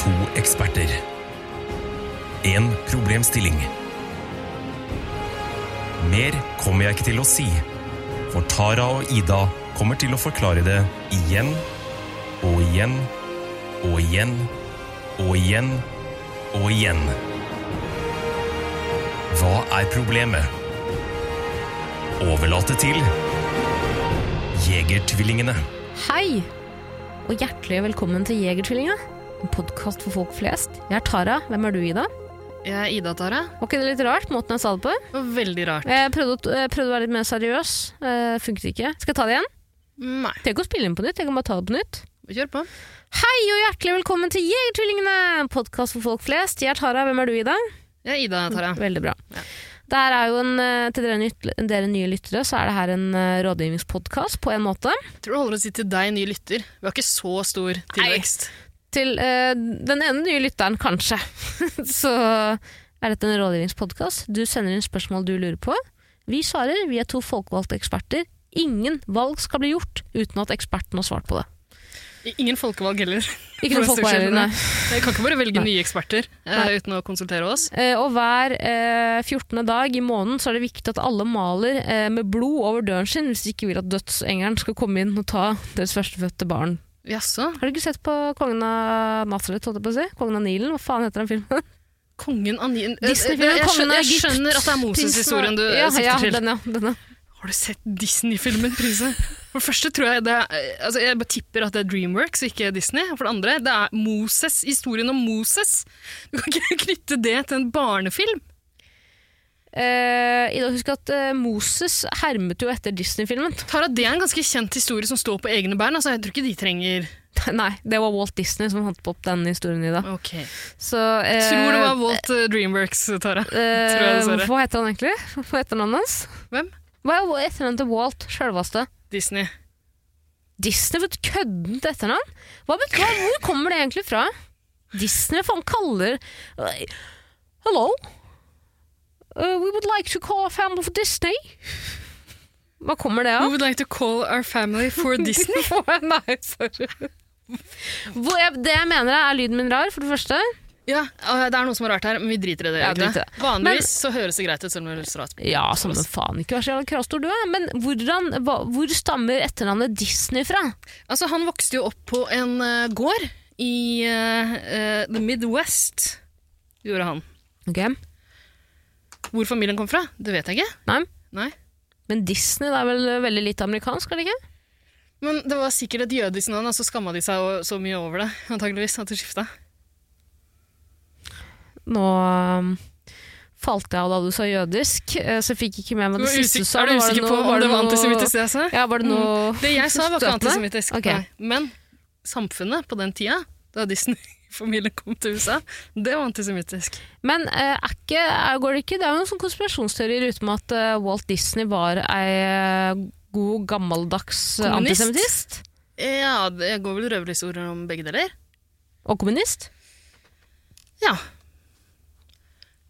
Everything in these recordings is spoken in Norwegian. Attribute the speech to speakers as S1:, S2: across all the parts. S1: To eksperter. En problemstilling. Mer kommer jeg ikke til å si, for Tara og Ida kommer til å forklare det igjen og igjen og igjen og igjen og igjen. Hva er problemet? Overlate til Jegertvillingene.
S2: Hei, og hjertelig velkommen til Jegertvillinga. En podkast for folk flest. Jeg er Tara. Hvem er du, Ida?
S3: Jeg er Ida Tara.
S2: Var ikke det litt rart, måten jeg sa det på?
S3: Det var veldig rart.
S2: Jeg prøvde, å- jeg prøvde å være litt mer seriøs. Eh, funket ikke. Skal jeg ta det igjen?
S3: Nei,
S2: Trenger ikke å spille inn på nytt. Jeg kan bare ta det på nytt.
S3: kjør på.
S2: Hei, og hjertelig velkommen til Jegertvillingene! En podkast for folk flest. Jeg er Tara. Hvem er du, Ida?
S3: Jeg er Ida Tara.
S2: Veldig bra.
S3: Ja.
S2: Det her er jo en, eh, til dere, nytt- dere nye lyttere så er det her en eh, rådgivningspodkast på en måte.
S3: Tror du holder å si til deg, ny lytter. Vi har ikke så stor tilvekst.
S2: Til eh, den ene nye lytteren, kanskje, så er dette en rådgivningspodkast. Du sender inn spørsmål du lurer på. Vi svarer. Vi er to folkevalgte eksperter. Ingen valg skal bli gjort uten at eksperten har svart på det.
S3: Ingen folkevalg heller.
S2: Ikke noe
S3: For å
S2: folk bare,
S3: skjønne
S2: nei.
S3: det. Jeg kan ikke bare velge
S2: Nei.
S3: nye eksperter eh,
S2: Nei.
S3: uten å konsultere oss.
S2: Eh, og hver eh, 14. dag i måneden så er det viktig at alle maler eh, med blod over døren sin hvis de ikke vil at dødsengelen skal komme inn og ta deres førstefødte barn.
S3: Jaså?
S2: Har du ikke sett på Kongen av Nazareth, holdt jeg på å si? Kongen av Nilen? Hva faen heter den filmen?
S3: Kongen av Nien... Eh,
S2: Disney-filmen
S3: jeg,
S2: Kongen
S3: skjønner,
S2: av
S3: jeg
S2: Egypt.
S3: skjønner at det er Moses-historien du eh,
S2: ja,
S3: sikter
S2: ja,
S3: til.
S2: Den, ja, den, ja.
S3: Har du sett Disney-filmen, Prinse? For det første tror jeg det er, eh, altså Jeg bare tipper at det er Dreamworks, ikke Disney. Og For det andre, det er Moses, historien om Moses. Du kan ikke knytte det til en barnefilm.
S2: Eh, Ida, husk at eh, Moses hermet jo etter Disney-filmen.
S3: Tara, det er en ganske kjent historie som står på egne bein. Altså, jeg tror ikke de trenger
S2: Nei, det var Walt Disney som fant på opp den historien, Ida.
S3: Ok.
S2: Så, eh,
S3: Tror det var Walt eh, Dreamworks, Tara.
S2: eh,
S3: tror jeg dessverre.
S2: Hva heter han egentlig? Hva heter navnet hans?
S3: Hvem?
S2: Hva er etternavnet til Walt sjølveste?
S3: Disney.
S2: Disney for et køddent etternavn? Hva bet- hva, hvor kommer det egentlig fra? Disney, hva faen kaller Oi. Hello. Uh, we would like to call our family for Disney. Hva kommer det
S3: We
S2: av?
S3: would like to call our family for Disney.
S2: Nei, sorry. Hvor jeg, det jeg mener er, er lyden min rar, for det første.
S3: ja, eh, Det er noe som er rart her, men vi driter i det.
S2: Ja,
S3: egentlig.
S2: drit i det. Men-
S3: Vanligvis så høres det greit ut, selv om det høres rart ut.
S2: Ja, samme faen, ikke vær så jævla kravstor du er. Men hvordan, hva, hvor stammer etternavnet Disney fra?
S3: Altså, Han vokste jo opp på en eh, gård i eh, eh, The Midwest, gjorde han.
S2: Ok,
S3: Hvor familien kom fra, det vet jeg ikke.
S2: nei.
S3: Nei.
S2: Men Disney det er vel veldig lite amerikansk, er det ikke?
S3: Men det var sikkert et jødisk navn, og så skamma de seg o- så mye over det. antageligvis, at de skifta.
S2: Nå um, falt jeg av da du sa jødisk, eh, så jeg fikk ikke med
S3: Du
S2: meg det
S3: var
S2: siste du
S3: usikker,
S2: sa.
S3: er
S2: Var
S3: du usikker på
S2: noe-
S3: om det var Mm.
S2: noe-
S3: antisemittisk, det jeg sa?
S2: Ja, var det noe
S3: Det jeg sa, var ikke
S2: Støtende?
S3: antisemittisk.
S2: Ok.
S3: nei. Men samfunnet på den tida, da Disney-familien kom til USA, det var antisemittisk.
S2: Men eh, er ikke, er, går det ikke Det er jo en sånn konspirasjonsteori ute med at eh, Walt Disney var ei eh, god, gammeldags eh,
S3: Kommunist?
S2: antisemittist.
S3: Ja, det går vel røverhistorier om begge deler.
S2: Og kommunist.
S3: Ja.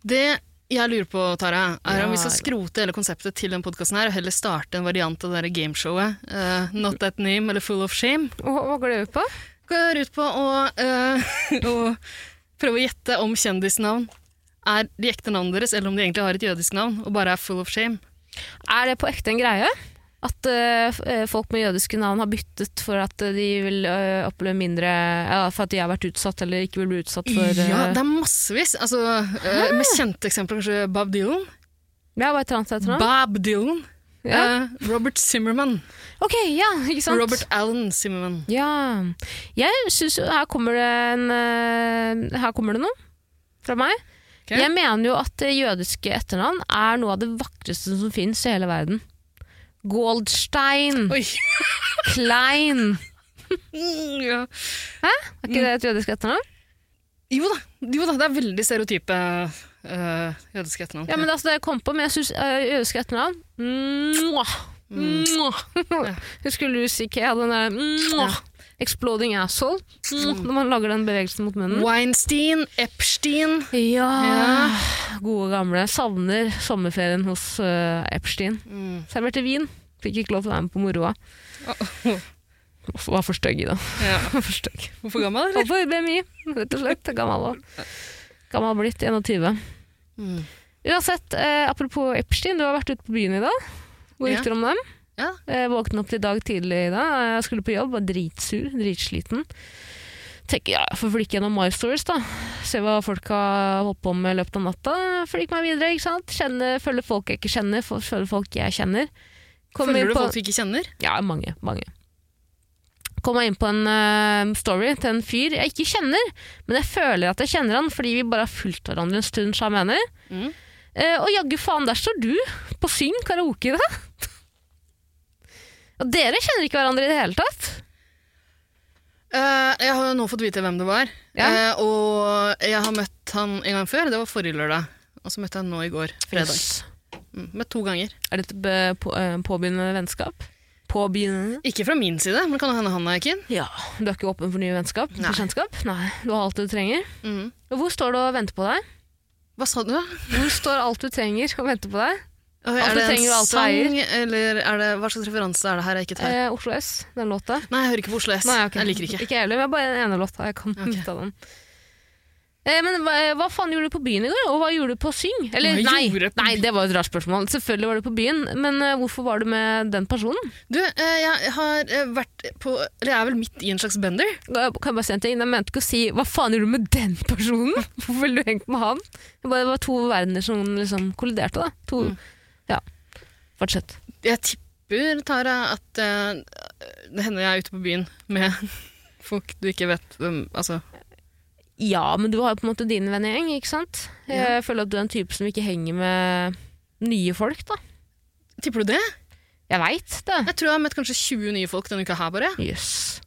S3: Det jeg lurer på, Tara, er om vi skal
S2: Ja.
S3: skrote hele konseptet til den podkasten her, og heller starte en variant av det der gameshowet eh, Not That Name eller Full of Shame.
S2: Hva, hva går det ut på?
S3: går ut på å, eh, å prøve å gjette om kjendisnavn er de ekte navnene deres, eller om de egentlig har et jødisk navn og bare er full of shame.
S2: Er det på ekte en greie? At eh, f- eh, folk med jødiske navn har byttet for at eh, de vil eh, oppleve mindre ja, For at de har vært utsatt eller ikke vil bli utsatt for eh,
S3: Ja, det er massevis. Altså, eh, med kjente eksempler kanskje Bob Dylan.
S2: Ja, hva heter han etter ham?
S3: Bob Dylan.
S2: Ja.
S3: Eh, Robert Zimmerman.
S2: Ok, ja, ikke sant?
S3: Robert Allen Zimmerman.
S2: Ja. Jeg syns jo Her kommer det en eh, Her kommer det noe fra meg.
S3: Ok.
S2: Jeg mener jo at eh, jødiske etternavn er noe av det vakreste som fins i hele verden. Goldstein,
S3: Oi!
S2: Klein
S3: Mm, ja.
S2: Er ikke det et
S3: Mm.
S2: jødisk etternavn?
S3: Jo da, jo da, det er veldig stereotype eh, jødiske etternavn.
S2: Ja, men det er altså det jeg kom på, men jeg syns uh, jødiske etternavn Mwah!
S3: Mm.
S2: Mwah! Husker du CK hadde den der mwah, Exploding asshole? Mwah,
S3: Mm.
S2: når man lager den bevegelsen mot munnen.
S3: Weinstein, Epstein
S2: Ja.
S3: Ja.
S2: Gode gamle. Savner sommerferien hos
S3: Mm.
S2: eh, Epstein. Serverte vin. Fikk ikke lov til å være med på moroa. Var for stygg, Ida.
S3: Ja.
S2: Var for stygg.
S3: Hvorfor gammel, eller?
S2: Og for BMI, rett og slett. Gammel, også. gammel blitt, 21.
S3: Mm.
S2: Uansett, eh, apropos Epstein, du har vært ute på byen i dag. Hvor gikk
S3: Ja.
S2: dere om dem?
S3: Ja.
S2: Jeg våknet opp i dag tidlig i dag. Eh, Jeg skulle på jobb, var dritsur, dritssliten. Tenker ja, jeg får flikke gjennom My Stories, da. Se hva folk har holdt på med i løpet av natta. Flik meg videre, ikke sant. Kjenne, følge folk jeg ikke kjenner, fol- følge folk jeg kjenner. Kommer
S3: Følger
S2: inn
S3: du
S2: på-
S3: folk du ikke kjenner?
S2: Ja, mange, mange. Kom jeg inn på en eh, story til en fyr jeg ikke kjenner, men jeg føler at jeg kjenner han, fordi vi bare har fulgt hverandre en stund, så jeg mener.
S3: Mm.
S2: Eh, og jaggu faen, der står du på Syn karaoke i dag. Og dere kjenner ikke hverandre i det hele tatt.
S3: Eh, jeg har jo nå fått vite hvem det var.
S2: Ja.
S3: Eh, og jeg har møtt han en gang før. Det var forrige lørdag. Og så møtte jeg han nå i går, fredag.
S2: Jøss.
S3: Mm, møtt to ganger.
S2: Er dette be- på, eh, påbegynnende vennskap? Påbegynnende?
S3: Ikke fra min side, men kan det hende han er keen?
S2: Ja. Du er ikke åpen for nye vennskap?
S3: Nei.
S2: Bekjentskap? Nei. Du har alt du trenger.
S3: Mm.
S2: Og Hvor står det og venter på deg?
S3: Hva sa du, da?
S2: Hvor står alt du trenger og venter på deg?
S3: er det
S2: trenger jo
S3: en
S2: alt
S3: sang,
S2: veier.
S3: eller er det, hva slags referanse er det her jeg ikke tar?
S2: Eh, Oslo S, den låta.
S3: Nei, jeg hører ikke på Oslo S.
S2: Nei, ok.
S3: Jeg liker ikke.
S2: Ikke jeg heller, men jeg har bare den ene låta. Jeg kan
S3: Ok.
S2: litt av den. Eh, men hva, hva faen gjorde du på byen i går, og hva gjorde du på Syng? Eller,
S3: Hva
S2: nei,
S3: gjorde jeg på
S2: nei,
S3: byen?
S2: det var et rart spørsmål. Selvfølgelig var du på byen, men eh, hvorfor var du med den personen?
S3: Du, eh, jeg har eh, vært på Eller jeg er vel midt i en slags bender.
S2: Da Kan jeg bare si en ting? Jeg mente ikke å si 'hva faen gjorde du med den personen'? Hvorfor ville du hengt med han? Det bare var to verdener som liksom kolliderte, da. To,
S3: Mm.
S2: Ja. Fortsett.
S3: Jeg tipper, Tara, at eh, det hender jeg er ute på byen med folk du ikke vet hvem Altså,
S2: Ja, men du har jo på en måte din vennegjeng, ikke sant? Jeg føler at du er en type som ikke henger med nye folk, da.
S3: tipper du det?
S2: Jeg veit det.
S3: Jeg tror jeg har møtt kanskje 20 nye folk denne uka her, bare.
S2: Jøss.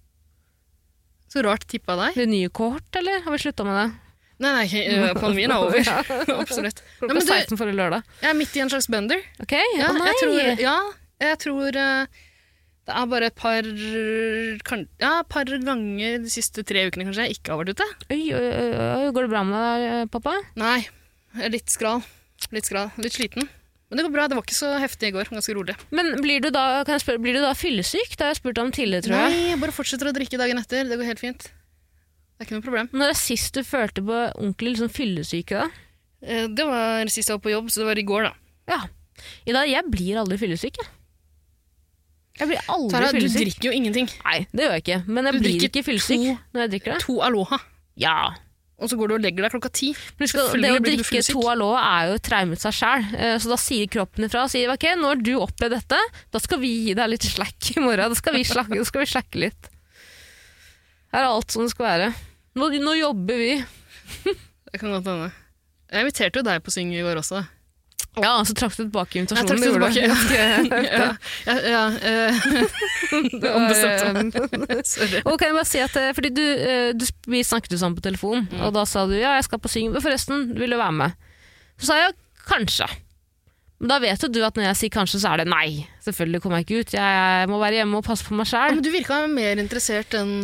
S3: Så rart tippa deg.
S2: Det nye kohort, eller? Har vi slutta med det?
S3: Nei, nei, eh, pandemien er over. Absolutt. Nei,
S2: Klokka
S3: men du,
S2: 16 forrige lørdag.
S3: jeg er midt i en slags bender.
S2: Ok,
S3: Ja,
S2: å nei!
S3: jeg tror, ja, jeg tror eh, det er bare et par, kan, ja, et par ganger de siste tre ukene kanskje jeg ikke har vært ute.
S2: Oi, oi, oi, oi, går det bra med deg, eh, pappa?
S3: Nei, jeg er litt skral. Litt skral, litt sliten. Men det går bra, det var ikke så heftig i går. Ganske rolig.
S2: Men blir du da, kan jeg spørre, blir du da fyllesyk? Det har jeg spurt om tidligere, tror jeg.
S3: Nei, jeg bare fortsetter å drikke dagen etter. Det går helt fint. Det er ikke noe problem.
S2: Når er sist du følte på ordentlig liksom, fyllesyke, da?
S3: Eh, Det var sist jeg var på jobb, så det var i går, da.
S2: Ja. I dag, jeg blir aldri fyllesyk, jeg. Jeg blir aldri
S3: Tara, du
S2: fyllesyk.
S3: drikker jo ingenting.
S2: Nei, det gjør jeg ikke. Men jeg
S3: Du
S2: blir
S3: drikker
S2: ikke fyllesyk
S3: to-
S2: når jeg drikker det.
S3: To Aloha,
S2: Ja.
S3: og så går du og legger deg klokka ti.
S2: Men husk, at det
S3: Selvfølgelig
S2: å
S3: blir du
S2: drikke
S3: fyllesyk.
S2: to Aloe er jo traumet seg sjæl. Så da sier kroppen ifra og sier ok, når du opplever dette, da skal vi gi deg litt slack i morgen. Da skal vi slakke, da skal vi slakke litt. Her er alt som det skal være. Nå, nå jobber vi.
S3: Det kan godt hende. Jeg inviterte jo deg på syng i går også.
S2: Ja, så trakk du tilbake
S3: Jeg
S2: invitasjonen.
S3: trakk det
S2: gjorde
S3: tilbake.
S2: du.
S3: Ja, ja, ja, eh,
S2: Det var,
S3: ombestemte eh, Sorry.
S2: Og kan jeg bare si at, eh, fordi du, eh, du, Vi snakket jo sammen på telefon,
S3: Mm.
S2: og da sa du ja, jeg skal på syng. Men forresten, vil du være med? Så sa jeg kanskje. Men da vet jo du at når jeg sier kanskje, så er det nei. Selvfølgelig kommer jeg ikke ut. Jeg må være hjemme og passe på meg
S3: Ja,
S2: sjæl.
S3: men du virka mer interessert enn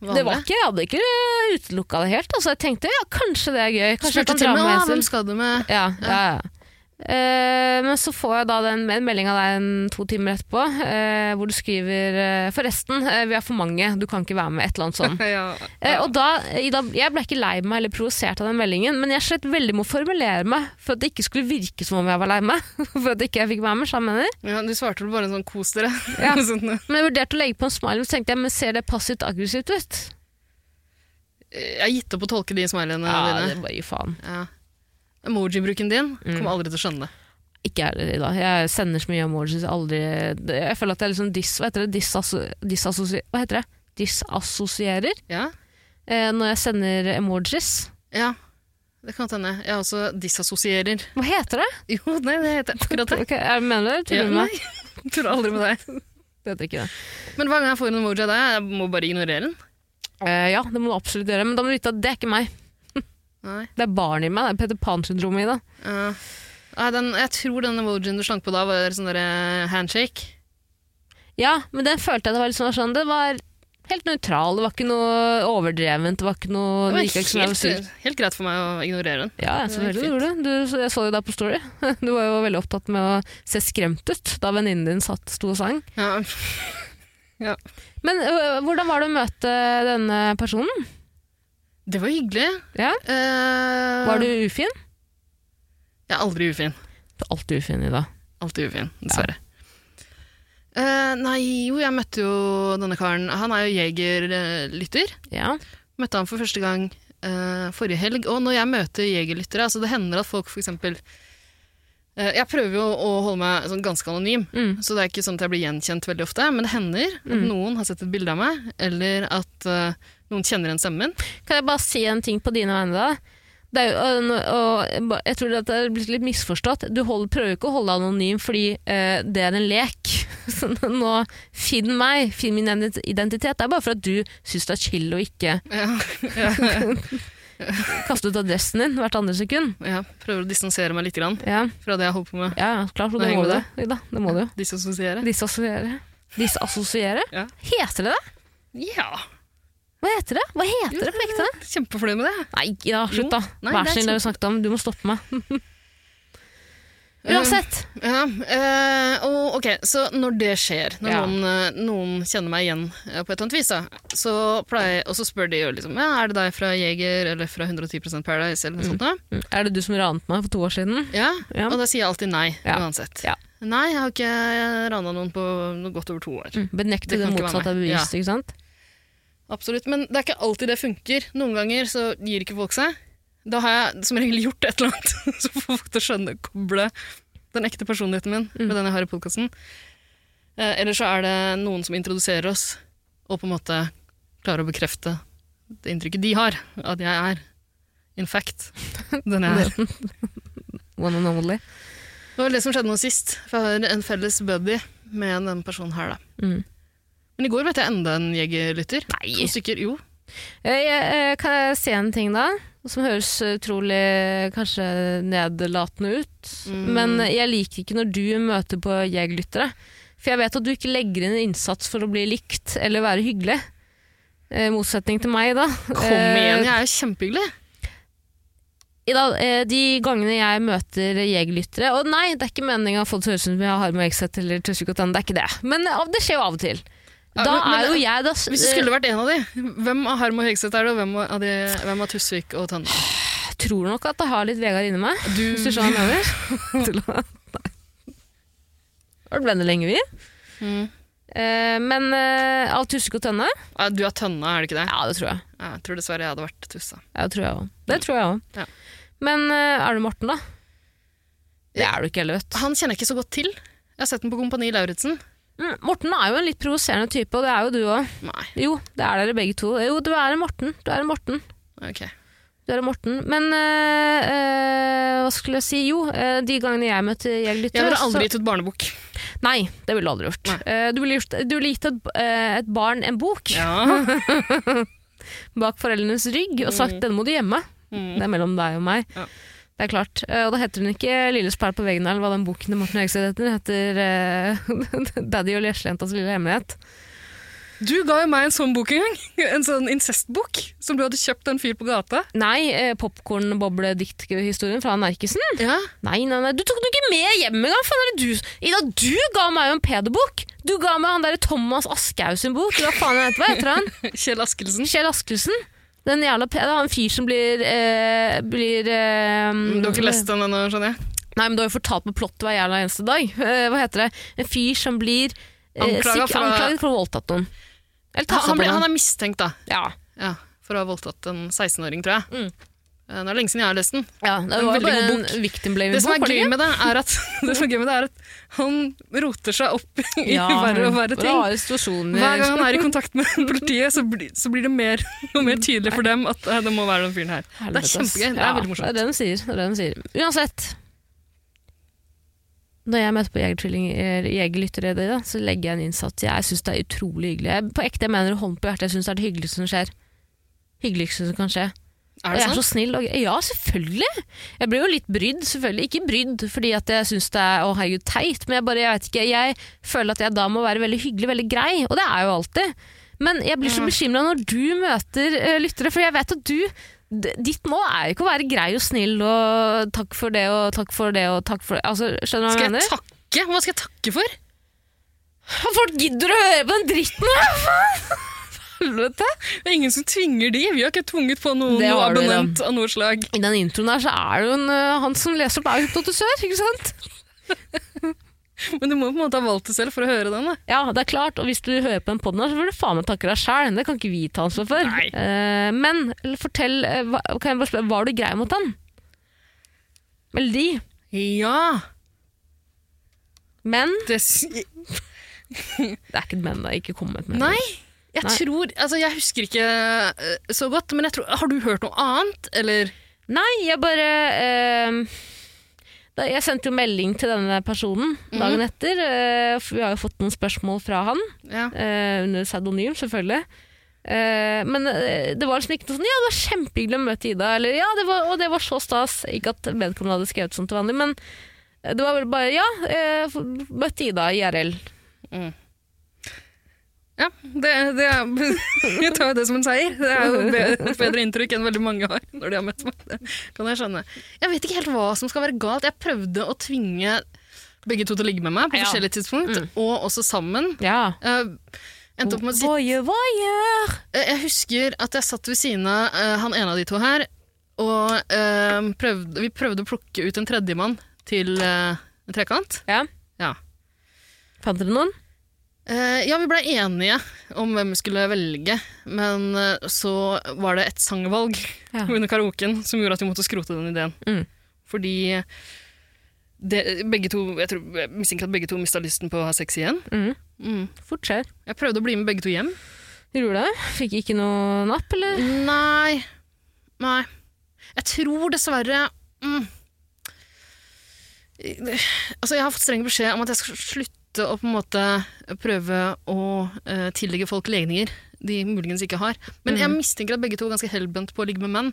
S3: vanlig.
S2: Det var ikke, Jeg hadde ikke eh, utelukka det helt. Altså, jeg tenkte ja, kanskje det er gøy. Kanskje jeg
S3: Spurte
S2: kan
S3: til
S2: dra
S3: og med
S2: med
S3: «Ah, hvem
S2: Hazel.
S3: skal du med.
S2: Ja, ja, ja. Eh, men så får jeg da den, en melding av deg en, to timer etterpå, eh, hvor du skriver eh, 'Forresten, eh, vi er for mange, du kan ikke være med.' Et eller annet sånt.
S3: Ja,
S2: Eh, og da, Ida, jeg ble ikke lei meg eller provosert av den meldingen, men jeg slet veldig med å formulere meg for at det ikke skulle virke som om jeg var lei meg. For at ikke jeg fikk være med, så jeg mener.
S3: ja, du svarte vel bare en sånn 'kos dere'.
S2: Ja.
S3: sånn,
S2: Men jeg vurderte å legge på en smiley, men så tenkte jeg, men ser det passivt aggressivt ut?
S3: eh, jeg har gitt opp å tolke de smileyene
S2: Ja, det Mm.
S3: dine.
S2: bare gir faen.
S3: Ja. Emoji-bruken din kommer aldri til å skjønne det.
S2: Ikke jeg heller, Ida. Jeg sender så mye emojis, aldri det- Jeg føler at jeg liksom dis... Hva heter det? Disasso- disassosier- Hva heter det? Disassosierer
S3: Ja?
S2: eh, når jeg sender emojis.
S3: ja. Det kan godt hende. Jeg også disassosierer.
S2: Hva heter det?
S3: Jo, nei, det heter akkurat det.
S2: Ok, jeg mener det? Tuller du
S3: Ja,
S2: med meg?
S3: nei, jeg Tuller aldri med deg.
S2: Det heter ikke det.
S3: Men hver gang jeg får en emoji av deg, jeg må bare ignorere den.
S2: Eh, ja, det må du absolutt gjøre, men da må du vite at det er ikke meg.
S3: Nei.
S2: Det er barn i meg, det er Peter Pan-syndromet i det.
S3: Ja. Nei, den, jeg tror den emojien du slank på da, var sånn derre handshake.
S2: Ja, men den følte jeg det var litt sånn, sånn Det var helt nøytral, det var ikke noe overdrevent, det var ikke noe
S3: Det
S2: det virket ikke som jeg var
S3: var
S2: sur.
S3: helt, helt greit for meg å ignorere den.
S2: Ja,
S3: det var
S2: selvfølgelig
S3: fint.
S2: gjorde du det. Du- Jeg så jo deg på Story. Du var jo veldig opptatt med å se skremt ut da venninnen din satt, sto og sang.
S3: Ja. Ja.
S2: Men øh, hvordan var det å møte denne personen?
S3: Det var hyggelig.
S2: Ja?
S3: Eh,
S2: Var du ufin?
S3: Jeg er aldri ufin.
S2: Du er alltid ufin, Ida.
S3: Alltid ufin, dessverre. Eh, nei, jo, jeg møtte jo denne karen. Han er jo jegerlytter.
S2: Ja.
S3: Møtte han for første gang eh, forrige helg. Og når jeg møter jegerlyttere, altså det hender at folk for eksempel eh, Jeg prøver jo å holde meg sånn ganske anonym,
S2: Mm.
S3: så det er ikke sånn at jeg blir gjenkjent veldig ofte. Men det hender at noen har sett et bilde av meg, eller at eh, noen kjenner igjen stemmen min.
S2: Kan jeg bare si en ting på dine vegne, da? Det er jo, og, nå- og, ba- jeg tror at det er blitt litt misforstått. Du hold, prøver jo ikke å holde deg anonym fordi eh, det er en lek. Så nå Finn meg, finn min ident- identitet. Det er bare for at du syns det er chill å ikke
S3: Ja,
S2: kaste ut adressen din hvert andre sekund.
S3: ja, prøver å distansere meg litt grann
S2: Ja,
S3: fra det jeg holder på med.
S2: ja klart. og
S3: Det
S2: Det
S3: henger
S2: må
S3: med
S2: du. Ida, det må du jo.
S3: Distansere.
S2: Disassosiere. Disassosiere?
S3: Ja.
S2: Heter det det?
S3: Ja!
S2: Hva heter det? Hva heter det på ekte?
S3: Kjempefornøyd med det.
S2: Nei, ja, slutt da.
S3: Nei,
S2: Vær
S3: det
S2: så
S3: er
S2: snill, det har vi snakket om. Du må stoppe meg. Uansett.
S3: Ja, eh, og ok, så når det skjer, når
S2: Ja.
S3: noen, eh, noen kjenner meg igjen eh, på et eller annet vis, da, så pleier, og så spør de jo liksom, ja, er det deg fra Jeger eller fra 110% Paradise eller noe sånt da?
S2: Mm. Er det du som ranet meg for to år siden?
S3: Ja,
S2: Ja.
S3: og da sier jeg alltid nei,
S2: Ja.
S3: uansett.
S2: Ja.
S3: Nei, jeg har ikke rana noen på noe godt over to år.
S2: Benekte det,
S3: Mm. Det kan ikke være
S2: motsatte av
S3: meg.
S2: bevis, ikke sant?
S3: Absolutt, men det er ikke alltid det funker. Noen ganger så gir ikke folk seg. Da har jeg som regel gjort et eller annet, så får folk til å skjønne, koble den ekte personligheten min
S2: Mm.
S3: med den jeg har i podkasten. Eh, eller så er det noen som introduserer oss, og på en måte klarer å bekrefte det inntrykket de har, at jeg er in fact den jeg er.
S2: One and only.
S3: Det var det som skjedde nå sist, for jeg har en felles buddy med den personen her, da.
S2: Mm.
S3: Men i går vet jeg enda en jegerlytter.
S2: Nei.
S3: To stykker, jo.
S2: Eh, jeg- eh, Kan jeg se en ting da? Som høres eh, utrolig kanskje nedlatende ut.
S3: Mm.
S2: Men jeg liker ikke når du møter på jeg-lyttere. For jeg vet at du ikke legger inn en innsats for å bli likt eller være hyggelig. Eh, motsetning til meg, da.
S3: Kom igjen, jeg er jo kjempehyggelig.
S2: I dag, eh, de gangene jeg møter jegerlyttere Og nei, det er ikke meningen å få det til å høres ut som jeg har med Exet eller Tusvik og Tann, det er ikke det. Men eh, det skjer jo av og til.
S3: Ja,
S2: Da
S3: men- men-
S2: er jo jeg da,
S3: Hvis det skulle vært en av de, hvem av Harm og Hegseth er det, og hvem av, de, hvem av Tusvik og Tønne?
S2: Jeg tror nok at jeg har litt Vegard inni meg.
S3: Du,
S2: Hvis du skjønner hva jeg mener. Til å- Nei. Vi har vært venner lenge, vi.
S3: Mm.
S2: Eh, men eh, av Tusvik og Tønne?
S3: Ja, du er Tønne, er det ikke det?
S2: Ja, det tror jeg.
S3: Ja, Jeg tror dessverre jeg hadde vært Tussa.
S2: Ja, det tror jeg også. Det tror jeg òg.
S3: Ja.
S2: Men eh, er du Morten, da? Det
S3: Ja.
S2: er du ikke heller, vet du.
S3: Han kjenner jeg ikke så godt til. Jeg har sett den på Kompani Lauritzen.
S2: Mm, Morten er jo en litt provoserende type, og det er jo du òg.
S3: Nei,
S2: Jo, det er dere begge to. Jo, du er en Morten. Du er en Morten.
S3: ok.
S2: Du er en Morten. Men eh, eh, hva skulle jeg si? Jo, eh, de gangene jeg møter
S3: Jeg
S2: jegerlyttere
S3: ville aldri gitt ut barnebok.
S2: så... Nei, det ville du aldri gjort.
S3: Nei.
S2: Eh, du, ville gjort du ville gitt et, eh, et barn en bok
S3: Ja.
S2: bak foreldrenes rygg og sagt 'denne må du gjemme'.
S3: Mm.
S2: Det er mellom deg og meg.
S3: Ja.
S2: Det er klart. Eh, og da heter hun ikke 'Lille sperr på veggen' eller hva den boken til Morten Høgseth heter. Den heter eh, 'Daddy og lesjejentas lille hemmelighet'.
S3: Du ga jo meg en sånn bok en gang. En sånn incestbok som du hadde kjøpt av en fyr på gata.
S2: Nei, uh, popkornbobledikthistorien fra Nerkesen.
S3: Ja.
S2: Nei, nei, nei, du tok den ikke med hjem engang! faen er det du... Ida, du ga meg jo en pedo-bok! Du ga meg han derre Thomas Aschhaug sin bok. Hva faen heter hva heter han?
S3: Kjell Askelsen.
S2: Kjell Askelsen. Den jævla pedo. Han fyr som blir, eh, blir eh,
S3: Mm, Du har ikke lest den ennå, skjønner jeg.
S2: Nei, men du har jo fortalt meg plottet hver jævla eneste dag. Eh, hva heter det? En fyr som blir eh,
S3: Anklaget
S2: sikk-
S3: for å-
S2: anklaget for å ha voldtatt noen. Eller
S3: Han,
S2: tafsa
S3: han,
S2: på
S3: blir- han
S2: noen.
S3: er mistenkt, da.
S2: Ja.
S3: Ja, for å ha voldtatt en 16-åring, tror jeg.
S2: Mm.
S3: Eh, Det er lenge siden jeg har lest den.
S2: ja. Det var
S3: En veldig
S2: bare
S3: god
S2: en victim blaming
S3: Det som,
S2: bok,
S3: er
S2: var det
S3: gøy
S2: ikke?
S3: med det, er at, det som er gøy med det, er at han roter seg opp i verre og verre ting.
S2: Rare situasjoner.
S3: Hver gang han er i kontakt med politiet, så blir, så blir det mer og mer tydelig for dem at eh, det må være den fyren her. Det er
S2: Helvete, ass.
S3: kjempegøy. Det
S2: Ja,
S3: er
S2: Det
S3: veldig
S2: er
S3: morsomt.
S2: det de sier. Det er det de sier. Uansett. Når jeg møter på jegertvilling- eller jegerlyttere, i dag, så legger jeg en innsats. Jeg syns det er utrolig hyggelig. Jeg, på ekte jeg mener hånd på hjertet, jeg syns det er det hyggeligste som skjer. Hyggeligste som kan skje. Og
S3: Er det
S2: jeg er
S3: sant?
S2: så snill. Og, ja, selvfølgelig. Jeg blir jo litt brydd, selvfølgelig. Ikke brydd fordi at jeg syns det er å herregud teit, men jeg bare, jeg vet ikke, jeg føler at jeg da må være veldig hyggelig, veldig grei, og det er jeg jo alltid. Men jeg blir så bekymra når du møter eh, lyttere, for jeg vet at du d- Ditt mål er jo ikke å være grei og snill og takk for det og takk for det og takk for det. Altså, skjønner du hva
S3: Skal
S2: jeg
S3: jeg
S2: mener?
S3: takke? Hva skal jeg takke for?
S2: Og Folk gidder å høre på den dritten her! faen! Helvete!
S3: Det er ingen som tvinger de. Vi har ikke tvunget på noen
S2: Det
S3: noe
S2: har du, da.
S3: abonnent av noe slag.
S2: I den introen her så er det jo en, eh, han som leser opp, er jo hypnotisør, ikke sant?
S3: Men du må på en måte ha valgt det selv for å høre den. Da.
S2: Ja, det er klart, og hvis du hører på den podden her, så får du faen meg takke deg sjæl. Det kan ikke vi ta ansvar for.
S3: Nei.
S2: Eh, men fortell, eh, hva, kan jeg bare spørre, var du grei mot han? Vel, de.
S3: Ja!
S2: Men
S3: Det s-
S2: Det er ikke et men, det er ikke kommet med.
S3: Nei! Jeg
S2: Nei.
S3: tror Altså, jeg husker ikke eh, så godt, men jeg tror Har du hørt noe annet, eller?
S2: Nei, jeg bare eh, da, Jeg sendte jo melding til denne personen dagen
S3: Mhm.
S2: etter. eh, for vi har jo fått noen spørsmål fra han,
S3: Ja.
S2: eh, under pseudonym selvfølgelig. Eh, men eh, det var liksom ikke noe sånn 'ja, det var kjempehyggelig å møte Ida', eller 'ja, det var, og det var så stas'. Ikke at vedkommende hadde skrevet sånn til vanlig, men eh, det var vel bare 'ja, eh, møtte Ida i IRL'.
S3: Ja, det, det er, jeg tar jo det som en seier. Det er jo be- et bedre inntrykk enn veldig mange har når de har møtt meg. Det kan jeg skjønne. Jeg vet ikke helt hva som skal være galt. Jeg prøvde å tvinge begge to til å ligge med meg på
S2: Ja.
S3: forskjellige tidspunkt, og også sammen.
S2: Ja.
S3: Eh, endte opp med å si
S2: Voie, voie!
S3: Eh, Jeg husker at jeg satt ved siden av eh, han ene av de to her, og eh, prøvde, vi prøvde å plukke ut en tredjemann til eh, en trekant.
S2: Ja.
S3: Ja.
S2: Fant dere noen?
S3: Eh, ja, vi ble enige om hvem vi skulle velge, men eh, så var det et sangvalg
S2: Ja.
S3: under karaoken som gjorde at vi måtte skrote den ideen.
S2: Mm.
S3: Fordi det, begge to, jeg, tror, jeg mistenker at begge to mista lysten på å ha sex igjen.
S2: Mm.
S3: Mm.
S2: Fort skjer.
S3: Jeg prøvde å bli med begge to hjem.
S2: Gjorde du det? Fikk ikke noe napp, eller?
S3: Nei. Nei. Jeg tror dessverre mm. Altså, jeg har fått streng beskjed om at jeg skal slutte å på en måte prøve å eh, tillegge folk legninger de muligens ikke har. Men jeg
S2: Mhm.
S3: mistenker at begge to er ganske hellbent på å ligge med menn.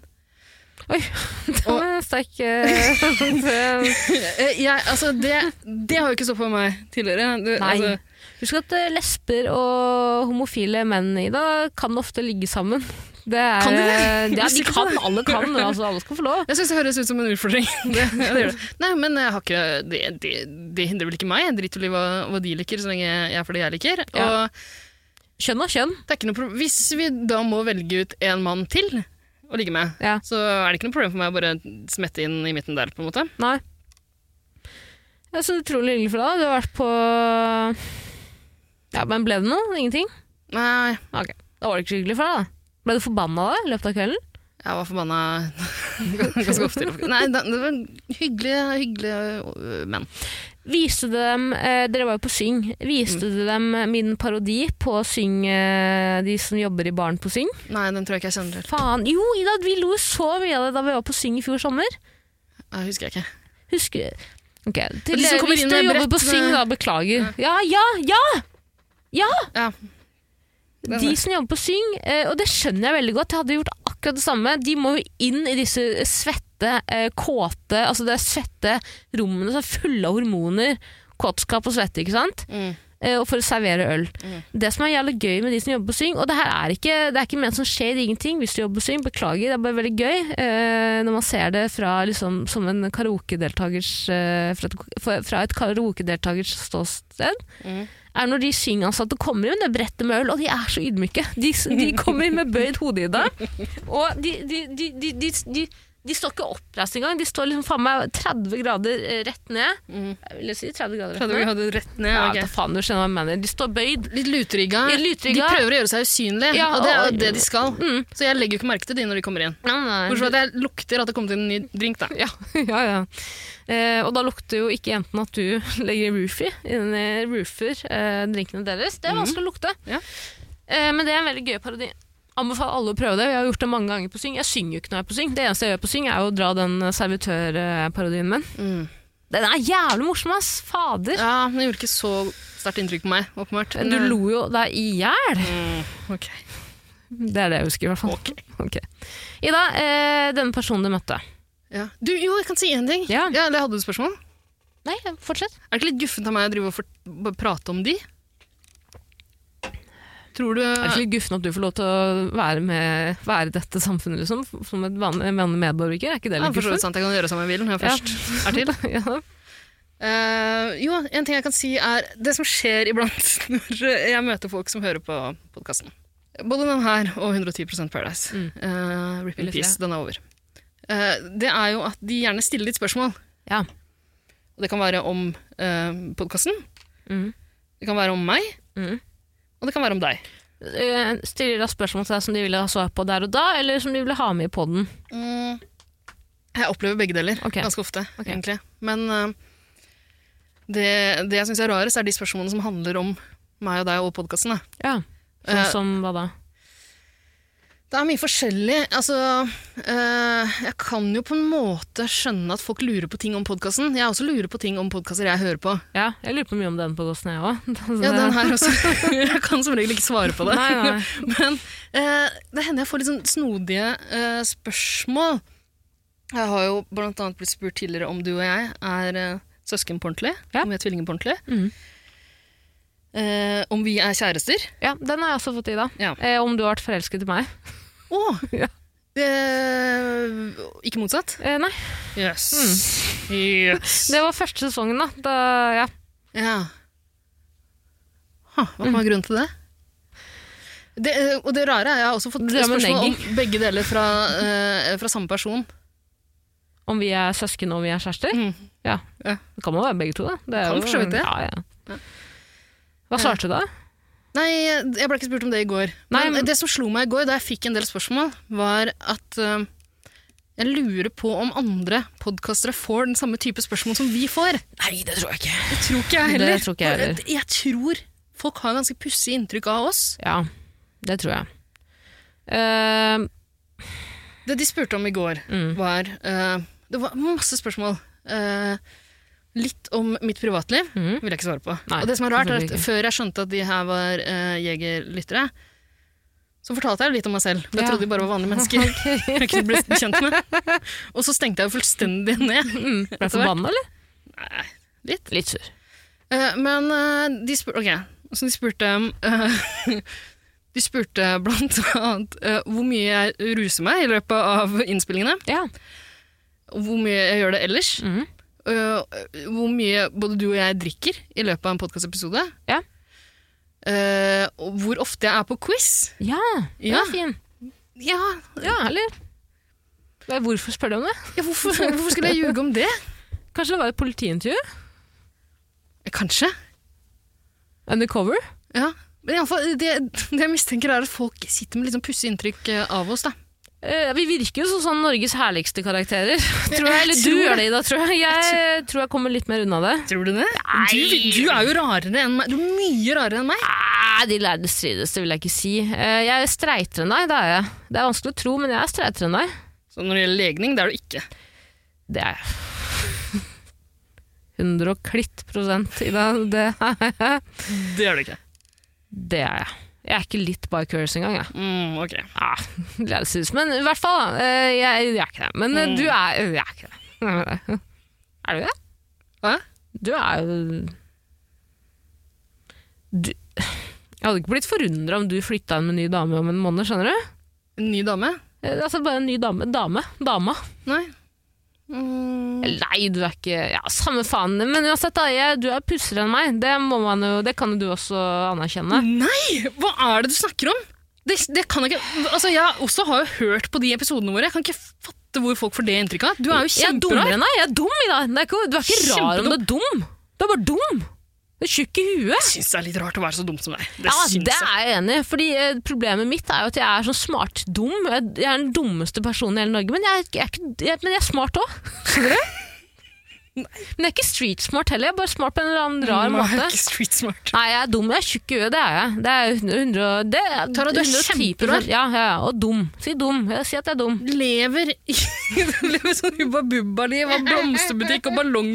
S2: Oi, det var en sterk eh, det-
S3: Eh, jeg, altså, det, det har jo ikke stått på meg tidligere. Det,
S2: Nei.
S3: Altså,
S2: Husk at eh, lesber og homofile menn i dag kan ofte ligge sammen. Det er,
S3: Kan de det?
S2: eh, Ja,
S3: Visste
S2: de
S3: ikke
S2: kan.
S3: det.
S2: Alle kan. men Altså, alle skal få lov.
S3: jeg syns det høres ut som en utfordring. Det, ja, det, gjør det. Nei, men jeg har ikke, det, det, det hindrer vel ikke meg. Jeg driter vel i hva, hva de liker, så lenge jeg er for det jeg liker.
S2: Ja.
S3: Og
S2: Kjønn og kjønn.
S3: Det er ikke noe problem. Hvis vi da må velge ut en mann til å ligge med,
S2: Ja.
S3: så er det ikke noe problem for meg å bare smette inn i midten der, på en måte.
S2: Nei. Ja, så utrolig hyggelig for deg. da. Du har vært på Ja, Men ble det noe? Ingenting?
S3: Nei,
S2: Ok, Da var det ikke så hyggelig for deg, da. Ble du forbanna da i løpet av kvelden?
S3: jeg var forbanna ganske ofte. Nei, da- det var hyggelige, hyggelige øh, menn.
S2: Viste du dem, eh, Dere var jo på Syng.
S3: Mm.
S2: Viste du dem eh, min parodi på Syng, eh, de som jobber i baren på Syng?
S3: Nei, den tror jeg ikke jeg kjenner til.
S2: Faen. Jo, Ida, vi lo så mye av det da vi var på Syng i fjor sommer.
S3: Jeg husker jeg ikke.
S2: Husker Ok,
S3: Og
S2: til,
S3: de som kommer
S2: Hvis
S3: inn
S2: du
S3: med
S2: jobber
S3: brett eh,
S2: på Syng,
S3: med-
S2: da, beklager. Ja, ja, ja!
S3: Ja. Den
S2: De
S3: er-
S2: som jobber på Syng, eh, og det skjønner jeg veldig godt, jeg hadde gjort akkurat det samme. De må jo inn i disse svette, eh, kåte Altså det er svette rommene som er fulle av hormoner, kåtskap og svette, ikke sant?
S3: Mm.
S2: eh, og for å servere øl.
S3: Mm.
S2: Det som er jævlig gøy med de som jobber på Syng, og det her er ikke, det er ikke ment som skjer ingenting hvis du jobber på Syng, beklager, det er bare veldig gøy eh, når man ser det fra, liksom, som en karaokedeltakers eh, fra, et- fra- fra et karaokedeltakers ståsted,
S3: Mm.
S2: er når de syngansatte kommer inn med det brettet med øl, og de er så ydmyke. De, de kommer inn med bøyd hode i dag, og de, de, de, de, de, de de står ikke oppreist engang, de står liksom faen meg 30 grader eh, rett ned.
S3: Mm.
S2: Jeg vil si 30 grader rett
S3: Trodde
S2: ned.
S3: vi hadde rett ned.
S2: Ja,
S3: ok.
S2: da faen, du skjønner hva jeg mener. De står bøyd.
S3: Litt lutrygga.
S2: Ja, lutrygga.
S3: De prøver å gjøre seg usynlige,
S2: Ja,
S3: og det er
S2: og-
S3: jo det de skal.
S2: Mm.
S3: Så jeg legger jo ikke merke til de når de kommer inn. Bortsett fra at jeg lukter at det kommer til en ny drink, da.
S2: Ja, ja, ja. Eh, og da lukter jo ikke jentene at du legger roofie inni roofer eh, drinkene deres. Det er vanskelig å lukte.
S3: Mhm. Ja.
S2: Eh, men det er en veldig gøy parodi. Anbefaler alle å prøve det. Jeg har gjort det mange ganger på Syng. Jeg synger jo ikke når jeg er på Syng. Det eneste jeg gjør på Syng, er jo å dra den eh, servitørparodien min.
S3: Mm.
S2: Den er jævlig morsom, ass! Fader.
S3: Ja, men det gjorde ikke så sterkt inntrykk på meg, åpenbart.
S2: Du lo jo deg i hjel.
S3: Mm, ok.
S2: Det er det jeg husker, i hvert fall.
S3: Ok.
S2: Ok. Ida, eh, denne personen du møtte.
S3: Ja. Du, jo, jeg kan si én ting.
S2: Ja.
S3: eller hadde du et spørsmål?
S2: Nei, fortsett.
S3: Er det ikke litt guffent av meg å drive og fort- bare prate om de? Tror du
S2: Er det ikke litt guffen at du får lov til å være med være i dette samfunnet, liksom? Som et vanlig, vanlig medborger? Er ikke det
S3: ja, sånn
S2: litt
S3: for så vidt
S2: guffen?
S3: sant, jeg kan gjøre som jeg vil når jeg
S2: Ja.
S3: først er til.
S2: Ja.
S3: Eh, jo, en ting jeg kan si er det som skjer iblant når jeg møter folk som hører på podkasten. Både den her og 110 Paradise.
S2: Mm.
S3: Eh, Rip in
S2: Eller
S3: peace, den er over. Eh, det er jo at de gjerne stiller litt spørsmål.
S2: Ja.
S3: Og det kan være om uh, podkasten,
S2: Mm.
S3: det kan være om meg,
S2: Mm.
S3: og det kan være om deg.
S2: Eh, Stiller da spørsmål til deg som de ville ha svar på der og da, eller som de ville ha med i poden?
S3: Mm. Jeg opplever begge deler
S2: Ok.
S3: ganske ofte,
S2: Ok.
S3: egentlig. Men eh, det, det jeg syns er rarest, er de spørsmålene som handler om meg og deg og podkasten.
S2: Ja. Sånn
S3: Eh.
S2: som hva da?
S3: Det er mye forskjellig. Altså, eh, jeg kan jo på en måte skjønne at folk lurer på ting om podkasten. Jeg også lurer på ting om podkaster jeg hører på.
S2: Ja, jeg lurer på mye om den på Gåsen, jeg Altså, òg.
S3: Ja, den her også. Jeg kan som regel ikke svare på det.
S2: Nei, nei.
S3: Men eh, det hender jeg får litt sånn snodige eh, spørsmål. Jeg har jo blant annet blitt spurt tidligere om du og jeg er eh, søsken på ordentlig.
S2: Ja.
S3: Om vi er tvillinger på ordentlig.
S2: Mhm.
S3: Eh, om vi er kjærester.
S2: Ja, den har jeg også fått i, da.
S3: Ja.
S2: Eh, om du har vært forelsket i meg?
S3: Å!
S2: Ja.
S3: Eh, ikke motsatt?
S2: Eh, nei.
S3: Yes. Hmm. yes.
S2: Det var første sesongen, da. da ja.
S3: Ja. Ha, hva var grunnen til det? det? eh, Og det rare er jeg har også fått
S2: Det er med
S3: spørsmål om begge deler fra, eh, fra samme person.
S2: Om vi er søsken og om vi er kjærester?
S3: Mm.
S2: Ja.
S3: Ja.
S2: Det kan jo være begge to, da. Det er
S3: Kan
S2: jo-
S3: for så vidt det.
S2: Ja,
S3: Ja.
S2: ja. Hva svarte du da?
S3: Nei, jeg ble ikke spurt om det i går.
S2: Nei,
S3: men
S2: men-
S3: det som slo meg i går, da jeg fikk en del spørsmål, var at eh, jeg lurer på om andre podkastere får den samme type spørsmål som vi får.
S2: Nei, det tror jeg ikke.
S3: Det tror ikke jeg heller.
S2: Det tror ikke jeg heller.
S3: Og jeg tror folk har ganske pussig inntrykk av oss.
S2: Ja, det tror jeg. Eh,
S3: Det de spurte om i går,
S2: Mm.
S3: var eh, Det var masse spørsmål. Eh, litt om mitt privatliv
S2: Mm.
S3: vil jeg ikke svare på.
S2: Nei,
S3: og det som er rart, er
S2: selvfølgelig
S3: at før jeg skjønte at de her var uh, jegerlyttere, så fortalte jeg litt om meg selv. For jeg
S2: Ja.
S3: trodde de bare var vanlige mennesker. jeg ikke ble kjent med. Og så stengte jeg jo fullstendig ned.
S2: mm, ble du
S3: Etter hvert.
S2: forbanna, eller?
S3: Nei, litt.
S2: Litt sur.
S3: Eh, men eh, de spurte Ok, så de spurte eh, De spurte blant annet eh, hvor mye jeg ruser meg i løpet av innspillingene.
S2: Ja.
S3: Og hvor mye jeg gjør det ellers.
S2: Mm.
S3: Eh, hvor mye både du og jeg drikker i løpet av en podkastepisode.
S2: Ja.
S3: Eh, og hvor ofte jeg er på quiz.
S2: ja, den
S3: Ja.
S2: er fin.
S3: Ja,
S2: Ja, eller? Nei, Hvorfor spør du om det?
S3: ja hvorfor, hvorfor skulle jeg ljuge om det?
S2: Kanskje det var et politiintervju?
S3: Eh, Kanskje.
S2: Undercover?
S3: Ja. Men i alle fall, det, det jeg mistenker, er at folk sitter med litt sånn pussig inntrykk eh, av oss. da.
S2: Eh, vi virker jo som sånn Norges herligste karakterer. Tror jeg, eller du
S3: tror
S2: gjør det, Ida. Tror jeg. jeg tror jeg kommer litt mer unna det.
S3: Tror du det? Du, du er jo rarere enn meg. Du er mye rarere enn meg.
S2: Nei, Ah, de lærde strides, det vil jeg ikke si. Eh, jeg er streitere enn deg, det er jeg. Det er vanskelig å tro, men jeg er streitere enn deg.
S3: Så når det gjelder legning, det er du ikke.
S2: Det er jeg. 100 og klitt prosent, Ida. Det,
S3: Det er du ikke.
S2: det er jeg. Jeg er ikke litt by curse engang, jeg.
S3: Mm, ok.
S2: Ah, lærde strides. Men i hvert fall, da. eh, jeg, jeg er ikke det. Men eh, du er Jeg er ikke det. Er du det?
S3: Hæ?
S2: Du er jo du... Jeg hadde ikke blitt forundra om du flytta inn med en ny dame om en måned, skjønner du?
S3: En ny dame?
S2: Eh, Altså bare en ny dame. Dame. Dama.
S3: Nei. Mm.
S2: Nei, du er ikke Ja, samme faen. Men uansett, da. Jeg, du er pussigere enn meg. Det, må man jo, det kan jo du også anerkjenne.
S3: Mm. Nei! Hva er det du snakker om? Det, det kan jeg ikke Altså, Jeg også har jo hørt på de episodene våre. Jeg kan ikke fatte hvor folk får det inntrykket av. Du er jo
S2: Jeg er dummere
S3: kjemperar.
S2: enn deg. Jeg er dum i dag. Det er ikke, du er ikke rar om du er dum. Du er bare dum. Du er tjukk i huet.
S3: Jeg syns det er litt rart å være så dum som deg. Det
S2: Ja,
S3: syns
S2: det
S3: jeg.
S2: er jeg enig i. Fordi eh, Problemet mitt er jo at jeg er sånn smartdum. Jeg jeg er den dummeste personen i hele Norge, men jeg, er- jeg, er, ikke, jeg, men jeg er smart òg. Skjønner du? Men jeg er ikke streetsmart heller. Jeg er bare smart på en eller annen rar
S3: Mm, jeg er
S2: måte.
S3: ikke street smart.
S2: Nei, jeg er dum. Jeg er tjukk i huet, det er jeg. Det er 100, det er
S3: Tara, du er
S2: 110%.
S3: kjemperar.
S2: Ja, ja, ja, og dum. Si dum. Jeg sier at jeg er dum.
S3: Lever i lever sånn Hubba Bubba-liv av blomsterbutikk og ballong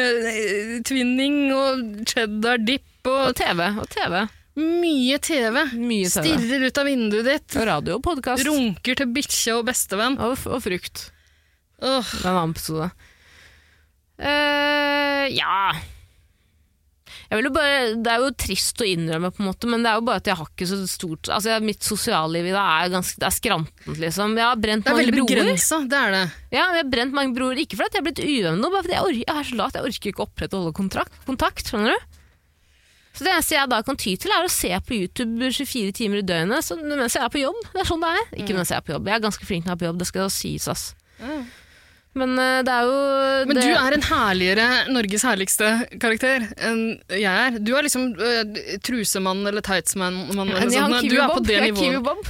S3: ballongtvinning og cheddar dip
S2: Og
S3: og
S2: TV. Og TV.
S3: mye TV.
S2: Mye TV.
S3: Stirrer ut av vinduet ditt.
S2: Og radio og podkast.
S3: Runker til bikkje og bestevenn.
S2: Og, f- og frukt.
S3: Åh,
S2: Det er en annen episode. Eh, ja Jeg vil jo bare, det er jo trist å innrømme, på en måte, men det er jo bare at jeg har ikke så stort altså jeg- Mitt sosialliv i dag er, ganske, det er skrantent, liksom. Jeg har brent
S3: Det er
S2: mange
S3: veldig
S2: broer.
S3: begrensa, det er det.
S2: Ja, jeg har brent mange broer, Ikke fordi jeg er blitt uvenn med noen, bare fordi jeg, or jeg er så lat. Jeg orker ikke å opprettholde kontrakt, kontakt. skjønner du? Så Det eneste jeg da kan ty til, er å se på YouTube 24 timer i døgnet så, mens jeg er på jobb. Det er sånn det er.
S3: Mm.
S2: Ikke mens jeg er på jobb. Jeg er ganske flink når jeg er på jobb, det skal sies, ass. Men eh, det er jo
S3: Men
S2: det,
S3: du er en herligere Norges herligste karakter enn jeg er. Du er liksom øh, trusemann eller tightsmann. mann eller
S2: Men jeg er
S3: sånt.
S2: han
S3: altså, Du er på
S2: Kiwi-Bob.
S3: det
S2: Jeg er
S3: nivået.
S2: Kiwi-Bob.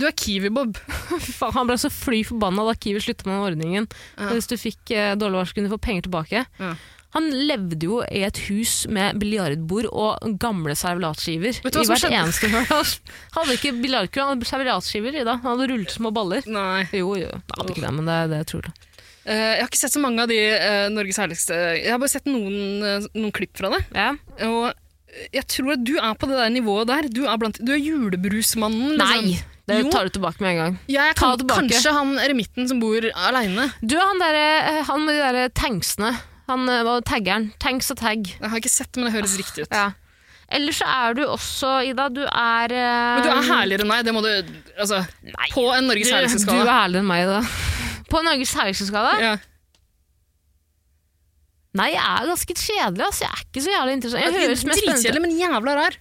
S3: Du er Kiwi-Bob.
S2: Fy faen, Han ble så fly forbanna da Kiwi slutta med den ordningen.
S3: Ja.
S2: Hvis du fikk eh, dårlig varsel, kunne du få penger tilbake.
S3: Ja.
S2: Han levde jo i et hus med biljardbord og gamle servelatskiver.
S3: Vet du
S2: I
S3: hva som
S2: hvert
S3: skjedde?
S2: eneste høl. Han hadde ikke biljardkule, han hadde servelatskiver i dag. Han hadde rullet små baller.
S3: Nei.
S2: Jo, jo. Han hadde ikke det, men det er det jeg tror. Da.
S3: Eh, jeg har ikke sett så mange av de eh, Norges herligste Jeg har bare sett noen, eh, noen klipp fra det.
S2: Ja.
S3: Og jeg tror at du er på det der nivået der. Du er, blant, du er julebrusmannen.
S2: Nei!
S3: Liksom.
S2: Det
S3: Jo.
S2: tar du tilbake med en gang.
S3: Jeg er
S2: Ta
S3: kan,
S2: det tilbake.
S3: kanskje han eremitten som bor aleine.
S2: Du, han derre Han med de derre tanksene. Han eh, var taggeren. Tanks og tag.
S3: Jeg har ikke sett, men det høres riktig ut.
S2: Ja. Ellers så er du også, Ida, du er eh,
S3: Men du er herligere enn meg. Det må du Altså,
S2: Nei.
S3: på en Norges herligste
S2: Du er
S3: skala.
S2: herligere enn meg, da. På Norges herligste skala?
S3: Ja.
S2: Nei, jeg er ganske kjedelig. ass. Jeg er ikke så jævlig interessant. Jeg høres mest spennende ut.
S3: Dritkjedelig, men jævla rar.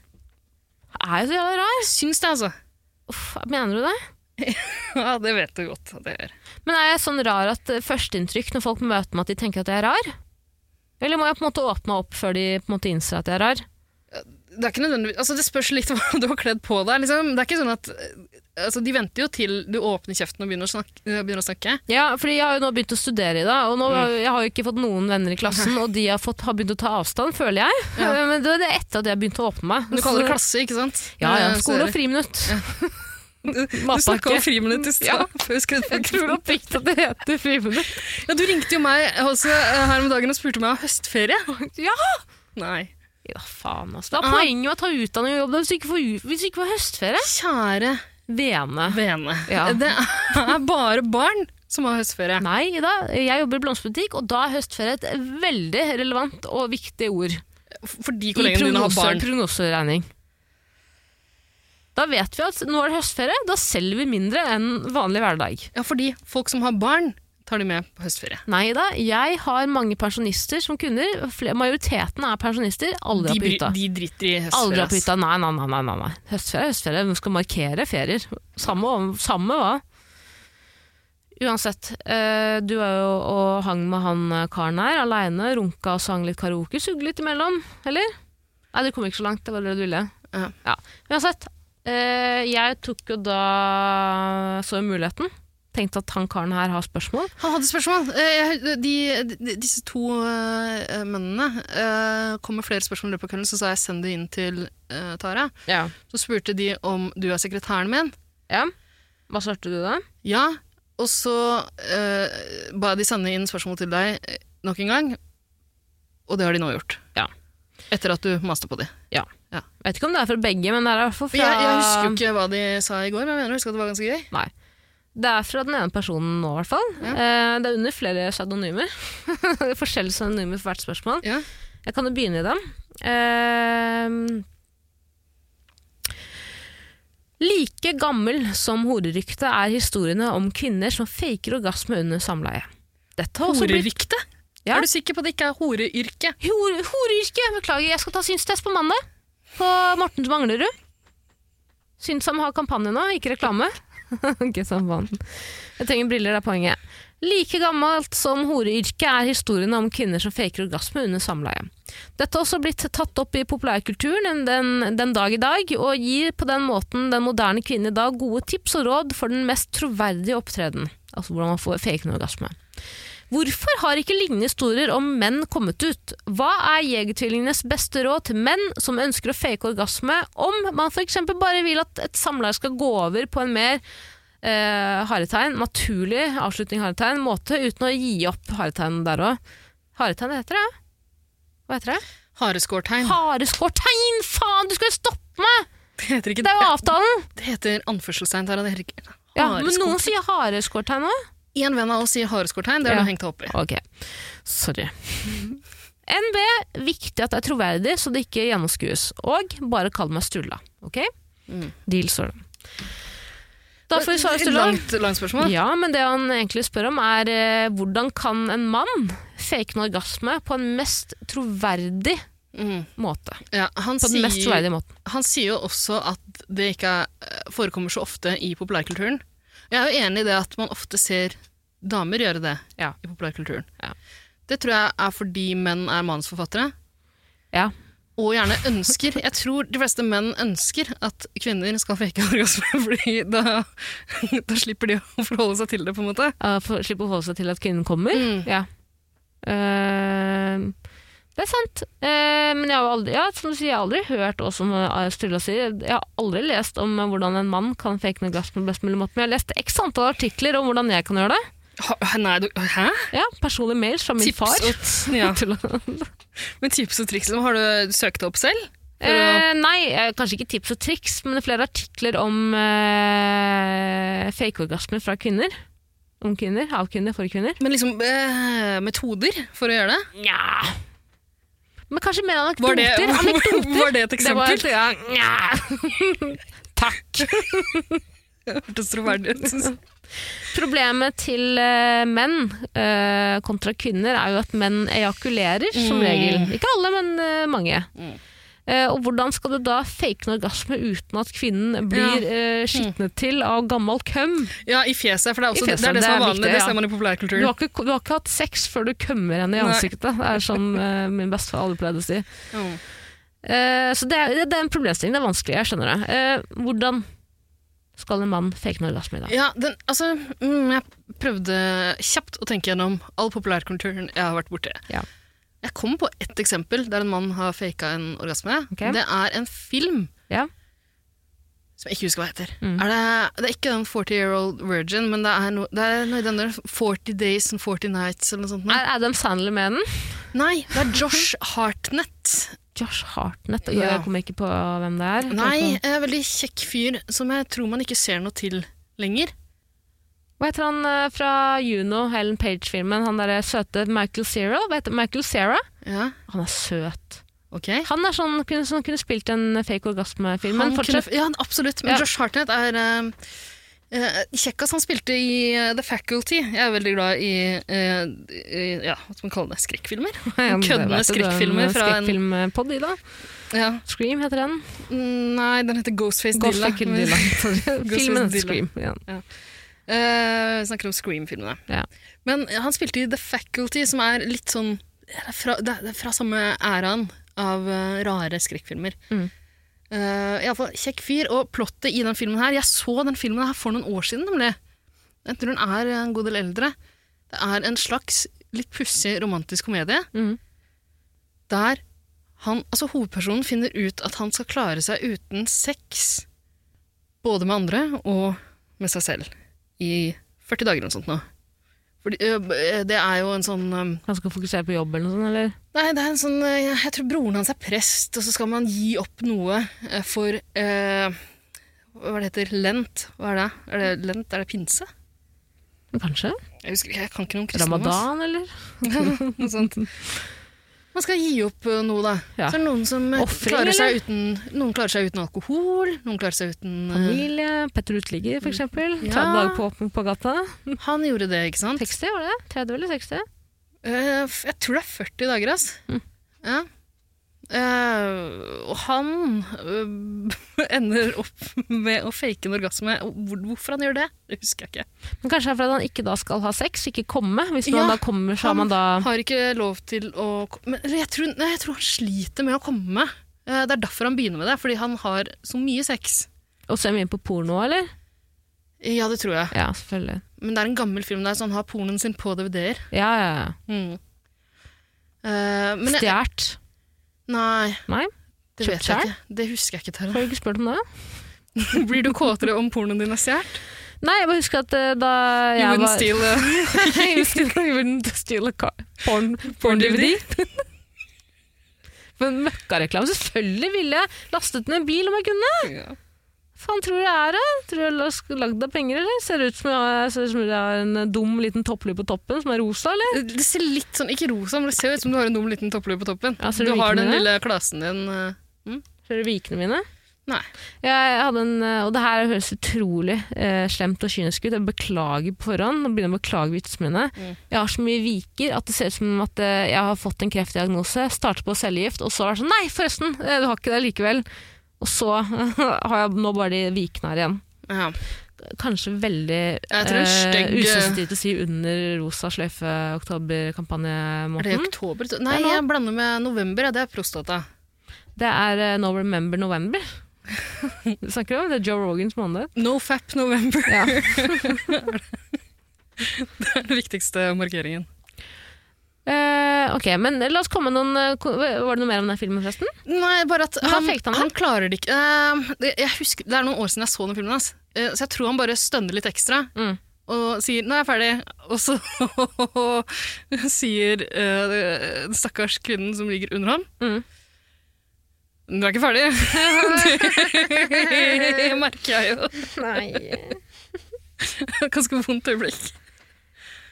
S2: Er jeg så jævlig rar?
S3: Syns det, altså.
S2: Uff, mener du det?
S3: Ja, det vet du godt at jeg gjør.
S2: Men er jeg sånn rar at eh, førsteinntrykk når folk møter meg, at de tenker at jeg er rar? Eller må jeg på en måte åpne meg opp før de på en måte innser at jeg er rar?
S3: Det er ikke nødvendigvis Altså, det spørs litt hva du har kledd på deg, liksom. Det er ikke sånn at Altså, de venter jo til du åpner kjeften og begynner å snakke. eh, Begynner å snakke.
S2: Ja, fordi jeg har jo nå begynt å studere i det, og nå, jeg har jo ikke fått noen venner i klassen, og de har, fått, har begynt å ta avstand, føler jeg. Men det er etter at jeg begynte å åpne meg.
S3: Men Du kaller det
S2: Så-
S3: klasse, ikke sant?
S2: Altså, Ja, ja.
S3: Eh,
S2: Skole og
S3: så-
S2: friminutt.
S3: Du
S2: matpakke.
S3: snakka om friminutt i stad. før vi skrev
S2: Mm, Jeg tror
S3: på.
S2: oppriktig at det heter friminutt.
S3: Ja, du ringte jo meg også eh, her om dagen og spurte meg om høstferie.
S2: Ja!
S3: Nei.
S2: Ja, faen, altså. Det er
S3: Ja.
S2: poenget med å ta utdanning og jobb da, hvis du ikke får, u- hvis du ikke får høstferie.
S3: Kjære
S2: Vene.
S3: vene.
S2: Ja.
S3: Det er bare barn som har høstferie.
S2: Nei, Ida, jeg jobber i blomsterbutikk, og da er høstferie et veldig relevant og viktig ord.
S3: Fordi
S2: I
S3: kollegene dine har
S2: prognose-
S3: barn.
S2: prognoseregning. Da vet vi at nå er det høstferie, da selger vi mindre enn vanlig hverdag.
S3: Ja, fordi folk som har barn, tar de med på høstferie.
S2: Nei da, jeg har mange pensjonister som kunder. Fle- Majoriteten er pensjonister. Alle
S3: De,
S2: er på
S3: bry-
S2: hytta.
S3: de driter i
S2: Alle
S3: høstferie.
S2: drar på
S3: ass.
S2: hytta. Nei, nei, nei. nei, nei, nei. Høstferie er høstferie. Hvem skal markere ferier? Samme, om- samme hva? Uansett, eh, du var jo og hang med han eh, karen her aleine, runka og sang litt karaoke, sugde litt imellom, eller? Nei, det kom ikke så langt, det var det du ville.
S3: Ja.
S2: Uansett, eh, jeg tok jo da så muligheten. Tenkte at han karen her har spørsmål.
S3: Han hadde spørsmål. Eh, jeg- de, de, disse to eh, mennene eh, kom med flere spørsmål i løpet av kvelden, så sa jeg send det inn til eh, Tara.
S2: Ja.
S3: Så spurte de om du er sekretæren min.
S2: Hva svarte du da?
S3: Ja. Og så eh, ba jeg de sende inn spørsmål til deg eh, nok en gang, og det har de nå gjort.
S2: Ja.
S3: Etter at du maste på de.
S2: Jeg vet ikke om det er fra begge, men det er i hvert fall fra
S3: Jeg, jeg husker jo ikke hva de sa i går, men jeg mener å huske at det var ganske gøy.
S2: Nei. Det er fra den ene personen nå, i hvert fall.
S3: Ja.
S2: Eh, det er under flere pseudonymer. Forskjellige pseudonymer for hvert spørsmål.
S3: Ja.
S2: Jeg kan jo begynne i dem. Eh, like gammel som horeryktet er historiene om kvinner som faker orgasme under samleie. Dette har også blitt
S3: Horerykte?
S2: Ja.
S3: Er du sikker på at det ikke er horeyrke?
S2: Hore, Horeyrke! Beklager, jeg skal ta synstest på mandag. På Mortens Manglerud. Synsom har kampanje nå, ikke reklame. ikke sånn vann. Jeg trenger briller, det er poenget. Like gammelt som horeyrket er historiene om kvinner som faker orgasme under samleie. Dette har også blitt tatt opp i populærkulturen den, den, den dag i dag, og gir på den måten den moderne kvinnen i dag gode tips og råd for den mest troverdige opptreden. Altså hvordan man får faker en orgasme. Hvorfor har ikke lignende historier om menn kommet ut? Hva er Jegertvillingenes beste råd til menn som ønsker å fake orgasme, om man f.eks. bare vil at et samleie skal gå over på en mer eh, haretegn, naturlig avslutning haretegn, måte, uten å gi opp haretegn der òg? Haretegn heter det? Hva heter det?
S3: Hareskårtegn.
S2: Hareskortegn! Faen, du skal jo stoppe meg!
S3: Det heter ikke
S2: Det er jo avtalen!
S3: Det heter anførselstegn. Tara. Det heter ikke
S2: Ja, men
S3: hareskort.
S2: noen sier hareskortegn òg.
S3: En venn av oss sier hareskårtegn. Det har
S2: Ja.
S3: du hengt deg opp i.
S2: Ok, sorry. NB, viktig at det er troverdig, så det ikke gjennomskues. Og bare kall meg Sturla. Ok?
S3: Mm.
S2: Deal, står det. Da får vi svare
S3: Et
S2: Sturla.
S3: Langt, langt spørsmål.
S2: Ja, men det han egentlig spør om, er eh, hvordan kan en mann fake en orgasme på en mest troverdig
S3: Mm.
S2: måte?
S3: Ja, han,
S2: På den mest
S3: sier,
S2: troverdige måten.
S3: han sier jo også at det ikke er, eh, forekommer så ofte i populærkulturen. Jeg er jo enig i det at man ofte ser damer gjøre det
S2: Ja.
S3: i populærkulturen.
S2: Ja.
S3: Det tror jeg er fordi menn er manusforfattere.
S2: Ja.
S3: Og gjerne ønsker. Jeg tror de fleste menn ønsker at kvinner skal fake orgasme, fordi da, da slipper de å forholde seg til det, på en måte.
S2: Uh, for, slippe å forholde seg til at kvinnen kommer.
S3: Mm.
S2: Ja. Eh, det er sant. Eh, men jeg har, jo aldri, ja, som du sier, jeg har aldri hørt, og som eh, Sturla sier, jeg har aldri lest om eh, hvordan en mann kan fake en orgasme på best mulig måte, men jeg har lest x antall artikler om hvordan jeg kan gjøre det.
S3: Ha, nei, du, hæ?
S2: Ja, Personlige mails fra min
S3: Tips
S2: far.
S3: og t- ja.
S2: Til å-
S3: Men tips og triks, har du søkt det opp selv? For å-
S2: Eh, nei, eh, kanskje ikke tips og triks, men det er flere artikler om eh, fake-orgasmer fra kvinner. Om kvinner, av kvinner, for kvinner.
S3: Men liksom eh, metoder for å gjøre det?
S2: Nja Men kanskje mer
S3: Var
S2: anekdoter.
S3: det,
S2: anekdoter.
S3: var det et
S2: Det var
S3: eksempel?
S2: et ja, nja. Takk.
S3: Det hørtes troverdig ut.
S2: Problemet til eh, menn eh, kontra kvinner er jo at menn ejakulerer, som
S3: Mm.
S2: regel. Ikke alle, men eh, mange.
S3: Mm.
S2: Eh, og hvordan skal du da fake en orgasme uten at kvinnen blir eh,
S3: Mm.
S2: skitnet til av gammel køm?
S3: Ja, i fjeset, for det er, også,
S2: I fjeset,
S3: det, er det,
S2: det
S3: som er
S2: er
S3: vanlig.
S2: viktig,
S3: Det
S2: ja.
S3: ser man i
S2: Du
S3: populærkulturen.
S2: har, ikke, du har ikke hatt sex før du kømmer henne i
S3: Nei.
S2: ansiktet. Det er som eh, min bestefar aldri pleide å si.
S3: Mm.
S2: Eh, så det er, det er en problemstilling. Det er vanskelig, jeg skjønner det. Eh, hvordan skal en mann fake en orgasme i dag?
S3: Ja, den, altså, mm, jeg prøvde kjapt å tenke gjennom all populærkulturen jeg har vært borti.
S2: Ja.
S3: Jeg kom på ett eksempel der en mann har faka en orgasme.
S2: Ok.
S3: Det er en film
S2: Ja.
S3: som jeg ikke husker hva heter.
S2: Mm.
S3: Er det, det er ikke den 40 Year Old Virgin, men det er, no, det er noe i den der 40 Days and 40 Nights eller noe sånt. nå.
S2: Er Adam Sandler med den?
S3: Nei, det er Josh Hartnett.
S2: Josh Hartnett.
S3: Ja.
S2: Jeg kommer ikke på hvem det er.
S3: Nei, en veldig kjekk fyr som jeg tror man ikke ser noe til lenger.
S2: Hva heter han eh, fra Juno, Helen Page-filmen? Han derre søte Michael Cera? Hva heter Michael Cera?
S3: Ja,
S2: Han er søt.
S3: ok.
S2: Han er sånn kunne, som kunne spilt en fake orgasme-film. Men
S3: Han
S2: fortsett.
S3: kunne- ja, absolutt. Men
S2: Ja.
S3: Josh Hartnett er eh, eh, kjekkas han spilte i eh, The Faculty. Jeg er veldig glad i, eh, i- ja, hva skal man kalle det, skrekkfilmer.
S2: Ja, det vet
S3: køddende
S2: du, det er en
S3: skrekkfilmer fra en-
S2: Skrekkfilmpod i da.
S3: Ja.
S2: Scream heter den.
S3: Mm, Nei, den heter Ghostface
S2: Ghost
S3: Dilla.
S2: Fucking
S3: men-
S2: Dilla. Filmen heter
S3: Dilla.
S2: Scream. Ja.
S3: Eh, vi snakker om Scream-filmene.
S2: Ja.
S3: Men han spilte i The Faculty, som er litt sånn Det er fra, det er fra samme æraen av eh, rare skrekkfilmer.
S2: Mm.
S3: Eh, i alle fall kjekk fyr. Og plottet i den filmen her Jeg så den filmen her for noen år siden, nemlig. Jeg tror den er en god del eldre. Det er en slags litt pussig romantisk komedie
S2: Mm.
S3: der han, altså hovedpersonen finner ut at han skal klare seg uten sex, både med andre og med seg selv, i 40 dager eller noe sånt nå. Fordi, ø, b- ø, det er jo en sånn ø,
S2: Han skal fokusere på jobb eller noe sånt, eller?
S3: Nei, det er en sånn ø, Jeg tror broren hans er prest, og så skal man gi opp noe ø, for ø, Hva er det heter? Lent? Hva er det? Er det lent? Er det pinse?
S2: Kanskje?
S3: Jeg husker ikke, jeg kan ikke noe om kristendom. ass.
S2: Ramadan, eller?
S3: Noe sånt. Man skal gi opp eh, noe, da.
S2: Ja.
S3: Så er det noen som eh,
S2: Offring,
S3: klarer seg, uten, noen klarer seg uten alkohol, noen klarer seg uten eh,
S2: Familie? Petter Uteligger, for eksempel.
S3: Mm. Ja.
S2: 30 dager på åpen på gata.
S3: Han gjorde det, ikke sant?
S2: 60, var det? 30 eller 60?
S3: Eh, f- jeg tror det er 40 dager, ass. Ja. Eh, og han eh, ender opp med å fake en orgasme. Og Hvor, hvorfor han gjør det, det husker jeg ikke.
S2: Men kanskje det er fordi han ikke da skal ha sex, ikke komme. Hvis
S3: Ja,
S2: han da kommer, så har man da
S3: Har ikke lov til å ko- Men eller jeg tror, nei, jeg tror han sliter med å komme. Eh, det er derfor han begynner med det, fordi han har så mye sex.
S2: Og så er vi inne på porno, eller?
S3: Ja, det tror jeg.
S2: Ja, selvfølgelig.
S3: Men det er en gammel film der, så han har pornoen sin på DVD-er.
S2: Ja, ja, ja.
S3: Mm. Eh, men jeg,
S2: Stjålet.
S3: nei,
S2: Nei?
S3: det vet jeg ikke. Det husker jeg ikke. Tara.
S2: Har du ikke spurt om det?
S3: Blir du kåtere om pornoen din er stjålet?
S2: Nei, jeg bare husker at eh, da
S3: You
S2: jeg
S3: wouldn't
S2: var
S3: steal eh,
S2: you still even steal a car. Porn, porn DVD. Men møkkareklame. Selvfølgelig ville jeg lastet ned en bil om jeg kunne.
S3: ja.
S2: faen tror du det er, da? Tror du jeg er lagd av penger, eller? Ser det ut som jeg, ser det ut som jeg har en eh, dum liten topplue på toppen som er rosa, eller?
S3: Det ser litt sånn, ikke rosa, men det ser jo ut som du har en dum liten topplue på toppen.
S2: Ja, ser
S3: du
S2: du
S3: har den
S2: vikingene?
S3: lille klasen din. eh,
S2: Ser du vikene mine?
S3: Nei.
S2: Jeg hadde en, eh, og det her høres utrolig eh, slemt og kynisk ut. Jeg beklager på forhånd. Nå begynner jeg å beklage vitsene mine.
S3: Mm.
S2: Jeg har så mye viker at det ser ut som at eh, jeg har fått en kreftdiagnose, starter på cellegift, og så er det sånn Nei, forresten! eh, Du har ikke det likevel. Og så har jeg nå bare de vikene her igjen.
S3: Ja.
S2: Kanskje veldig
S3: Jeg tror en stygg- eh,
S2: usensitivt å si under rosa
S3: Er det i
S2: sløyfe-oktober-kampanjemåten.
S3: oktober? tror- Nei,
S2: Ja, nå.
S3: jeg blander med november. Ja, det er prostata.
S2: Det er eh, No Remember November. Du snakker om det er Joe Rogans måned.
S3: No fap november
S2: Ja.
S3: er den viktigste markeringen.
S2: Eh, ok, men la oss komme med noen eh, ko- Var det noe mer om den filmen, forresten?
S3: Nei, bare at
S2: Men
S3: han,
S2: da fekte
S3: han,
S2: han det.
S3: klarer det ikke. Eh, det, jeg husker, det er noen år siden jeg så den filmen hans, eh, så jeg tror han bare stønner litt ekstra.
S2: Mm.
S3: Og sier 'nå er jeg ferdig', og så sier eh, den stakkars kvinnen som ligger under ham
S2: Mm.
S3: 'Du er ikke ferdig'. det merker jeg jo.
S2: Nei.
S3: Ganske vondt øyeblikk.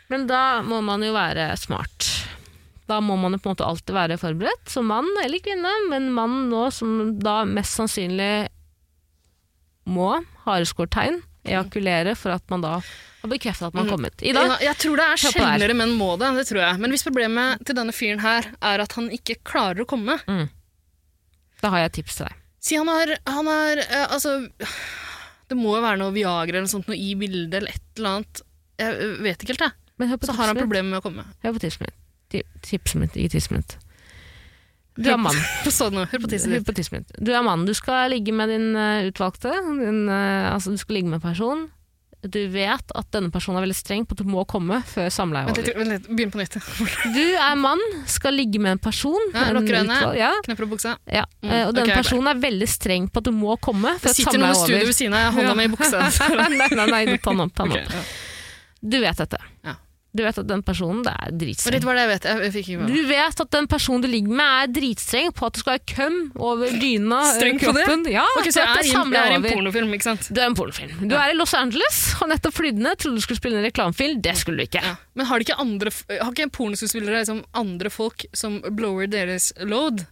S2: Men da må man jo være smart. Da må man jo på en måte alltid være forberedt, som mann eller kvinne, men mannen nå som da mest sannsynlig må hareskårtegn, ejakulere, for at man da har bekreftet at man har kommet. I dag
S3: Ja, jeg tror det er
S2: Hør på her.
S3: sjeldnere menn må det, det tror jeg. Men hvis problemet til denne fyren her er at han ikke klarer å komme,
S2: da har jeg et tips til deg.
S3: Si han har, han har eh, Altså Det må jo være noe Viagra eller sånt noe i bildet eller et eller annet. Jeg eh, vet ikke helt, jeg.
S2: Men hør på
S3: Så har han
S2: tipset mitt.
S3: problemer med å komme.
S2: Hør på tipset mitt. Ti- Tipset mitt, ikke tipset mitt. Du er mann.
S3: Så nå, hør på tisset ditt.
S2: Hypotismen. Du er mann, du skal ligge med din eh, utvalgte. Din, eh, altså, du skal ligge med en person. Du vet at denne personen er veldig streng på at du må komme før samleie er
S3: Vent litt,
S2: over.
S3: vent litt, begynn på nytt.
S2: Du er mann, skal ligge med en person.
S3: Ja,
S2: en
S3: lukker øynene.
S2: utvalg- ja,
S3: Knepper opp buksa.
S2: ja.
S3: Mm,
S2: eh, og denne
S3: ok, jeg
S2: personen er veldig streng på at du må komme
S3: Det
S2: før
S3: sitter
S2: samleie er
S3: noen i studio
S2: over.
S3: ved siden av, jeg har hånda mi i buksa.
S2: nei, nei, nei, ta den opp. Ta den
S3: Ok,
S2: opp.
S3: ja.
S2: Du vet dette.
S3: Ja.
S2: Du vet at den personen det er
S3: Og
S2: dritstreng.
S3: litt var det jeg vet. Jeg, jeg fikk ikke med
S2: Du
S3: meg.
S2: vet at den personen du ligger med er dritstreng på at det skal være køm over dyna. eh,
S3: Streng på det?
S2: kroppen. Ja,
S3: Ok,
S2: for
S3: så
S2: at det
S3: jeg er, i en- jeg
S2: samler
S3: er i en
S2: over.
S3: pornofilm, ikke sant?
S2: Du er en pornofilm. Du er i Los Angeles, har nettopp flydd ned, trodde du skulle spille en reklamefilm. Det skulle du ikke.
S3: Ja. Men har, de ikke andre, f- har ikke pornoskuespillere liksom andre folk som blower deres load?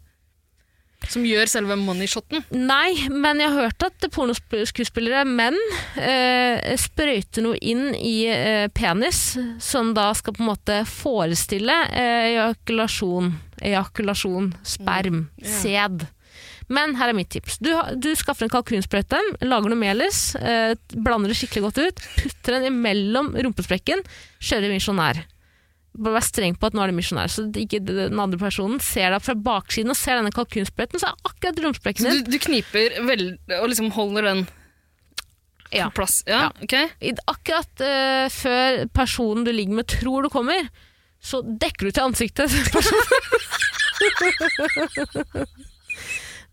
S3: Som gjør selve moneyshoten?
S2: Nei, men jeg har hørt at pornoskuespillere, menn, eh, sprøyter noe inn i eh, penis, som da skal på en måte forestille eh, ejakulasjon. Ejakulasjon, sperm,
S3: Mm, Ja.
S2: sæd. Men her er mitt tips. Du, har- du skaffer en kalkunsprøyte, lager noe melis, eh, blander det skikkelig godt ut, putter den imellom rumpesprekken, kjører misjonær. Bare vær streng på at nå er det misjonær, så det ikke den andre personen ser deg fra baksiden og ser denne kalkunsprøyten, så er akkurat rumpesprekken
S3: Så
S2: din
S3: du, du kniper vel, og liksom holder den
S2: Ja.
S3: på plass? Ja, ok.
S2: I- Akkurat eh, før personen du ligger med tror du kommer, så dekker du til ansiktet til personen.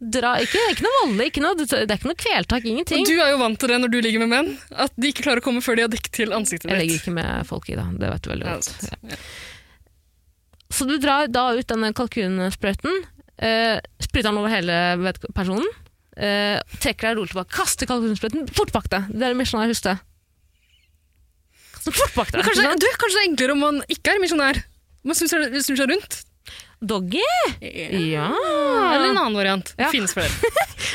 S2: Dra, ikke, ikke noe voldelig, ikke noe, det er ikke noe kveltak, ingenting.
S3: Og du er jo vant til det når du ligger med menn, at de ikke klarer å komme før de har dekket til ansiktet
S2: Jeg legger
S3: ditt.
S2: ikke med folk i det, det vet du veldig
S3: Ja,
S2: godt.
S3: sant. Ja.
S2: Så du drar da ut denne kalkunsprøyten, eh, spruter den over hele vedk- personen, eh, trekker deg rolig tilbake, kaster kalkunsprøyten fort bak deg. Det er det misjonen jeg husker. Kast den Fort bak deg.
S3: Men kanskje, du, kanskje det er enklere om man ikke er misjonær? Man snur seg, snur seg rundt?
S2: Doggy?
S3: Eller
S2: Ja.
S3: en annen variant. Det
S2: Ja.
S3: finnes flere.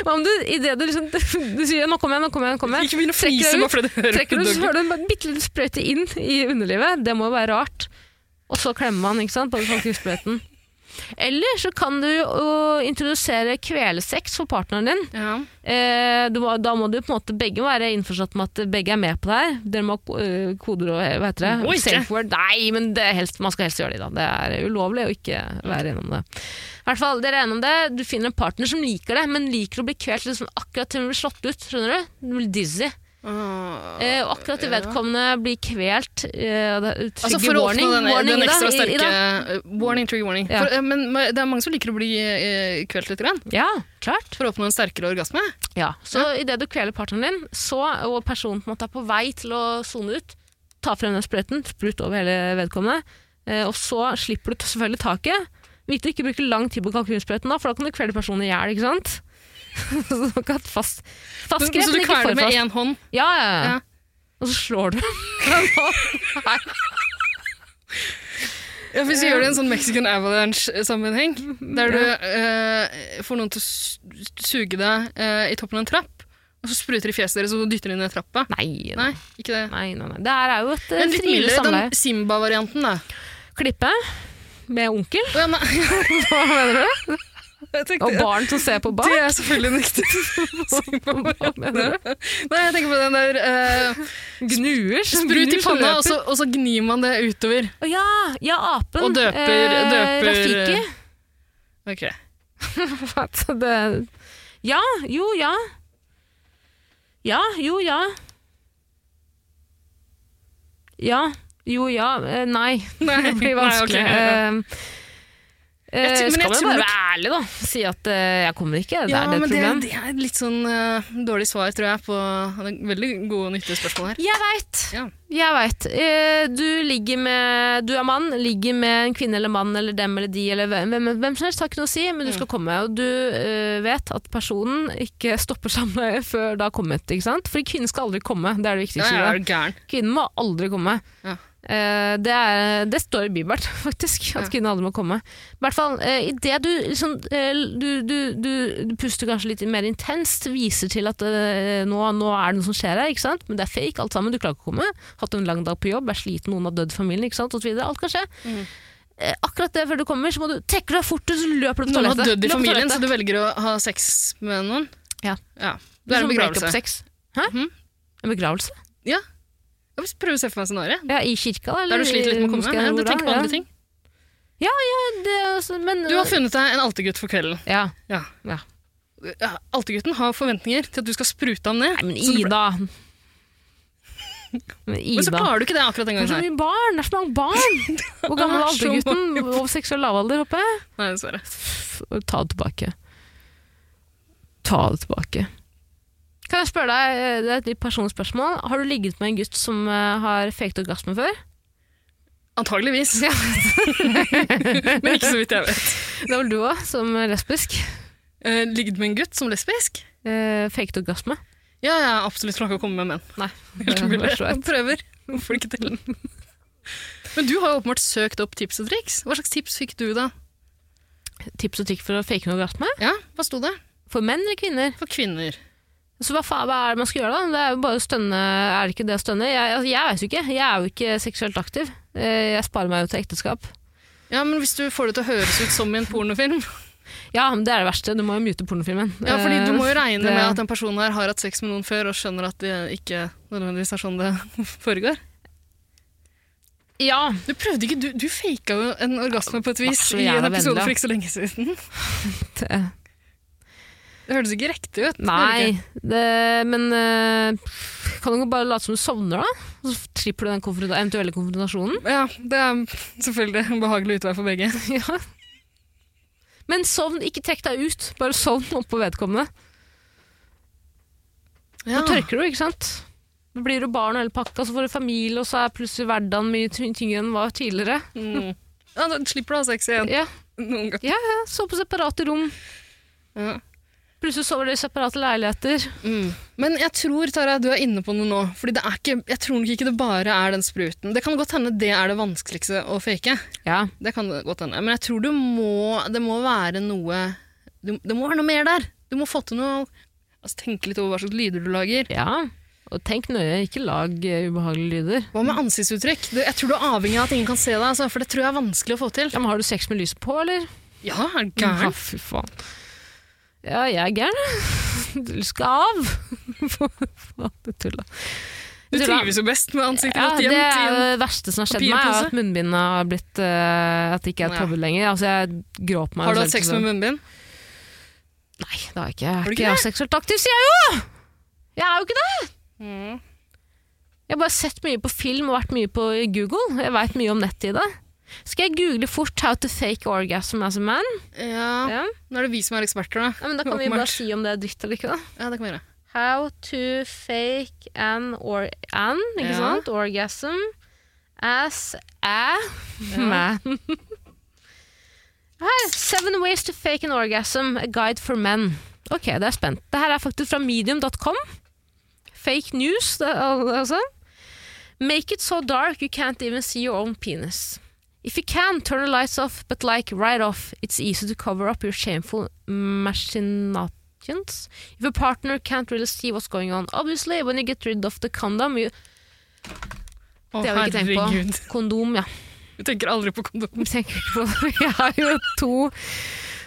S2: Hva om du, i det du liksom Du sier 'nå kommer jeg, nå kommer jeg', nå kommer jeg
S3: Ikke begynn å
S2: Trekker
S3: fnise
S2: du-
S3: bare fordi du hører
S2: Trekker du, så
S3: doggy.
S2: får du en bitte liten sprøyte inn i underlivet. Det må jo være rart. Og så klemmer man, ikke sant, på kalkunsprøyten. Eller så kan du jo introdusere kvelesex for partneren din.
S3: Ja.
S2: Eh, du må, da må du på en måte begge være innforstått med at begge er med på det her. Dere må ha ko- eh, koder og eh, hva heter
S3: Må
S2: det?
S3: ikke.
S2: Safe word. Nei, men det er helst, man skal helst gjøre det i dag. Det er ulovlig å ikke være innom det. I hvert fall, dere er innom det. Du finner en partner som liker det, men liker å bli kvelt liksom, akkurat til hun blir slått ut. Skjønner du? Hun blir dizzy. Eh, og akkurat til vedkommende blir kvelt. Eh, og det er
S3: Altså
S2: trigger
S3: for å oppnå
S2: warning,
S3: den,
S2: warning,
S3: den
S2: Ida,
S3: ekstra
S2: i- Ida.
S3: sterke Warning, trigger warning.
S2: Ja.
S3: For, eh, men men det er mange som liker å bli eh, kvelt litt grann,
S2: Ja, klart.
S3: for å oppnå en sterkere orgasme.
S2: Ja, så idet du kveler partneren din, så, og personen på en måte er på vei til å sone ut, ta frem den sprøyten, sprut over hele vedkommende, eh, og så slipper du t- selvfølgelig taket. Viktig å ikke bruke lang tid på kalkunsprøyten, da, for da kan du kvele personen i hjel. ikke sant? Så du kan fast, fast grep,
S3: Så du
S2: men ikke
S3: kveler
S2: for
S3: med
S2: fast.
S3: én hånd?
S2: Ja, ja, ja.
S3: Ja.
S2: Og så slår du.
S3: Ja, Hvis du gjør det i en sånn Mexican avalanche-sammenheng, der du eh, får noen til å su- suge deg eh, i toppen av en trapp, og så spruter de fjeset deres og så dytter de ned trappa
S2: Nei, nei,
S3: Nei, ikke det.
S2: nei. nei, nei. Det her er jo et eh,
S3: Men litt
S2: frivillig
S3: mildere,
S2: samleie.
S3: den Simba-varianten, da.
S2: Klippe med onkel
S3: Å, ja, nei,
S2: Hva mener du?
S3: jeg tenkte-
S2: og barn som ser på barn.
S3: Det er selvfølgelig en riktig
S2: Hva mener du?
S3: Nei, jeg tenker på den der eh,
S2: Gnuer som
S3: Sprut i
S2: gnur som
S3: panna, og
S2: løper.
S3: så, og så gnir man det utover.
S2: Å ja, ja, apen. eh,
S3: Og døper- døper-
S2: Rafiki.
S3: Ok.
S2: At det Ja, jo, ja. Ja, jo, ja. Ja, jo, ja. eh, Nei.
S3: Nei,
S2: Det blir vanskelig.
S3: Nei, ok, ja, ja.
S2: Eh,
S3: Jeg
S2: eh,
S3: tror- men
S2: skal
S3: jeg
S2: man
S3: tror
S2: bare
S3: nok-
S2: være ærlig, da. Si at eh, jeg kommer ikke. Det
S3: Ja,
S2: er det
S3: men det,
S2: problem.
S3: det er et litt sånn eh, dårlig svar, tror jeg, på det er veldig gode og nyttige spørsmål her.
S2: Jeg veit.
S3: Ja.
S2: Jeg vet. Eh, Du ligger med Du er mann, ligger med en kvinne eller mann eller dem eller de eller hvem, hvem, hvem som helst, har ikke noe å si,
S3: Mm.
S2: men du skal komme. Og du eh, vet at personen ikke stopper samleiet før det har kommet, ikke sant? For kvinnen skal aldri komme, det er det
S3: Ja,
S2: viktigste. i
S3: jeg
S2: det.
S3: er gæren.
S2: Kvinnen må aldri komme.
S3: Ja.
S2: Eh, det, er, det står i Bibelen, faktisk, at
S3: Ja.
S2: kvinnen aldri må komme. I hvert fall, eh, i det du, liksom, eh, du, du, du, du puster kanskje litt mer intenst, viser til at eh, nå, nå er det noe som skjer her, ikke sant? men det er fake, alt sammen, du klarer ikke å komme. Hatt en lang dag på jobb, er sliten, noen har dødd i familien, ikke sant? og så videre. Alt kan skje.
S3: Mm.
S2: Eh, akkurat det før du kommer, så må du trekke deg fort, og så løper du på
S3: Noen
S2: toalettet.
S3: har dødd i
S2: Løper på
S3: familien, så
S2: toalettet.
S3: du velger å ha sex med noen.
S2: Ja.
S3: Det er en
S2: sånn
S3: begravelse.
S2: break-up-sex. Hæ?
S3: Mhm.
S2: En begravelse?
S3: Ja. Jeg vil prøve å se for meg scenarioet.
S2: Ja, I kirka, eller?
S3: Der du sliter litt med å komme.
S2: Moskeen,
S3: Ja,
S2: eller
S3: du
S2: hvor da?
S3: tenker på
S2: Ja.
S3: andre ting.
S2: det, er også- men,
S3: Du har funnet deg en altergutt for kvelden.
S2: ja.
S3: Ja.
S2: Ja.
S3: Ja, Altergutten har forventninger til at du skal sprute ham ned.
S2: Nei, men
S3: Så du-
S2: Ida Men
S3: Men så
S2: Ida
S3: klarer du ikke det akkurat den
S2: Det er så
S3: gangen. her.
S2: mye barn! Det er så mange barn! Hvor gammel er
S3: Det er så
S2: aldergutten? Over seksuell lavalder, håper jeg?
S3: Nei, dessverre.
S2: Ta det tilbake. Ta det tilbake. Kan jeg spørre deg, eh, det er et litt personlig spørsmål, har du ligget med en gutt som eh, har fekt orgasme før?
S3: Antageligvis.
S2: Ja.
S3: Men ikke så vidt jeg vet.
S2: Det var vel du òg, som lesbisk.
S3: Eh, Ligget med en gutt som lesbisk?
S2: Eh, Feket orgasme.
S3: Ja, jeg er absolutt klar til å komme med menn.
S2: Nei.
S3: Helt
S2: det
S3: mulig.
S2: var så
S3: Jeg prøver. Hvorfor ikke til? Men du har jo åpenbart søkt opp tips og triks. Hva slags tips fikk du da?
S2: et Tips og trikk for å fake en orgasme?
S3: Ja, Hva sto det?
S2: For menn eller kvinner?
S3: For kvinner.
S2: Så hva faen hva er det man skal gjøre da? Det er jo bare å stønne, er det ikke det å stønne? Jeg, altså, jeg vet jo ikke, jeg er jo ikke seksuelt aktiv. Eh, Jeg sparer meg jo til ekteskap.
S3: Ja, men hvis du får det til å høres ut som i en pornofilm
S2: Ja, men det er det verste, du må jo mute pornofilmen.
S3: Ja, fordi du må jo regne
S2: det-
S3: med at den personen her har hatt sex med noen før og skjønner at det ikke nødvendigvis er sånn det foregår.
S2: Eh, Ja,
S3: Du prøvde ikke, du, du faka jo en orgasme på et vis
S2: Vær så
S3: i en
S2: jævla
S3: episode
S2: vennlig, da.
S3: for ikke så lenge siden.
S2: det,
S3: Det hørtes ikke riktig ut.
S2: nei, det, men eh, kan du ikke bare late som du sovner da? Og så tripper du den konfronta- eventuelle konfrontasjonen.
S3: Ja, det er selvfølgelig en behagelig utvei for begge.
S2: ja. Men sovn, ikke trekk deg ut, bare sovn oppå vedkommende.
S3: Ja.
S2: Da tørker du, ikke sant? Da blir du barn og hele pakka, så får du familie, og så er plutselig hverdagen mye ty- tyngre enn den var tidligere.
S3: Mm. Ja, da slipper du å ha sex igjen
S2: Ja,
S3: noen gang.
S2: ja Sove på separate rom.
S3: Ja.
S2: Plutselig sover dere i separate leiligheter.
S3: Mm. Men jeg tror Tara, du er inne på noe nå. Fordi det er ikke, jeg tror nok ikke det bare er den spruten. Det kan godt hende det er det vanskeligste å fake.
S2: Ja.
S3: Det kan det godt hende. Men jeg tror du må, det må være noe du, Det må være noe mer der. Du må få til noe altså, Tenke litt over hva slags lyder du lager.
S2: ja. Og tenk nøye, ikke lag eh, ubehagelige lyder.
S3: Hva med ansiktsuttrykk? Du, jeg tror du er avhengig av at ingen kan se deg, altså, for det tror jeg er vanskelig å få til.
S2: Ja, men har du sex med lyset på, eller?
S3: Ja, er du
S2: Ja,
S3: gæren?
S2: fy faen. Ja, jeg er gæren. Du skal av! Faen, du tulla.
S3: Du trives jo best med ansiktet
S2: Ja,
S3: godt
S2: det
S3: gjemt.
S2: er
S3: i en-
S2: det verste som har skjedd meg, er
S3: papirpose.
S2: at munnbindet har blitt eh, At det ikke er et
S3: Ja.
S2: tabu lenger. Altså, jeg gråt meg
S3: Har du
S2: jo
S3: hatt
S2: selv
S3: sex
S2: til
S3: med
S2: sånn.
S3: munnbind?
S2: Nei, det har jeg ikke. Jeg
S3: Har
S2: er
S3: du
S2: ikke,
S3: ikke
S2: jeg er seksuelt aktiv, sier jeg jo! Jeg er jo ikke det!
S3: Mm.
S2: Jeg har bare sett mye på film og vært mye på Google. Jeg veit mye om nettet i det. Skal jeg google fort 'how to fake orgasm as a man'?
S3: Ja.
S2: Ja.
S3: Nå er det vi som er eksperter, da.
S2: Ah. Ja, men da kan vi
S3: Åpenbart.
S2: bare si om det er dritt eller ikke, da.
S3: Ja, det kan vi gjøre.
S2: How to fake an or an, ikke
S3: Ja.
S2: sant? Orgasm as a man. Her, seven ways to fake an orgasm, a guide for men. Ok, det er jeg spent. Det her er faktisk fra medium.com. Fake news, det, al- altså. Make it so dark you can't even see your own penis. If you can, turn the lights off, but like right off, it's easy to cover up your shameful machinations. If your partner can't really see what's going on, obviously, when you get rid of the condom, you...
S3: Å,
S2: Det har vi ikke tenkt på.
S3: herregud.
S2: Kondom, ja.
S3: Vi tenker aldri på kondom.
S2: Vi tenker ikke på det. Vi har jo to...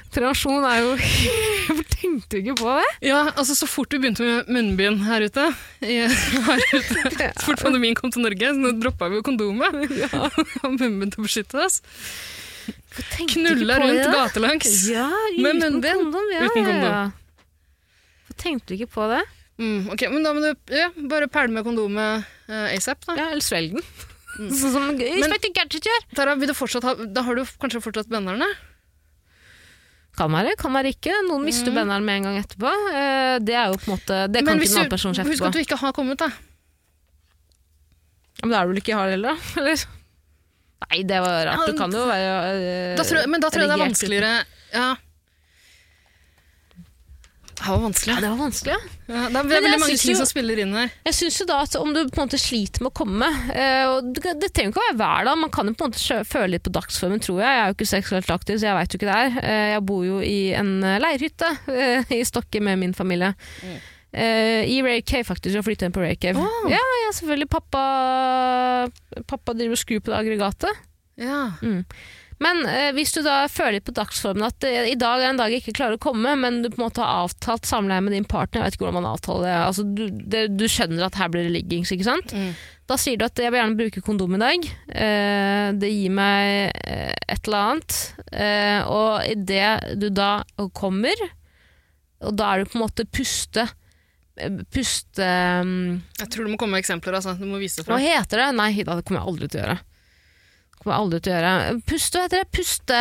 S2: Prevensjon er jo... Hvorfor tenkte du ikke på det?
S3: Ja, altså Så fort vi begynte med munnbind her ute, i- her ute så fort pandemien kom til Norge, så droppa vi jo kondomet. Ja. munnbind til å beskytte oss.
S2: Hvorfor tenkte du ikke
S3: Knulla
S2: på
S3: rundt
S2: det?
S3: gatelangs.
S2: Ja, uten
S3: Med munnbind.
S2: kondom. Ja,
S3: Uten kondom.
S2: Ja, ja. Hvorfor tenkte du ikke på det?
S3: Mm, ok, Men da må du ja, bare pælme kondomet eh, asap, da.
S2: Ja, eller svelg den. Sånn som Inspector Gadget gjør.
S3: Tara, vil du fortsatt ha, da har du kanskje fortsatt benderne?
S2: Kan være, kan være ikke. Noen mister benderen med en gang etterpå. Eh, Det er jo på en måte Det kan
S3: Men
S2: ikke
S3: hvis
S2: en annen
S3: du-
S2: person kjefte
S3: Husk
S2: på.
S3: at du ikke har kommet, da.
S2: Ja, Men da er du vel ikke hard heller, da? Eller? Nei, det var
S3: Ja,
S2: rart. Du kan jo være eh,
S3: da tror, jeg- men da tror jeg det er
S2: erigert.
S3: vanskeligere Ja. Det her var vanskelig.
S2: Ja, det var vanskelig, ja.
S3: Ja, det er
S2: jeg
S3: veldig mange
S2: synes
S3: ting
S2: jo-
S3: som spiller inn her.
S2: Jeg syns jo da at om du på en måte sliter med å komme eh, og du kan- Det trenger ikke å være hver dag, man kan jo på en måte sjø- føle litt på dagsformen, tror jeg. Jeg er jo ikke seksuelt aktiv, så jeg veit jo ikke det her. Eh, Jeg bor jo i en eh, leirhytte eh, i Stokke med min familie. Eh, I Rare Cave, faktisk. Jeg flytta inn på Rare Cave.
S3: Åh.
S2: Ja, ja, selvfølgelig. Pappa, pappa driver og skrur på det aggregatet.
S3: Ja.
S2: Men eh, hvis du da føler litt på dagsformen at eh, i dag er en dag jeg ikke klarer å komme, men du på en måte har avtalt samleie med din partner, jeg vet ikke hvordan man avtaler det, altså, du, det du skjønner at her blir det liggings, ikke sant?
S3: Mm.
S2: Da sier du at eh, jeg vil gjerne bruke kondom i dag, eh, det gir meg eh, et eller annet, eh, og i det du da kommer, og da er du på en måte puste, eh, puste... mm,
S3: Jeg tror du må komme med eksempler. Altså. Du må vise det
S2: hva
S3: fra.
S2: heter det? Nei, det kommer jeg aldri til å gjøre. Det kommer jeg aldri til å gjøre. Puste, hva heter det? Puste.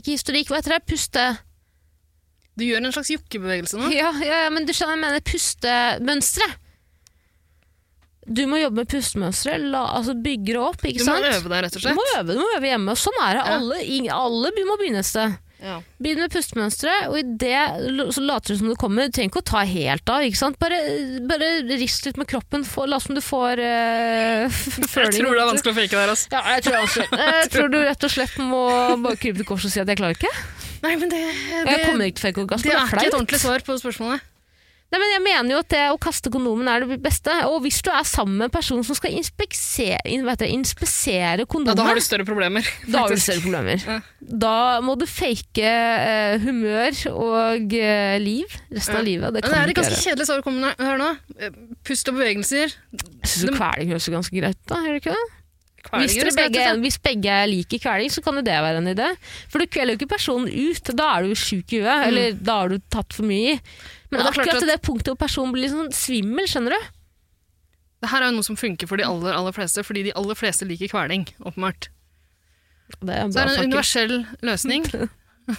S2: Ikke historikk, hva heter det? Puste.
S3: Du gjør en slags jokkebevegelse nå.
S2: Ja, ja, ja, men du skjønner, jeg mener pustemønstre. Du må jobbe med pustemønstre, la, altså bygge det opp,
S3: Du
S2: ikke
S3: må
S2: sant?
S3: øve deg, rett og
S2: Du må
S3: slett.
S2: øve, du må øve hjemme. og Sånn er det.
S3: Ja.
S2: Alle, ing- alle be- må begynne et sted.
S3: Ja.
S2: Begynn med pustemønstre, og i det l- så later du som du kommer. Du trenger ikke å ta helt av. ikke sant? Bare, bare rist litt med kroppen. Få, la som du får uh,
S3: Jeg tror det er vanskelig å fake der. Altså.
S2: Ja, jeg tror, også. jeg tror du rett og slett må bare krype til korset og si at jeg klarer ikke.
S3: Nei, men det, det,
S2: Jeg kommer ikke til å fake orgasme.
S3: det
S2: Det
S3: er
S2: er
S3: ikke et
S2: flaut.
S3: ordentlig svar på spørsmålet.
S2: Nei, men jeg mener jo at det å kaste kondomen er det beste. Og hvis du er sammen med en person som skal inspeksere, in, vet dere, inspisere
S3: Ja,
S2: kondomet,
S3: da har du større problemer.
S2: da har du
S3: faktisk.
S2: større problemer.
S3: Ja.
S2: Da må du fake eh, humør og eh, liv resten
S3: Ja.
S2: av livet. Det
S3: Men
S2: kan
S3: Det er
S2: du
S3: et
S2: ikke
S3: ganske
S2: gjøre.
S3: kjedelig svar å komme med her nå. Pust og bevegelser.
S2: Jeg syns kveling høres jo ganske greit ut, da. Gjør det ikke det? Hvis, dere
S3: Kveldinger er greit,
S2: begge,
S3: altså.
S2: hvis begge liker kveling, så kan jo det være en idé. For du kveler jo ikke personen ut. Da er du jo sjuk i huet, eller da har du tatt for mye i. Men
S3: Og det er klart
S2: akkurat
S3: at-
S2: til Mm. det punktet hvor personen blir litt sånn svimmel, skjønner du?
S3: Det her er jo noe som funker for de aller, aller fleste, fordi de aller fleste liker kveling, åpenbart.
S2: Det er
S3: Så det
S2: bra,
S3: er en
S2: fucking-
S3: universell løsning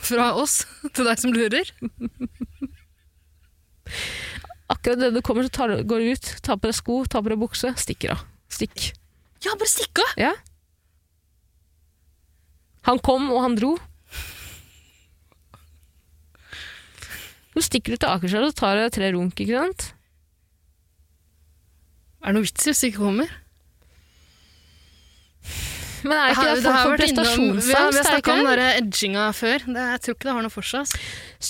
S3: fra oss til deg som lurer.
S2: Akkurat det du kommer, så tar, du- går du ut, tar på deg sko, tar på deg bukse, stikker av. Stikk.
S3: Ja, bare stikk av!
S2: Ja. Han kom, og han dro. Nå stikker du til Akerselv og tar deg tre runk, ikke sant?
S3: Er det noe vits i hvis det ikke kommer?
S2: Men er det ikke
S3: Her-
S2: det,
S3: det
S2: folk
S3: har
S2: for
S3: vært innom- Vi har,
S2: prestasjonsangst?
S3: vi
S2: er
S3: har
S2: det ikke
S3: snakka om
S2: det?
S3: den der edginga før. Det, jeg tror ikke det har noe for seg. ass.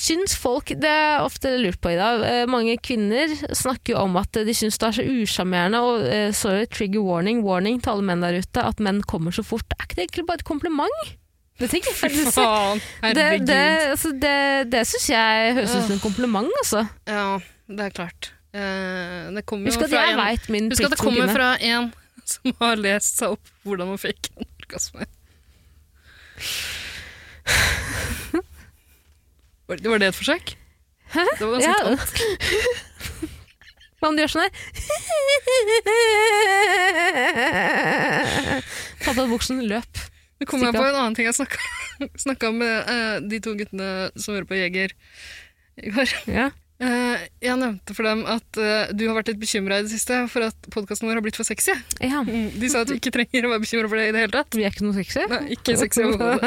S2: Syns folk, det er ofte lurt på i dag, eh, mange kvinner snakker jo om at eh, de syns det er så usjarmerende og eh, sorry, trigger warning, warning til alle menn der ute, at menn kommer så fort. Er ikke det egentlig bare et kompliment? Det tenker jeg faktisk.
S3: Faen,
S2: Det,
S3: herregud.
S2: det, altså, det, det syns jeg høres ut som en kompliment, altså.
S3: Ja, det er klart. Eh, det kommer
S2: Husk
S3: jo
S2: at
S3: fra
S2: jeg
S3: en
S2: veit min
S3: Husk at
S2: plikt
S3: det
S2: som
S3: kommer
S2: kvinne.
S3: fra en som har lest seg opp hvordan man fikk en orgasme. Var, det- var det et forsøk? Hæ? Det var ganske
S2: Ja.
S3: tamt.
S2: Hva om du gjør sånn her? Ta på deg buksen, løp.
S3: Nå kom jeg
S2: Stikk
S3: på en annen ting jeg snakka- snakka om med eh, de to guttene som hører på Jeger i går.
S2: Ja.
S3: Eh, jeg nevnte for dem at eh, du har vært litt bekymra i det siste for at podkasten vår har blitt for sexy.
S2: ja.
S3: De sa at du ikke trenger å være bekymra for det i det hele tatt.
S2: Vi er ikke noe sexy.
S3: Nei, ikke sexy overhodet.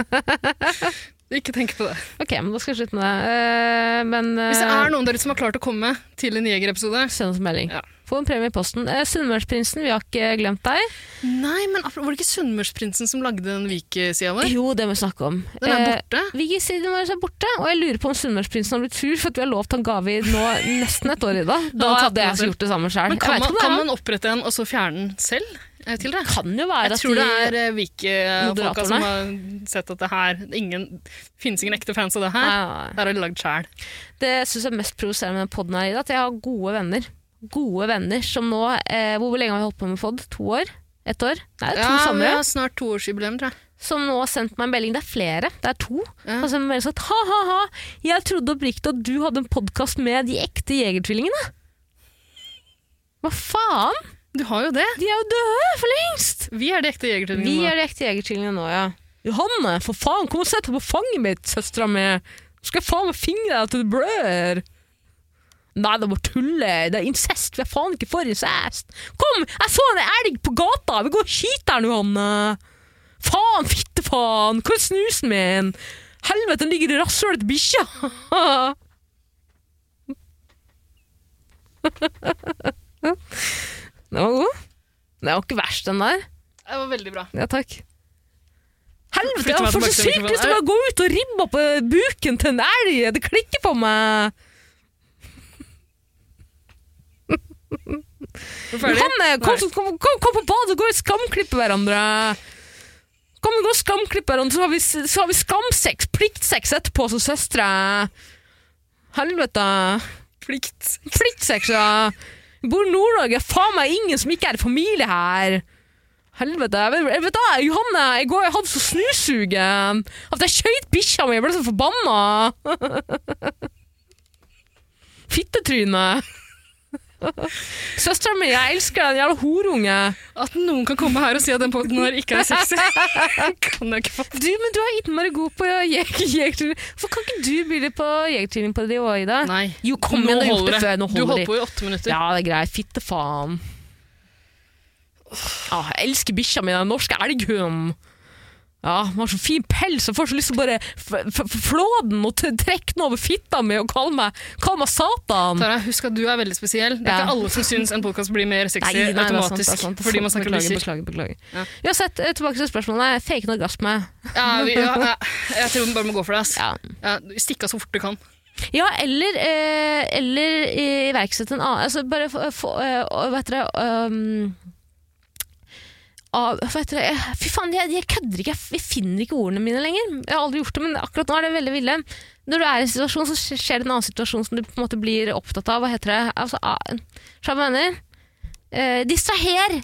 S3: Ikke tenk på det.
S2: Ok, men da skal jeg slutte med det. Eh, men eh,
S3: Hvis det er noen der ute som har klart å komme til en Jeger-episode
S2: Send oss en melding.
S3: Ja.
S2: Få en premie i posten. Eh, Sunnmørsprinsen, vi har ikke glemt deg.
S3: Nei, men apro- var det ikke Sunnmørsprinsen som lagde den Vik-sida vår?
S2: Jo, det må vi snakke om.
S3: Den er
S2: Eh,
S3: borte.
S2: Viggy-siden vår er borte, og jeg lurer på om Sunnmørsprinsen har blitt sur for at vi har lovt han gave i nå nesten et år i dag. Da
S3: har tatt
S2: hadde
S3: den
S2: jeg
S3: selv.
S2: gjort det samme sjøl.
S3: Men kan man, kan man opprette en og så fjerne den selv? Er det til det?
S2: kan jo være
S3: Jeg
S2: at
S3: tror det
S2: de-
S3: er eh, Vik-folka
S2: Moderatorene.
S3: som har sett at det her ingen, finnes ingen ekte fans av det
S2: Nei,
S3: her.
S2: nei, nei.
S3: Der har de lagd sjæl.
S2: Det jeg syns er mest provoserende med den podden her, i dag, at jeg har gode venner. Gode venner som nå eh, Hvor lenge har vi holdt på med pod? To år? Ett år? Nei, to
S3: Ja, vi
S2: somre.
S3: har snart toårsjubileum, tror jeg.
S2: som nå har sendt meg en melding. Det er flere, det er to.
S3: Ja.
S2: Og så har de meldt sagt, ha, ha, ha, jeg trodde oppriktig at du hadde en podkast med de ekte jegertvillingene. Hva faen?
S3: Du har jo det.
S2: De er jo døde for lengst!
S3: Vi er de ekte
S2: Vi
S3: jegertvillingene. nå.
S2: er de ekte jegertvillingene nå, ja. Johanne, for faen, kom og sett deg på fanget mitt, søstera mi. Nå skal jeg faen meg fingre deg til du blør. Nei, det er bare tulle. Det er incest. Vi er faen ikke for incest. Kom, jeg så en elg på gata. Vi går og skyter den, Johanne. Faen, fitte faen. Hvor er snusen min? Helvete, den ligger i rasshølet til bikkja. Den var god. Den var ikke verst, den der.
S3: Det var veldig bra.
S2: Ja, takk. Helvete,
S3: Flytter
S2: jeg
S3: meg
S2: får så
S3: tilbake til
S2: sykt lyst til å bare gå ut og ribbe opp eh, buken til en elg! Det klikker på meg!
S3: Er du ferdig?
S2: Johanne, eh, kom,
S3: Nei.
S2: kom, kom, kom på badet og gå og skamklippe hverandre! Kom, vi går og skamklippe hverandre, så har vi, så har vi skamsex, pliktsex etterpå som søstre! Helvete!
S3: Plikt.
S2: Pliktsex, ja! Vi bor i Nord-Norge, faen meg ingen som ikke er i familie her! Helvete. Jeg vet, jeg vet da, Johanne, i går jeg hadde så snusugen at jeg skjøt bikkja mi. Jeg ble så forbanna. Fittetryne. Søstera mi, jeg elsker deg, den jævla horunge.
S3: At noen kan komme her og si at den podden her ikke er sexy, kan jeg ikke fatte.
S2: Du, men du er innmari god på jeg- jegertrening. Hvorfor kan ikke du bli litt på jegertrening på det òg, Ida?
S3: Nei.
S2: Jo, kom igjen, du har gjort det før. Nå
S3: Du
S2: holder
S3: holdt
S2: det.
S3: på i åtte minutter.
S2: Ja, det er greit. Fitte faen. Ja, jeg elsker bikkja mi, den norske elghund. Ja, den har så fin pels. Jeg får så lyst til å bare f- f- flå den og t- trekke den over fitta mi og kalle meg, kalle meg Satan.
S3: Tara, husk at du er veldig spesiell. Det er
S2: Ja.
S3: ikke alle som syns en podkast blir mer sexy
S2: det er sant, det er sant,
S3: automatisk
S2: det er sant.
S3: fordi man snakker
S2: Beklager,
S3: bikkjer.
S2: beklager. beklager.
S3: Ja.
S2: Uansett, eh, tilbake til spørsmålet. Fake en orgasme.
S3: Ja, vi- ja, ja, jeg tror vi bare må gå for det. ass.
S2: Ja,
S3: Ja, Stikk av så fort du kan.
S2: ja eller, eh, eller eh, iverksette en annen altså Bare få få, eh, Hva heter det um, av, hva heter det? Eh, Fy faen, jeg, jeg kødder ikke. Jeg, f- jeg finner ikke ordene mine lenger. Jeg har aldri gjort det, men akkurat nå er det veldig ville. Når du er i en situasjon, så skj- skjer det en annen situasjon som du på en måte blir opptatt av. Hva heter det? Altså, a- Skjønner du hva jeg mener? Eh, distraher!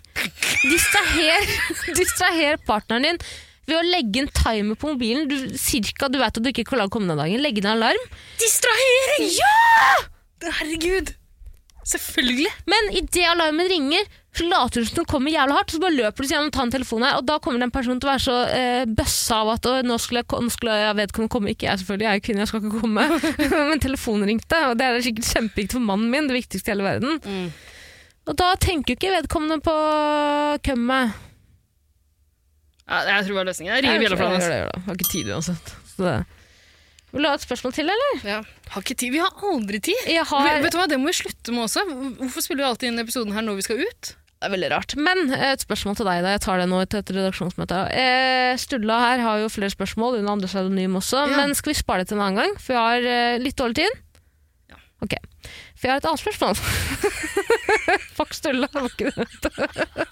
S2: Distraher, distraher partneren din ved å legge en timer på mobilen. Du, cirka, du vet at du ikke klarer å komme deg dagen. Legge ned alarm.
S3: Distrahering! Ja! Herregud. Selvfølgelig.
S2: Men idet alarmen ringer, så later du som den kommer jævla hardt, så bare løper du til gjennom og tar en telefon her, og da kommer den personen til å være så eh, bøssa av at «Å, nå skulle, jeg, ko- nå skulle jeg vedkommende komme. Ikke jeg, selvfølgelig, jeg er jo kvinne, jeg skal ikke komme. Men telefonen ringte, og det er sikkert kjempeviktig for mannen min, det viktigste i hele verden.
S3: Mm.
S2: Og da tenker jo ikke vedkommende på kømmet.
S3: Ja, jeg tror det er løsningen. Jeg ringer bjelleflanen. ass.
S2: Jeg gjør det, jeg gjør det. Jeg Har ikke tid uansett. Så det. Vil du ha et spørsmål til, eller?
S3: Ja. Har ikke tid. Vi har aldri tid.
S2: Jeg
S3: Vet,
S2: har
S3: vet du hva, Det må vi slutte med også. Hvorfor spiller vi alltid inn episoden her når vi skal ut?
S2: Det er veldig rart. Men eh, et spørsmål til deg, da. Jeg tar det nå til et redaksjonsmøte. Eh, Sturla her har jo flere spørsmål under andre pseudonym også,
S3: Ja.
S2: men skal vi spare det til en annen gang? For vi har eh, litt dårlig tid. Ok. For jeg har et annet spørsmål. Fuck Sturla. det var ikke det.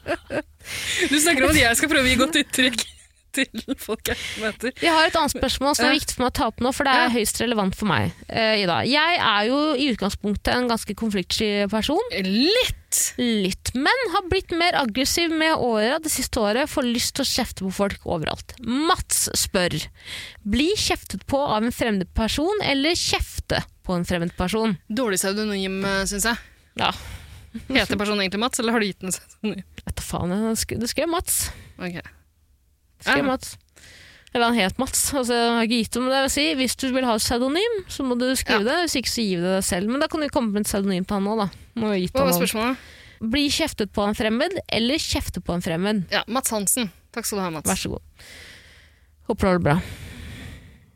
S3: Du snakker om at jeg skal prøve å gi godt uttrykk til folk jeg møter.
S2: Jeg har et annet spørsmål som er
S3: Ja.
S2: viktig for meg å ta opp nå, for det er
S3: Ja.
S2: høyst relevant for meg. eh, Ida. Jeg er jo i utgangspunktet en ganske konfliktsky person.
S3: Litt!
S2: Litt, men har blitt mer aggressiv med åra det siste året. Får lyst til å kjefte på folk overalt. Mats spør Bli kjeftet på av en fremmed person, eller kjefte på en fremmed person?
S3: Dårlig pseudonym, syns jeg.
S2: Ja,
S3: Heter personen egentlig Mats, eller har du gitt den pseudonym?
S2: vet da faen. jeg. Det skrev- Det skrev Mats.
S3: Ok.
S2: Det skrev
S3: Ja.
S2: Mats. Eller han het Mats. Altså, jeg har ikke gitt om det. Jeg vil si. Hvis du vil ha et pseudonym, så må du skrive det. Hvis ikke, så gir vi det deg selv. Men da kan du komme med et pseudonym til han nå, da. Nå har jeg gitt
S3: Hva
S2: han
S3: var
S2: han.
S3: spørsmålet?
S2: Bli kjeftet på av en fremmed, eller kjefte på en fremmed?
S3: Ja, Mats Hansen. Takk skal du ha, Mats.
S2: Vær så god. Håper du har det bra.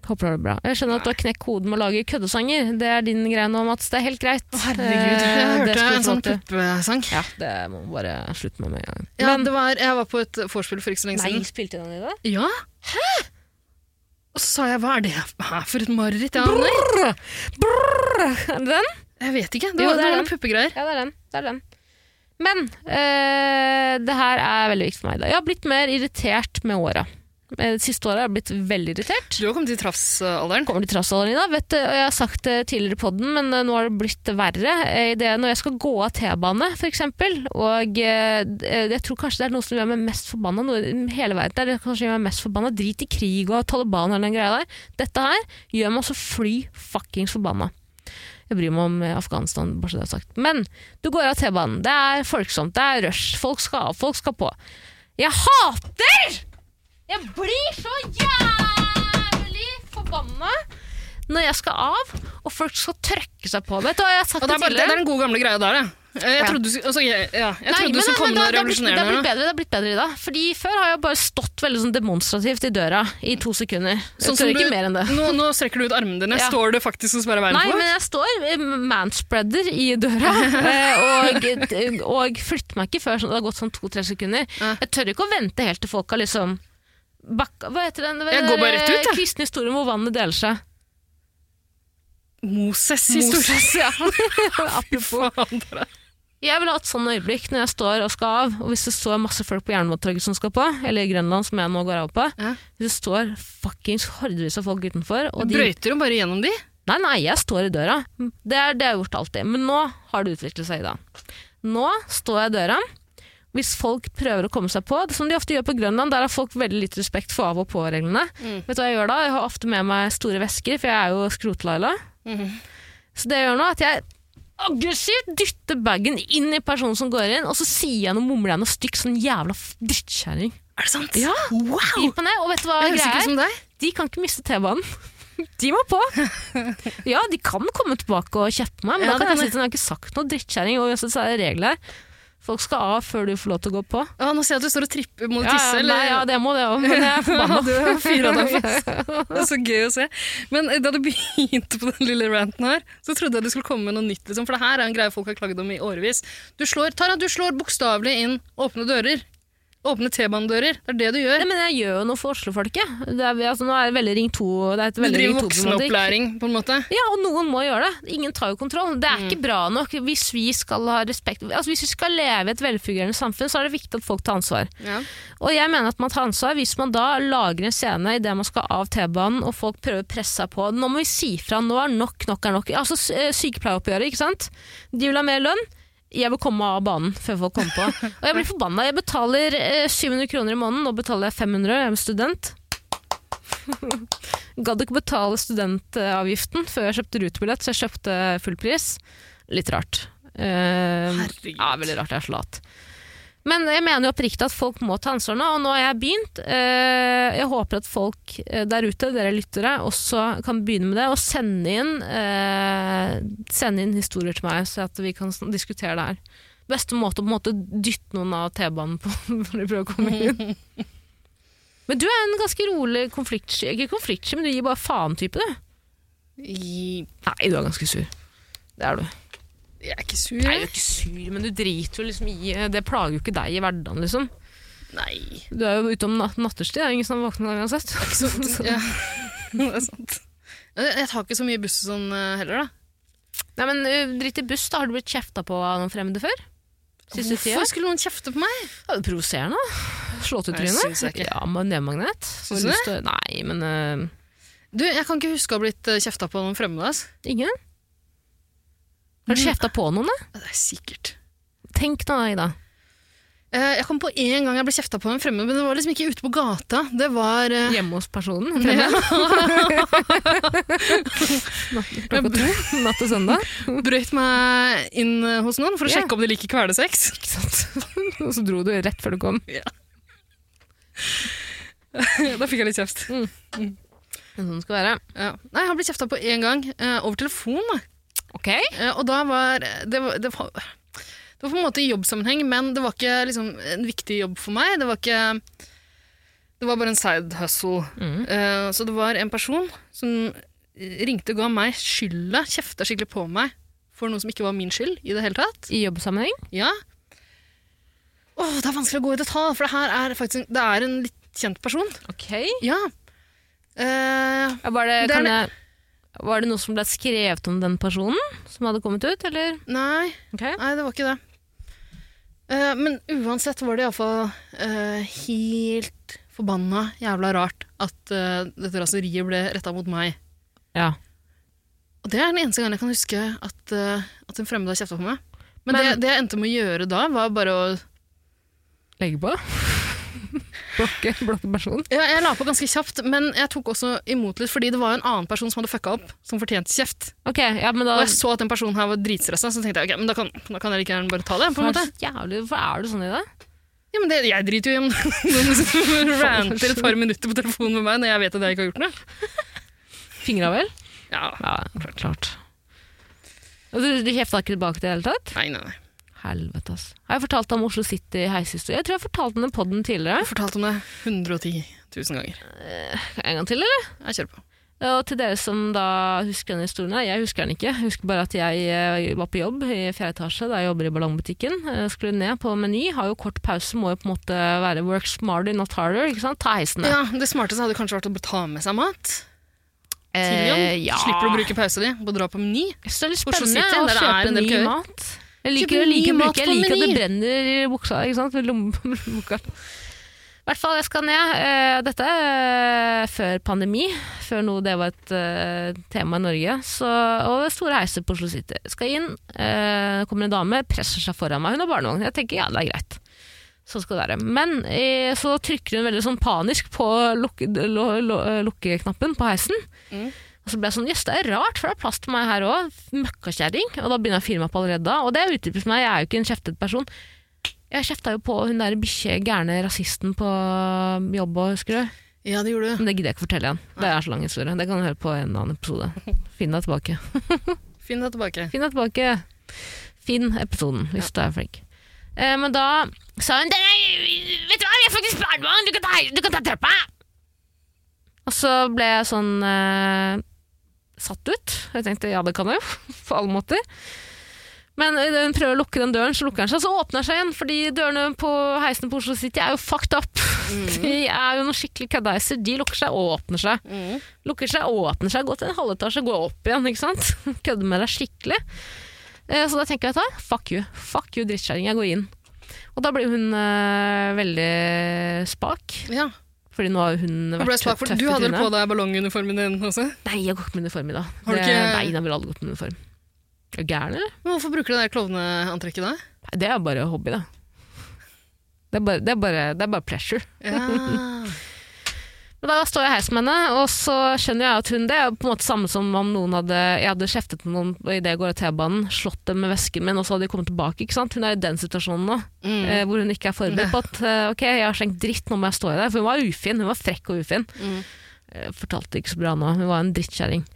S2: Håper du har det bra. Jeg skjønner at du har knekt koden med å lage køddesanger. Det er din greie nå, Mats. Det er helt greit.
S3: Å, herregud. Jeg
S2: Eh, det
S3: hørte
S2: skal du
S3: en
S2: få
S3: sånn
S2: lov til.
S3: puppesang.
S2: Ja, det må vi bare slutte med med en gang.
S3: Ja,
S2: Men-
S3: det var, jeg var på et vorspiel for ikke så lenge
S2: Nei,
S3: siden.
S2: spilte den i det?
S3: Ja. Hæ? Og så sa jeg hva er det her for et mareritt? Ja, nei,
S2: Brr, brr. Den?
S3: jeg vet ikke.
S2: Jo,
S3: Det var,
S2: det
S3: det
S2: er
S3: var
S2: den.
S3: noen puppegreier.
S2: Ja, det er den. Det er den. Men eh, det her er veldig viktig for meg. i dag. Jeg har blitt mer irritert med åra. Eh, Det siste året har jeg blitt veldig irritert.
S3: Du har kommet i traffsalderen.
S2: Kommer til trassalderen i dag, vet du, og jeg har sagt det tidligere på den, men eh, nå har det blitt verre. Eh, Det, er når jeg skal gå av T-bane, for eksempel, og eh, d- eh, jeg tror kanskje det er noe som gjør meg mest forbanna noe i hele verden. Det er det kanskje gjør meg mest forbanna. Drit i krig og Taliban og den greia der. Dette her gjør meg så fly fuckings forbanna. Jeg bryr meg om eh, Afghanistan, bare så det er sagt. Men du går av T-banen. Det er folksomt, det er rush. Folk skal av, folk skal på. Jeg hater! Jeg blir så jævlig forbanna når jeg skal av, og folk skal trøkke seg på. Vet du hva jeg har sagt
S3: Og det er, bare, det er
S2: tidligere?
S3: den gode gamle greia der, ja. Eh, Jeg
S2: Ja.
S3: trodde du, skulle- altså, jeg, ja,
S2: Nei,
S3: jeg trodde
S2: men
S3: du
S2: det- men
S3: skulle komme
S2: det
S3: med
S2: har-
S3: noe
S2: det har blitt- det har
S3: revolusjonerende.
S2: blitt bedre, det har blitt bedre i dag. Fordi før har jeg bare stått veldig sånn demonstrativt i døra i to sekunder. Jeg tør
S3: Sånn som
S2: ikke
S3: du-
S2: mer enn det.
S3: Nå, nå strekker du ut armene dine.
S2: Ja.
S3: Står det faktisk og sperrer veien
S2: Nei,
S3: for?
S2: men jeg står eh, manspreader i døra, eh, og, og flytter meg ikke før sånn- det har gått sånn to-tre sekunder.
S3: Ja.
S2: Jeg tør ikke å vente helt til folk har liksom bakka Hva heter den?
S3: Jeg går bare rett ut, jeg.
S2: Kristne historien hvor vannet deler seg.
S3: Moses historie.
S2: Moses, ja. Apropos.
S3: Faen, dere.
S2: Jeg vil ha et sånn øyeblikk når jeg står og skal av, og hvis det står masse folk på Jernbanetorget som skal på, eller i Grønland, som jeg nå går av på,
S3: Ja.
S2: hvis det står fuckings hordevis av folk utenfor, og de
S3: Brøyter jo bare gjennom de.
S2: Nei, nei, jeg står i døra. Det er det jeg har gjort alltid. Men nå har det utviklet seg i dag. Nå står jeg i døra. Hvis folk prøver å komme seg på, som de ofte gjør på Grønland, der har folk veldig litt respekt for av- og på-reglene.
S3: Mm.
S2: Vet du hva jeg gjør da? Jeg har ofte med meg store vesker, for jeg er jo skrotlaila.
S3: Mhm.
S2: Så det jeg gjør nå, er at jeg aggressivt dytter bagen inn i personen som går inn, og så sier jeg noe mumler jeg noe stygt, sånn jævla f- drittkjerring.
S3: Er det sant?
S2: Ja.
S3: Wow!
S2: Gi på ned, og vet du hva
S3: Jeg høres
S2: greia
S3: ikke
S2: er?
S3: ut som deg.
S2: De kan ikke miste T-banen. De må på! Ja, de kan komme tilbake og kjeppe meg, men da
S3: Ja,
S2: kan jeg si
S3: det kan
S2: at jeg har ikke sagt noe drittkjerring. Og uansett så er det regler her. Folk skal av før du får lov til å gå på.
S3: Å, nå ser jeg at du står og tripper mot
S2: Ja, ja,
S3: tisse. eller?
S2: nei, ja, det må det òg, men jeg er forbanna.
S3: Du har fyret deg fast. Det er så gøy å se. Men eh, da du begynte på den lille ranten her, så trodde jeg du skulle komme med noe nytt. Liksom, for det her er en greie folk har klagd om i årevis. Du slår, Tara, du slår bokstavelig inn åpne dører. Åpne T-banedører. Det er det du
S2: Nei,
S3: gjør.
S2: men jeg gjør jo noe for Oslo-folket. Det er, altså, nå er det veldig Ring 2. Det er et
S3: Du
S2: veldig Ring
S3: driver
S2: 2-problematikk.
S3: voksenopplæring, på en måte.
S2: Ja, og noen må gjøre det. Ingen tar jo kontroll. Det er ikke bra nok hvis vi skal ha respekt. Altså, hvis vi skal leve i et velfungerende samfunn, så er det viktig at folk tar ansvar.
S3: Ja.
S2: Og jeg mener at man tar ansvar hvis man da lager en scene idet man skal av T-banen og folk prøver å presse seg på. Nå må vi si fra. Nå er nok nok er nok. Altså s- eh, Sykepleieroppgjøret, ikke sant. De vil ha mer lønn. Jeg vil komme av banen før folk kommer på. Og jeg blir forbanna. Jeg betaler eh, 700 kroner i måneden. Nå betaler jeg 500, jeg er student. Gadd ikke betale studentavgiften før jeg kjøpte rutebillett, så jeg kjøpte full pris. Litt rart. Eh,
S3: Herregud.
S2: ja, veldig rart jeg er så lat. Men jeg mener jo oppriktig at folk må ta ansvar nå, og nå har jeg begynt. Eh, Jeg håper at folk eh, der ute, dere lyttere, også kan begynne med det, og sende inn, eh, sende inn historier til meg, så at vi kan sn- diskutere det her. Beste måte å på en måte dytte noen av T-banen på når de prøver å komme inn. Men du er en ganske rolig konfliktsky, ikke konfliktsky, men du gir bare faen-type, du.
S3: I-
S2: Nei, du er ganske sur. Det er du.
S3: Jeg er ikke sur.
S2: Nei, du
S3: jeg.
S2: er ikke sur, men du driter jo liksom i Det plager jo ikke deg i hverdagen, liksom.
S3: Nei.
S2: Du er jo ute om nat natterstid, det er ingen som våkner der uansett. Sånn.
S3: Ja. Det er sant. Jeg jeg tar ikke så mye buss og sånn eh, heller, da.
S2: Nei, men ø, dritt i buss, da. Har du blitt kjefta på av noen fremmede før? Siste tida?
S3: Hvorfor skulle noen kjefte på meg?
S2: Ja, det Provoserende. Slå til
S3: Nei,
S2: trynet.
S3: syns jeg ikke.
S2: Ja, med nevmagnet. Får
S3: Syns du
S2: lyst til- Nei, men eh, ø,
S3: Du, Jeg kan ikke huske å ha blitt eh, kjefta på av noen fremmede. ass.
S2: ingen. Har du
S3: Mm.
S2: kjefta på noen, da?
S3: Det er sikkert.
S2: Tenk nå, Ida.
S3: Eh, Jeg kom på en gang jeg ble kjefta på en fremmed, men det var liksom ikke ute på gata. Det var eh,
S2: Hjemme hos personen. Fremmed. Natt- Klokka to natt til søndag.
S3: Brøyt meg inn eh, hos noen for å
S2: Ja.
S3: sjekke om de liker kvelesex.
S2: Ikke sant? Og så dro du rett før du kom.
S3: da fikk jeg litt kjeft.
S2: Men sånn skal det være.
S3: Ja. Nei, han ble kjefta på én gang, eh, over telefon. da.
S2: Ok.
S3: Eh, Og da var det, var det var det var på en måte i jobbsammenheng, men det var ikke liksom, en viktig jobb for meg. Det var ikke Det var bare en side hustle. Eh, så det var en person som ringte og ga meg skylda, kjefta skikkelig på meg, for noe som ikke var min skyld i det hele tatt.
S2: I jobbsammenheng?
S3: Ja. Åh, det er vanskelig å gå i detalj, for det her er faktisk en, det er en litt kjent person.
S2: Ok.
S3: Ja. Eh,
S2: Var det,
S3: Det er
S2: kan jeg,
S3: det-
S2: var det noe som ble skrevet om den personen som hadde kommet ut, eller?
S3: nei,
S2: Ok.
S3: nei, det var ikke det. Eh, men uansett var det iallfall uh, helt forbanna jævla rart at eh, dette raseriet ble retta mot meg.
S2: Ja.
S3: Og det er den eneste gangen jeg kan huske at, eh, at en fremmed har kjefta på meg. Men,
S2: Men-
S3: det, det jeg endte med å gjøre da, var bare å
S2: Legge på? blokke, blokke personen?
S3: ja, Jeg la på ganske kjapt, men jeg tok også imot litt, fordi det var jo en annen person som hadde fucka opp, som fortjente kjeft.
S2: Ok, ja, men da...
S3: Og jeg så at den personen her var dritstressa, så tenkte jeg ok, men da kan, da kan jeg like gjerne bare ta det. på en måte.
S2: Jævlig, hvorfor er du sånn i det?
S3: Ja, men det, Jeg driter jo i om noen som ranter et par minutter på telefonen med meg når jeg vet at jeg ikke har gjort noe.
S2: Fingra vel?
S3: Ja,
S2: Ja, klart. Og Du, du kjefta ikke tilbake til det hele tatt?
S3: nei, nei, nei.
S2: Helvete, ass. Har jeg fortalt om Oslo City heishistorie? Jeg tror jeg fortalte den i podden tidligere.
S3: Jeg har fortalt om det 110 000 ganger.
S2: En gang til, eller?
S3: Jeg kjører på.
S2: Og til dere som da husker den historien, her, jeg husker den ikke. Jeg husker bare at jeg eh, var på jobb i fjerde etasje, da jeg jobber i ballongbutikken. Eh, Skulle ned på Meny, har jo kort pause, må jo på en måte være work smarter, not harder. ikke sant? Ta heisen ned.
S3: Ja, Det smarteste hadde kanskje vært å ta med seg mat.
S2: Eh,
S3: Tilion.
S2: ja.
S3: Slipper du å bruke pausa di på å dra på Meny.
S2: Jeg synes det er litt
S3: Oslo
S2: spennende
S3: City,
S2: å
S3: der det er
S2: kjøpe
S3: en del
S2: ny
S3: køer.
S2: mat. Jeg liker,
S3: Kjøpe
S2: jeg liker,
S3: ny mat
S2: bruke- jeg
S3: på
S2: liker at det
S3: Meny.
S2: brenner i buksa, ikke sant? Ved lommeboka. I hvert fall, jeg skal ned. eh, Dette eh, før pandemi, før noe det var et eh, tema i Norge. Så, og store heiser på Oslo City. Skal inn, eh, kommer en dame, presser seg foran meg. Hun har barnevogn. Jeg tenker ja, det er greit. Sånn skal det være. Men eh, så trykker hun veldig sånn panisk på lukke- lo- lo- eh, lukkeknappen på heisen. Og så ble jeg sånn, jøss, det er rart, for det er plass til meg her òg. Møkkakjerring. Og da begynner jeg å fyre meg opp allerede da. Og det er utdypet for meg, jeg er jo ikke en kjeftet person. Jeg kjefta jo på hun der bikkje gærne rasisten på jobb og husker du?
S3: Ja, det gjorde du.
S2: Men det gidder jeg ikke fortelle igjen. Det er så lang historie. Det kan du høre på en annen episode. Finn deg tilbake.
S3: Finn deg tilbake.
S2: Finn deg tilbake. Finn episoden, hvis du er flink. Eh, men da sa hun «Nei, Vet du hva, vi er faktisk barnevogn! Du, kan ta- du kan ta trappa! Og så ble jeg sånn eh, satt ut. Jeg tenkte ja, det kan jeg jo, på alle måter. Men idet hun prøver å lukke den døren, så lukker den seg, så åpner den seg igjen. Fordi dørene på heisene på Oslo City er jo fucked up. De er jo noen skikkelig køddeiser. De lukker seg og åpner seg lukker seg, åpner seg, går til en halvetasje, går opp igjen, ikke sant? Kødder med deg skikkelig. Eh, Så da tenker jeg, vet du hva, fuck you, fuck you drittkjerring, jeg går inn. Og da ble hun eh, veldig spak,
S3: Ja,
S2: fordi nå har hun
S3: du ble
S2: vært
S3: smak for
S2: tøff i
S3: Du hadde vel på
S2: trynet.
S3: deg ballonguniformen din også?
S2: Nei, jeg går ikke med uniform i dag.
S3: Har du
S2: Det-
S3: ikke-
S2: Nei, da vil alle gått med uniform. Er du gæren, eller?
S3: Men hvorfor bruker du det der klovneantrekket da?
S2: Nei, det er bare hobby, da. Det er bare, det er bare, det er bare pleasure.
S3: Ja. Mm,
S2: Men da står jeg i heisen med henne, og så skjønner jeg at hun Det er jo på en måte samme som om noen hadde, jeg hadde kjeftet med noen idet jeg går av T-banen, slått dem med vesken min, og så hadde de kommet tilbake. ikke sant? Hun er i den situasjonen nå,
S3: Mm.
S2: eh, hvor hun ikke er forberedt på at eh, ok, jeg har slengt dritt, nå må jeg stå i det. For hun var ufin, hun var frekk og ufin.
S3: Mm.
S2: Eh, fortalte ikke så bra nå, hun var en drittkjerring.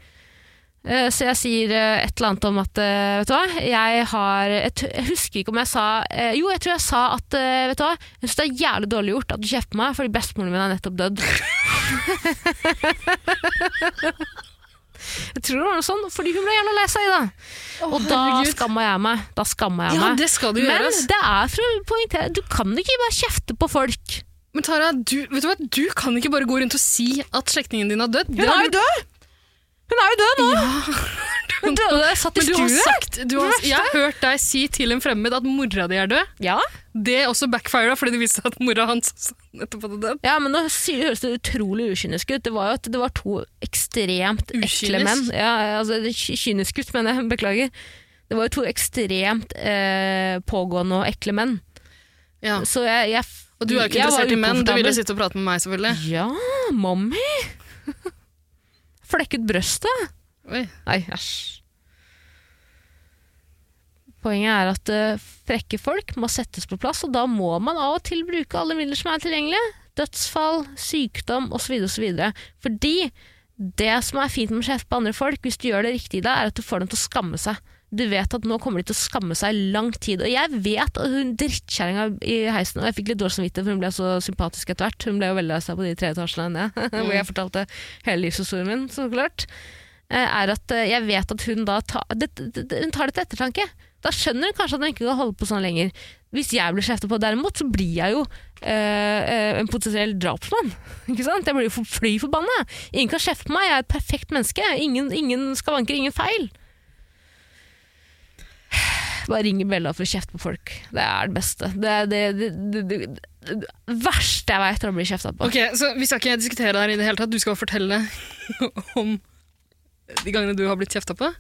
S2: Eh, Så jeg sier eh, et eller annet om at eh, Vet du hva, jeg har Jeg t- jeg husker ikke om jeg sa eh, Jo, jeg tror jeg sa at eh, Vet du hva, jeg syns det er jævlig dårlig gjort at du kjefter på meg fordi bestemoren min er nettopp dødd. jeg tror det var noe sånn, fordi hun ble jævla lei seg, da. Og da skamma jeg meg. Da skamma jeg
S3: Ja,
S2: meg.
S3: det skal du
S2: Men
S3: gjøre. ass.
S2: det er for å poengtere Du kan ikke bare kjefte på folk.
S3: Men Tara, du, vet du hva? Du kan ikke bare gå rundt og si at slektningen din har dødd. Det
S2: Hun
S3: har
S2: er jo
S3: du-
S2: død! Hun er jo død nå! Hun døde da jeg satt i
S3: Men du har
S2: stue.
S3: sagt du har,
S2: Det verste.
S3: Jeg har hørt deg si til en fremmed at mora di er død.
S2: Ja.
S3: Det også backfira fordi det viste seg at mora hans også nettopp hadde dødd.
S2: Ja, men nå sier- høres det utrolig ukynisk ut. Det var jo at det var to ekstremt ekle
S3: Ukynisk?
S2: menn. Ja, altså det er ky- kynisk ut, mener jeg. Beklager. Det var jo to ekstremt eh, pågående og ekle menn.
S3: Ja.
S2: Så jeg, jeg
S3: Og du er jo ikke
S2: jeg var
S3: interessert i menn. Du ville
S2: ukomfortabel.
S3: sitte og prate med meg, selvfølgelig.
S2: Ja, mommy! Flekket brøstet.
S3: Oi.
S2: Nei, æsj. Poenget er at eh, frekke folk må settes på plass, og da må man av og til bruke alle midler som er tilgjengelige. Dødsfall, sykdom osv. osv. Fordi det som er fint med å kjefte på andre folk, hvis du gjør det riktig i deg, er at du får dem til å skamme seg. Du vet at nå kommer de til å skamme seg i lang tid. Og jeg vet at hun drittkjerringa i heisen Og jeg fikk litt dårlig samvittighet, for hun ble så sympatisk etter hvert. Hun ble jo veldig lei seg på de tre etasjene ned, hvor jeg fortalte hele livshistorien min, så klart. eh, Er at eh, jeg vet at hun da ta, det, det, det- hun tar det til ettertanke. Da skjønner hun kanskje at hun ikke kan holde på sånn lenger. Hvis jeg blir kjeftet på derimot, så blir jeg jo eh, eh, en potensiell drapsmann. Ikke sant? Jeg blir jo for- fly forbanna. Ingen kan kjefte på meg, jeg er et perfekt menneske. Ingen, ingen skavanker, ingen feil. Bare ringe Bella for å kjefte på folk. Det er det beste. Det er det, det, det, det, det, det verste jeg veit, er å bli kjefta på.
S3: Ok, så Vi skal ikke diskutere det her i det hele tatt. Du skal fortelle om de gangene du har blitt kjefta på.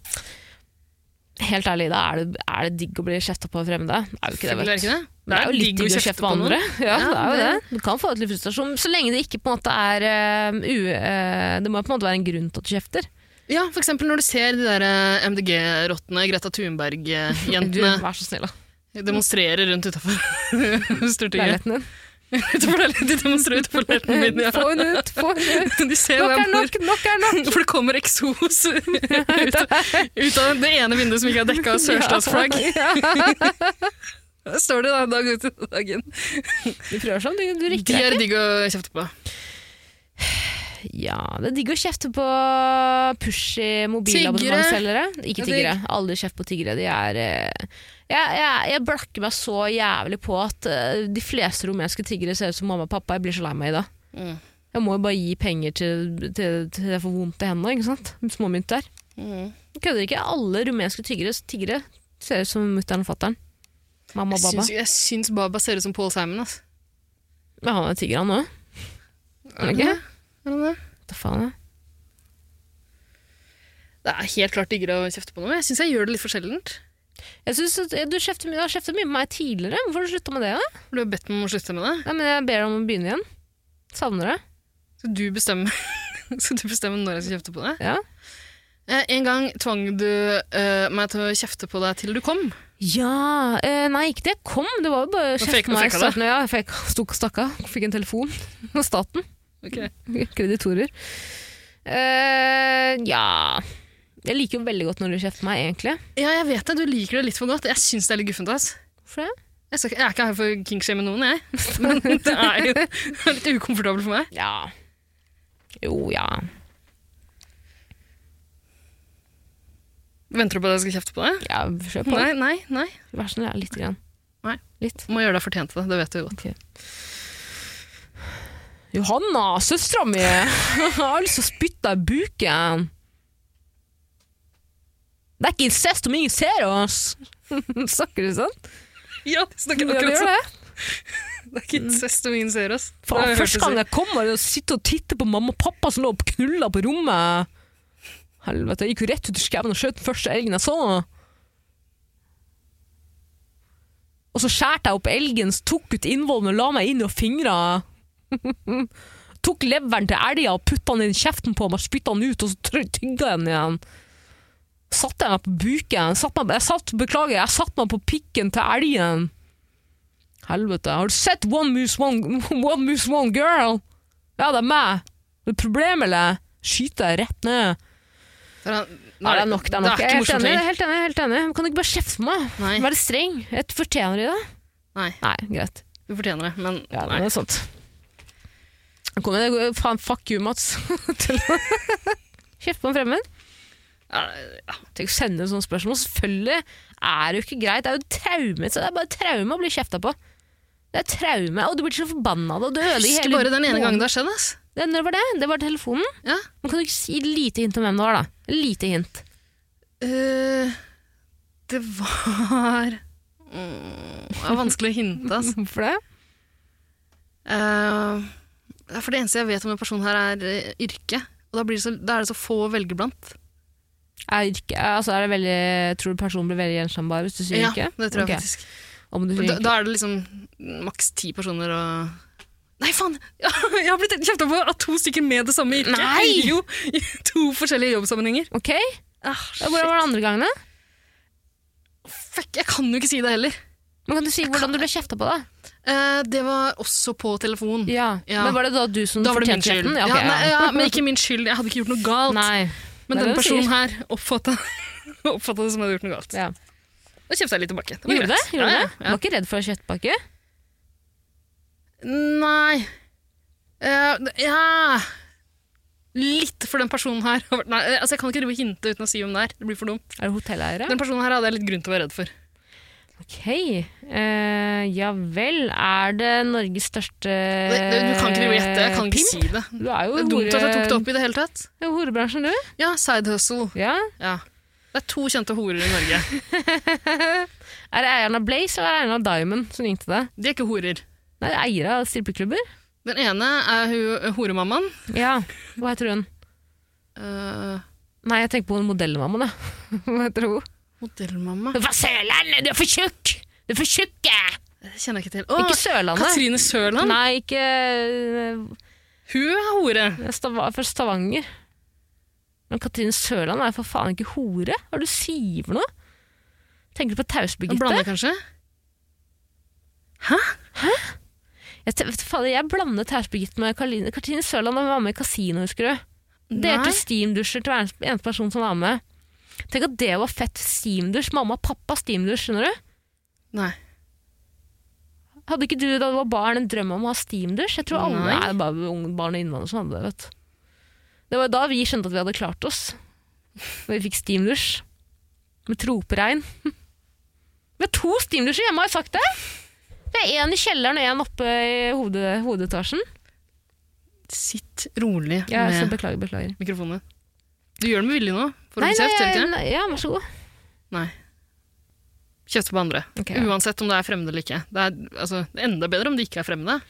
S2: Helt ærlig, da er det, er det digg å bli kjefta på av fremmede. Det er jo ikke det,
S3: Selvfølgelig er
S2: vet
S3: det
S2: du.
S3: ikke det?
S2: Det er jo litt digg å kjefte på andre. Ja, det er jo det. Du kan få ut litt frustrasjon, så lenge det ikke på en måte er eh, u... eh, det må på en måte være en grunn til at du kjefter.
S3: Ja, for eksempel når du ser de der eh, MDG-rottene, Greta eh,
S2: Du,
S3: Thunberg-jentene,
S2: vær så snill, da.
S3: demonstrerer rundt utafor Stortinget.
S2: Leiligheten din.
S3: Utenfor leiligheten. De demonstrerer utenfor leiligheten min, ja.
S2: Få henne ut! Få henne ut!
S3: De ser
S2: Nok
S3: hvor
S2: er
S3: jeg bor.
S2: nok! Nok er nok!
S3: For det kommer eksos ut, av- ut av det ene vinduet som ikke er dekka av sørstatsflagg.
S2: Ja.
S3: Der står de da, dag ut og dag inn.
S2: Du prøver sånn, du, du
S3: De
S2: rykker deg
S3: er digg å kjefte på.
S2: Ja, det er digg å kjefte på pushy mobilabonnementselgere. Ikke
S3: Det er
S2: tiggere. Aldri kjeft på tiggere. De er eh, jeg, jeg, jeg blakker meg så jævlig på at eh, de fleste rumenske tiggere ser ut som mamma og pappa. Jeg blir så lei meg i det.
S3: Mm.
S2: Jeg må jo bare gi penger til, til, til jeg får vondt i hendene. ikke sant? Småmynt der. Jeg Kødder ikke. Alle rumenske tiggere, tiggere ser ut som mutter'n og fatter'n. Mamma
S3: Jeg
S2: og baba.
S3: syns, jeg syns Baba ser ut som Paul Simon. Altså.
S2: Men han er tigger, han òg. Er han
S3: det?
S2: ikke?
S3: Er han det?
S2: Hva faen? jeg?
S3: Det er helt klart diggere å kjefte på noe. men Jeg syns jeg gjør det litt for sjeldent.
S2: Jeg synes at eh, Du kjefter mye- du har kjeftet mye på meg tidligere. Hvorfor har du slutta med det? da?
S3: For Du har bedt meg om å slutte med det.
S2: Nei, men jeg ber deg om å begynne igjen. Savner det.
S3: Skal du bestemme, skal du bestemme når jeg skal kjefte på deg?
S2: Ja.
S3: Eh, en gang tvang du eh, meg til å kjefte på deg til du kom.
S2: Ja eh, Nei, ikke det jeg kom. Det var jo bare å
S3: Du
S2: kjefte
S3: fekk-
S2: på meg. i
S3: fekka det?
S2: starten. Ja, jeg fikk, stok, stakk av. Fikk en telefon fra staten. Kreditorer. Eh, ja Jeg liker jo veldig godt når du kjefter på meg, egentlig.
S3: Ja, jeg vet det. Du liker det litt for godt. Jeg syns det er litt guffent. ass.
S2: Hvorfor det?
S3: Jeg, skal, ikke- jeg er ikke her for kinkshame noen, jeg. Men det er jo det er litt ukomfortabelt for meg.
S2: Ja. Jo, ja.
S3: Venter du på at jeg skal kjefte på deg?
S2: ja kjør på.
S3: Nei, nei, nei.
S2: Vær så snill, ja, lite grann.
S3: Nei.
S2: Litt.
S3: Må gjøre deg fortjent til det. Det vet du jo godt.
S2: Johanna, søstera mi! Jeg har lyst til å spytte deg i buken! Det er ikke incest om ingen ser oss! Snakker du sånn?
S3: Ja, de snakker
S2: Ja, du
S3: akkurat
S2: gjør
S3: sånn.
S2: det.
S3: Det er ikke incest om ingen ser oss. Det har
S2: Faen,
S3: jeg hørt
S2: første
S3: deg si.
S2: gang jeg kommer, jeg sitter og titter på mamma og pappa som lå og knulla på rommet. Helvete, jeg gikk jo rett ut i skauen og skjøt den første elgen jeg så. Og så skjærte jeg opp elgen, så tok ut innvollen og la meg inn i fingra. tok leveren til elga og putta den inn i kjeften på meg, spytta den ut, og så try- tygga jeg den igjen. Satte jeg meg på buken. Satt meg, jeg satt, beklager, jeg satte meg på pikken til elgen. Helvete. Har du sett One Moose One, one, moose, one Girl? Ja, det er meg. Det er problem, eller? Skyter jeg rett ned.
S3: Det er,
S2: Nei, det er nok. Det er nok. jeg
S3: Det er ikke
S2: er helt
S3: morsomt
S2: enig. jeg
S3: lenger.
S2: er Helt enig, jeg er helt enig. Kan du ikke bare kjefte på meg?
S3: Nei.
S2: Være streng. Jeg fortjener de det?
S3: Nei,
S2: Nei, greit.
S3: du fortjener det, men
S2: Ja, det
S3: nei.
S2: er sant. Jeg Kommer det faen fuck you, Mats. Til- Kjeft på en fremmed?
S3: Ja,
S2: Tenk å sende inn sånne spørsmål. Selvfølgelig er det jo ikke greit. Det er jo traume. Så det er bare traume å bli kjefta på. Det er traume, og du blir så forbanna av det. og Du ødelegger
S3: Husker
S2: hele
S3: bare den ene
S2: måneden.
S3: gangen det har skjedd, ass.
S2: Det, når var det? Det var telefonen.
S3: Ja.
S2: Men kan du ikke si lite hint om hvem det var, da? Lite hint.
S3: Eh, det var Mm, Det er vanskelig å hinte, ass.
S2: Hvorfor det?
S3: Eh, det er for det eneste jeg vet om en person her, er eh, yrke. Og da, blir det så, da er det så få å velge blant.
S2: Er ikke, altså er det veldig, tror du personen blir veldig gjenkjennbar hvis du sier
S3: Ja,
S2: ikke?
S3: det tror jeg
S2: Ok.
S3: faktisk.
S2: Om du
S3: For
S2: sier
S3: Da,
S2: ikke.
S3: da er det liksom maks ti personer og Nei, faen! Jeg har blitt kjefta på av to stykker med det samme yrket.
S2: Nei!
S3: Jo, I to forskjellige jobbsammenhenger.
S2: Ok,
S3: Ah,
S2: ja, Hvordan var det andre gangene?
S3: Fuck, jeg kan jo ikke si det heller.
S2: Men kan du si hvordan du ble kjefta på, da?
S3: Eh, det var også på telefon.
S2: Ja.
S3: Ja.
S2: Men var det da du som
S3: Da var det min
S2: fortjente
S3: skyld.
S2: kjeften?
S3: Ja,
S2: ok,
S3: nei, ja, men ikke min skyld. Jeg hadde ikke gjort noe galt.
S2: Nei.
S3: Men
S2: Nei,
S3: denne
S2: det sier-
S3: personen her oppfatta oppfatta det som jeg hadde gjort noe galt.
S2: Ja.
S3: Da kjefta jeg litt tilbake. Det var
S2: Gjorde det?
S3: greit.
S2: Gjorde
S3: ja,
S2: det?
S3: ja, ja.
S2: Var ikke redd for kjøttpakke?
S3: Nei Eh, det- Ja Litt for den personen her. har vært- Nei, eh, altså jeg kan ikke drive og hinte uten å si hvem det er. Det blir for dumt.
S2: Er det hotelleiere?
S3: Den personen her hadde jeg litt grunn til å være redd for.
S2: Ok. Eh, ja vel. Er det Norges største eh,
S3: Det, det, du kan ikke drive og gjette. Jeg kan ikke
S2: pimp?
S3: si det.
S2: Du er jo
S3: Det er dumt at jeg tok det opp i det hele tatt.
S2: Det er jo horebransjen, du.
S3: Ja, side hustle.
S2: Ja.
S3: Ja. Det er to kjente horer i Norge.
S2: Er det eieren av Blaze eller eieren av Diamond som ringte deg?
S3: De er ikke horer.
S2: Nei, det er eiere av strippeklubber.
S3: Den ene er hun- horemammaen.
S2: Ja, hva heter hun?
S3: Eh,
S2: Nei, jeg tenker på hun modellmammaen, da. Hva heter hun?
S3: modellmamma.
S2: Fra Sørlandet! Du er for tjukk! Du er for tjukk, jeg!
S3: Det kjenner jeg ikke til. Å,
S2: Ikke Sørlandet.
S3: Katrine Sørland.
S2: Nei, ikke eh,
S3: Hun er hore.
S2: Stava, fra Stavanger. Men Katrine Sørland er jo for faen ikke hore. Hva er det du sier for noe? Tenker du på
S3: Hun
S2: Taus-Birgitte?
S3: blander kanskje?
S2: Jeg, te- vet du faen, jeg blandet Taus-Birgitte med Karoline. Katrine Sørland da hun var med i Casino, husker du? Delte
S3: Nei.
S2: steamdusjer til hver eneste person som var med. Tenk at det var fett. Steamdusj. Mamma og pappa steamdusj, skjønner du?
S3: Nei.
S2: Hadde ikke du da du var barn en drøm om å ha steamdusj? Jeg tror alle
S3: Nei.
S2: Nei. det er bare unge barn og innvandrere som hadde det. vet du. Det var da vi skjønte at vi hadde klart oss. Når vi fikk steamdusj. Med troperegn. Vi har to steamdusjer hjemme, har jeg sagt det? Det er én i kjelleren og én oppe i hode, hovedetasjen.
S3: Sitt rolig
S2: Ja, så
S3: med
S2: beklager, beklager.
S3: mikrofonen. Du gjør det med vilje nå? For å
S2: Nei,
S3: bli
S2: nei,
S3: kjeft, gjør du
S2: jeg-
S3: ikke?
S2: nei, ja, vær så god.
S3: Nei. Kjefte på andre.
S2: Ok, ja.
S3: Uansett om det er fremmede eller ikke. Det er altså, det er enda bedre om det ikke er fremmede.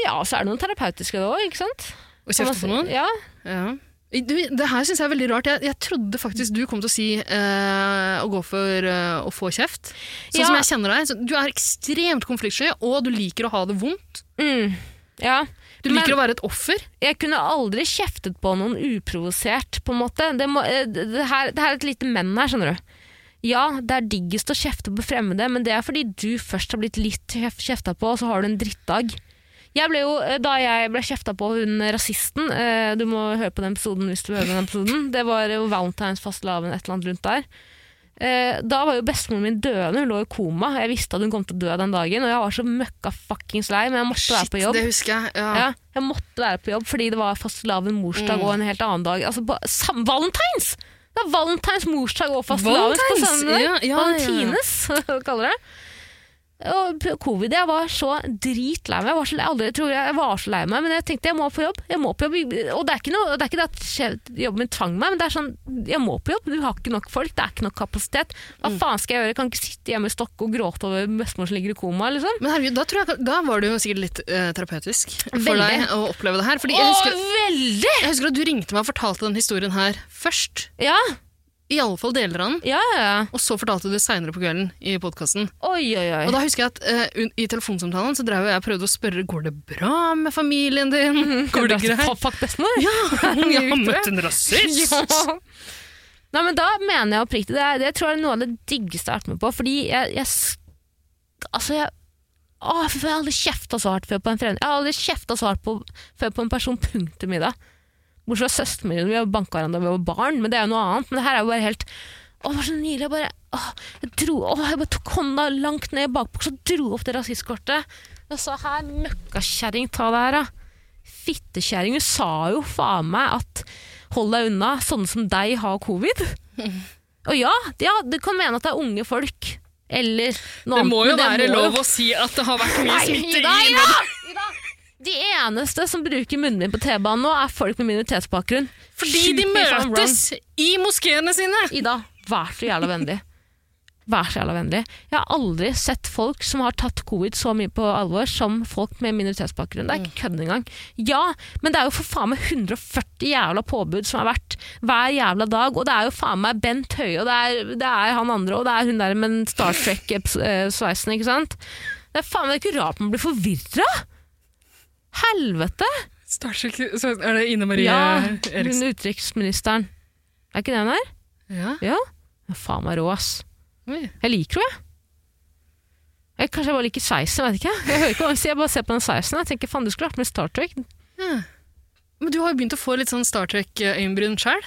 S2: Ja, så er det noen terapeutiske da òg, ikke sant?
S3: Å kjefte på noen.
S2: Ja,
S3: Ja. I- Du, det her syns jeg er veldig rart. Jeg, jeg trodde faktisk du kom til å si eh, å gå for eh, å få kjeft. Sånn
S2: Ja.
S3: som jeg kjenner deg. Så, du er ekstremt konfliktsky, og du liker å ha det vondt.
S2: mm, ja.
S3: Du
S2: Men-
S3: liker å være et offer.
S2: Jeg kunne aldri kjeftet på noen uprovosert, på en måte. Det, må, eh, det, det her, det her er et lite men her, skjønner du. Ja, det er diggest å kjefte på fremmede, men det er fordi du først har blitt litt kjef- kjefta på, og så har du en drittdag. Jeg ble jo, eh, da jeg ble kjefta på hun rasisten, eh, du må høre på den episoden hvis du hører på den episoden, det var jo Valentine's fastelavn et eller annet rundt der. Eh, Da var jo bestemoren min døende, hun lå i koma. Jeg visste at hun kom til å dø den dagen, og jeg var så møkka fuckings lei, men jeg måtte være på jobb.
S3: det husker jeg. Ja. Mm.
S2: Ja, jeg måtte være på jobb fordi det var fastelavn, morsdag og en helt annen dag. Altså, ba, sam, valentines! Det er valentines, morsdag og fastelavn på
S3: Valentines,
S2: samme dag.
S3: ja, ja, ja, ja.
S2: Valentines, hva kaller det. Og p- covid, jeg var så dritlei meg. Jeg, var så, lei- aldri, jeg tror jeg var så lei meg, men jeg tenkte jeg må på jobb. Jeg må på jobb. Og det er ikke, noe, det er ikke det at sjef- jobben min tvang meg, men det er sånn, jeg må på jobb. Du har ikke nok folk, det er ikke nok kapasitet. Hva
S3: Mm.
S2: faen skal jeg gjøre? Jeg kan ikke sitte hjemme i Stokke og gråte over bestemor som ligger i koma, liksom.
S3: Men herregud, da, tror jeg, da var det jo sikkert litt eh, terapeutisk for
S2: Veldig.
S3: deg å oppleve det her. Fordi jeg
S2: Å,
S3: husker,
S2: veldig!
S3: jeg husker at du ringte meg og fortalte den historien her først.
S2: Ja,
S3: I alle fall deler av den.
S2: ja, ja. ja.
S3: Og så fortalte du det seinere på kvelden i podkasten.
S2: Oi, oi, oi.
S3: Og da husker jeg at eh, un- i telefonsamtalen så drev jeg og prøvde å spørre går det bra med familien din.
S2: Mhm.
S3: Går det greit?
S2: Fuck, Fuck bestemor!
S3: Ja, jeg har
S2: Mye
S3: møtt en rasist!
S2: Nei, men da mener jeg oppriktig det, er, det tror jeg er noe av det diggeste jeg har vært med på. Fordi jeg, jeg s- Altså, jeg Å, fy faen, jeg har aldri kjefta så hardt før på en fremmed. Jeg har aldri kjefta så hardt på, før på en person, punktum i det. Bortsett fra søsteren min, vi har banka hverandre da vi var barn, men det er jo noe annet. Men det her er jo bare helt Å, det var så nydelig. Jeg bare, å, jeg, dro, å, jeg bare tok hånda langt ned i bakbuksa og dro opp det rasistkortet. Jeg sa her, møkkakjerring, ta det her, da fittekjerring hun sa jo faen meg at hold deg unna, sånne som deg har covid. Og ja, det- ja, du kan mene at det er unge folk, eller noe
S3: Det må jo
S2: annet, men
S3: være
S2: det må jo-
S3: lov å si at det har vært mye
S2: Nei,
S3: smitte
S2: Ida,
S3: i
S2: Ida! Ida! De eneste som bruker munnbind på T-banen nå, er folk med minoritetsbakgrunn.
S3: Fordi
S2: Shoot
S3: de
S2: me if I'm
S3: møtes i moskeene sine!
S2: Ida, vær så jævla vennlig. Vær så jævla vennlig. Jeg har aldri sett folk som har tatt covid så mye på alvor som folk med minoritetsbakgrunn. Det er ikke kødd engang. Ja, men det er jo for faen meg 140 jævla påbud som har vært hver jævla dag, og det er jo faen meg Bent Høie, og det er, det er han andre, og det er hun der med den Star Trek-sveisen, ikke sant? Det er faen meg ikke rart man blir forvirra! Helvete!
S3: Er det Ine Marie
S2: Ja,
S3: Eriksen?
S2: hun utenriksministeren. Er ikke det hun er?
S3: Ja.
S2: Ja. Hun er Faen meg rå, ass.
S3: Oi.
S2: Jeg liker henne, jeg. jeg. Kanskje jeg bare liker sveisen, jeg vet ikke. Jeg hører ikke hva hun sier, jeg bare ser på den sveisen. Jeg tenker, faen, du skulle vært med i Star Trek.
S3: Ja.
S2: eh,
S3: Men du har jo begynt å få litt sånn Star Trek-øyenbryn sjøl.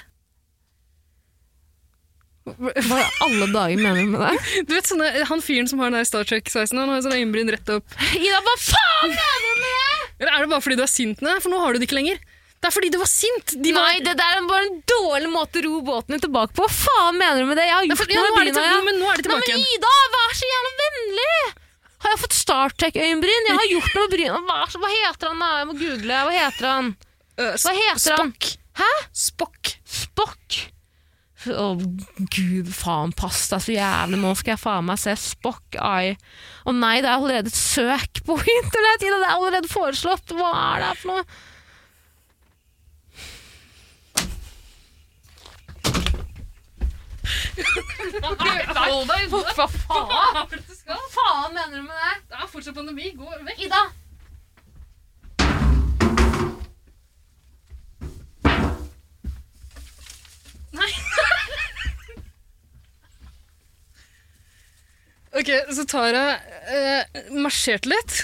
S2: Hva i alle dager mener du med det?
S3: Du vet sånne, Han fyren som har den der Star Trek-sveisen, han har jo sånn øyenbryn rett opp.
S2: Ida, hva faen mener du med det?!
S3: Eller er det bare fordi du er sint? Nei, for nå har du det ikke lenger. Det er fordi du var sint! De var,
S2: Nei, det der er bare en dårlig måte å ro båten din tilbake på. Hva faen mener du med det? Jeg har
S3: Nei,
S2: gjort
S3: for, ja, nå
S2: noe
S3: er
S2: med
S3: de til,
S2: bryna, ja.
S3: men nå er
S2: Nei,
S3: de tilbake
S2: men
S3: igjen.
S2: Ida, vær så jævla vennlig! Har jeg fått Star Trek-øyenbryn? Jeg har gjort noe med bryna. Hva, hva heter han da? Jeg må google. Hva heter han?
S3: Øh,
S2: Hva heter han?
S3: Spock.
S2: Hæ?
S3: Spock.
S2: Spock? Å, gud faen, pass deg så jævlig. Nå skal jeg faen meg se Spock Eye. Å nei, det er allerede et søk på internett! Ida, det er allerede foreslått! Hva er det her for noe? Hold deg unna! Hva faen?
S3: er det du skal?
S2: faen mener du med det?
S3: Det er fortsatt pandemi. Gå vekk.
S2: Ida!
S3: Nei. ok, så Tara eh, marsjerte litt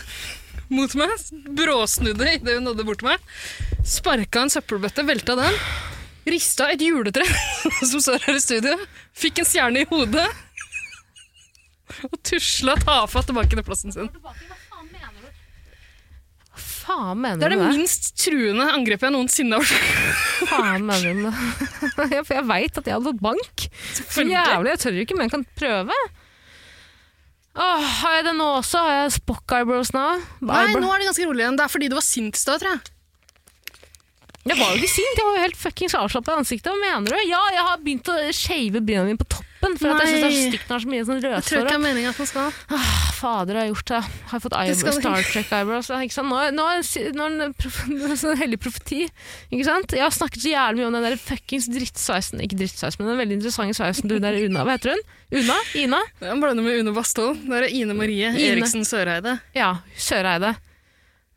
S3: mot meg. Bråsnudde idet hun nådde bort til meg. Sparka en søppelbøtte, velta den. Rista et juletre som står her i studio. Fikk en stjerne i hodet. Og tusla tafatt tilbake til plassen sin.
S2: Hva faen mener du? Hva faen mener
S3: Det
S2: du
S3: er det
S2: med det?
S3: minst truende angrepet jeg noensinne har hørt.
S2: Hva faen mener du med det? Ja, For jeg veit at jeg hadde fått bank. Så jævlig, jeg tør jo ikke, men jeg kan prøve. Åh, har jeg det nå også? Har jeg spock eyebrows nå?
S3: Nei,
S2: Eyebrow-
S3: nå er det ganske rolig igjen. Det er fordi du var sint i stad, tror jeg.
S2: Jeg var jo ikke sint, jeg var jo helt fuckings avslappa i ansiktet. Hva mener du? Ja, jeg har begynt å shave bryna mine på toppen, for at jeg syns det
S3: Nei.
S2: er stygt når det er så mye sånn
S3: Det tror jeg
S2: rødsår.
S3: ikke er meningen at man skal.
S2: Åh, Fader, har jeg gjort det? Har jeg fått
S3: Det skal
S2: eyebrows,
S3: du
S2: Star Trek-eyebrows? ja, ikke sant? Nå, nå, er- nå er det en prof- nå er det en sånn hellig profeti. Ikke sant? Jeg har snakket så jævlig mye om den der fuckings drittsveisen Ikke drittsveisen, men den veldig interessante sveisen til hun der Una. Hva heter hun? Una? Ina?
S3: Jeg blander med Une Bastholm. Det er Ine Marie
S2: Ine.
S3: Eriksen Søreide.
S2: Ja, Søreide.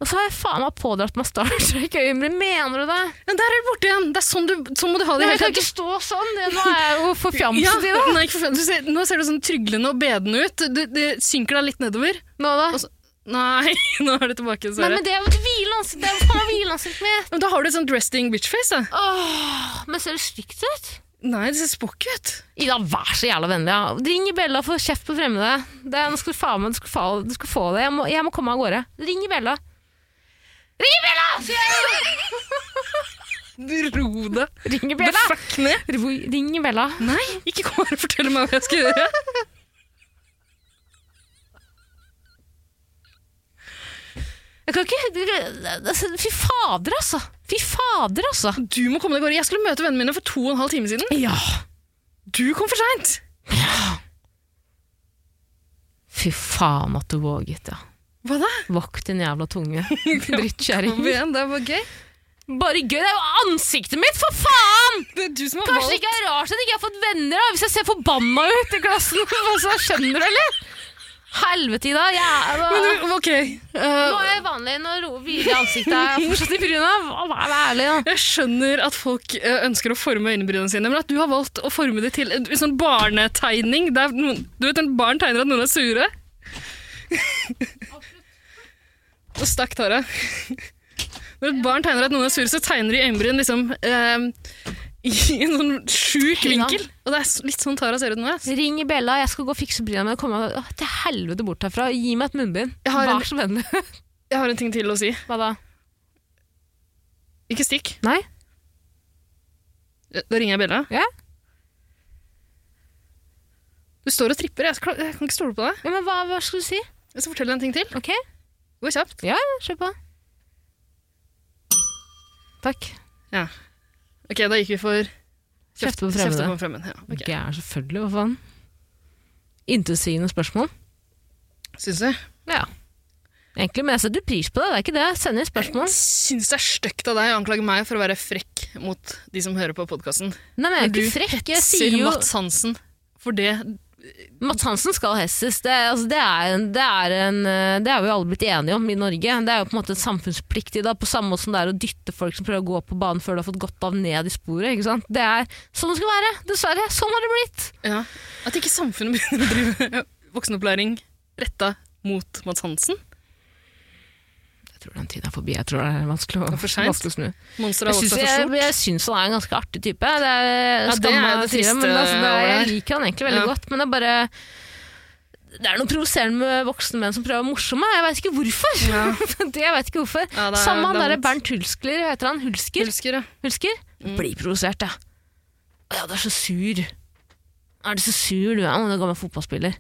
S2: Og så har jeg faen meg pådratt meg Star Trek-øyenbryn. Mener du det?
S3: Men der er det borte igjen! Det er sånn du, sånn må du ha det
S2: Nei,
S3: hele
S2: jeg kan
S3: tiden.
S2: ikke stå sånn! Det- Nå er jeg jo forfjamset i det.
S3: Nei, ikke for faen. Du ser, nå ser du sånn tryglende og bedende ut. Du, du synker deg litt nedover.
S2: Nå da.
S3: Og så- Nei, nå er det
S2: Nei,
S3: tilbake, Søre.
S2: men
S3: Men,
S2: det er jo et hvilende ansikt. Det er jo faen meg hvilende ansikt mitt.
S3: da har du et sånt resting bitch-face. da.
S2: Åh, men ser det stygt ut?
S3: Nei, det ser spokk ut.
S2: Ida, vær så jævla vennlig. Ja. Ring i Bella for kjeft på fremmede. Det er, nå skal du faen meg du skal, fa- du skal få det. Jeg må, jeg må komme av gårde. Ring i Bella. Ring i Bella! sier jeg!
S3: Du ro deg
S2: Ring i
S3: the
S2: Bella!
S3: fuck ned.
S2: Ro- Ring i Bella.
S3: Nei, ikke kom her og fortell meg hva jeg skal gjøre.
S2: Jeg kan ikke det- det- Fy fader, altså! Fy fader, altså!
S3: Du må komme deg av gårde. Jeg skulle møte vennene mine for to og en halv time siden.
S2: Ja.
S3: Du kom for seint!
S2: Fy faen at du våget, ja.
S3: Hva da?
S2: Vokt din jævla tunge.
S3: Kom
S2: Drittkjerring.
S3: igjen, det var gøy.
S2: Bare gøy! Det er jo ansiktet mitt, for faen!
S3: Det er du som har
S2: Kanskje det ikke er rart at jeg ikke har fått venner, da, hvis jeg ser forbanna ut i klassen. Altså, skjønner du, eller? Helvete, Ida. Jeg,
S3: Men du, ok.
S2: nå
S3: eh,
S2: er jeg vanlig. Nå ro- hviler ansiktet er fortsatt i bryna. Hva- Vær ærlig, da.
S3: jeg skjønner at folk eh, ønsker å forme øyenbrynene sine, men at du har valgt å forme det til en sånn barnetegning. Der noen, du vet, en barn tegner at noen er sure. Og stakk Tara. Når et barn tegner at noen er sure, så tegner de øyenbryn liksom eh, i en sånn sjuk
S2: Ja.
S3: vinkel. Og det er s- litt sånn Tara ser ut nå. ass.
S2: Ring i Bella, jeg skal gå og fikse bryna mine. og Komme meg Åh, til helvete bort herfra. Gi meg et munnbind.
S3: Jeg har en-
S2: Vær så vennlig.
S3: Jeg har en ting til å si.
S2: Hva da?
S3: Ikke stikk.
S2: Nei?
S3: Da ringer jeg Bella.
S2: Ja?
S3: Du står og tripper. Jeg, skal- jeg kan ikke stole på deg.
S2: ja men hva, hva skal du si?
S3: Jeg skal fortelle deg en ting til.
S2: Ok?
S3: Det går kjapt.
S2: Ja, ja, kjør på. Takk.
S3: Ok, da gikk vi for
S2: Kjefte på fremmede.
S3: Kjefte på fremmede, ja. Ok.
S2: Gæren, selvfølgelig. Hva faen? Intetsigende spørsmål.
S3: Syns du?
S2: Ja. Egentlig, men jeg setter pris på det. Det er ikke det. Send inn spørsmål.
S3: Syns det er stygt av deg å anklage meg for å være frekk mot de som hører på podkasten.
S2: Nei, men jeg er
S3: Du
S2: ikke frekk. Jeg
S3: Sier
S2: sier jo
S3: Mats Hansen. For det
S2: Mats Hansen skal hesses. Det, er- altså, det, er en, det, er en, eh, det er vi jo alle blitt enige om i Norge. Det er jo på en måte en samfunnsplikt i dag, på samme måte som det er å dytte folk som prøver å gå på banen før du har fått godt av, ned i sporet. Ikke sant? Det er sånn det skal være. Dessverre. Sånn har det blitt.
S3: ja, At ikke samfunnet begynner å drive voksenopplæring retta mot Mats Hansen.
S2: Jeg tror den tiden er forbi. Jeg tror det er vanskelig å,
S3: er for sent.
S2: vanskelig å snu.
S3: Monsteret
S2: Jeg
S3: har
S2: syns,
S3: vokst seg
S2: jeg,
S3: for stort.
S2: jeg syns han er en ganske artig type. Det er,
S3: Ja, det
S2: skammer
S3: er
S2: meg
S3: det
S2: å si det,
S3: triste
S2: men altså, det er,
S3: over
S2: jeg
S3: det.
S2: liker han egentlig veldig
S3: Ja.
S2: godt. Men det er bare Det er noe provoserende med voksne menn som prøver å være morsomme. Jeg veit ikke hvorfor.
S3: Ja.
S2: det jeg vet ikke hvorfor.
S3: Ja, det er-
S2: Samme han
S3: det er
S2: derre
S3: vondt.
S2: Bernt Hulsker, heter han Hulsker?
S3: Hulsker, ja.
S2: Hulsker?
S3: Mm.
S2: Blir provosert, jeg. Ja, du er så sur. Er du så sur, du er en gammel fotballspiller?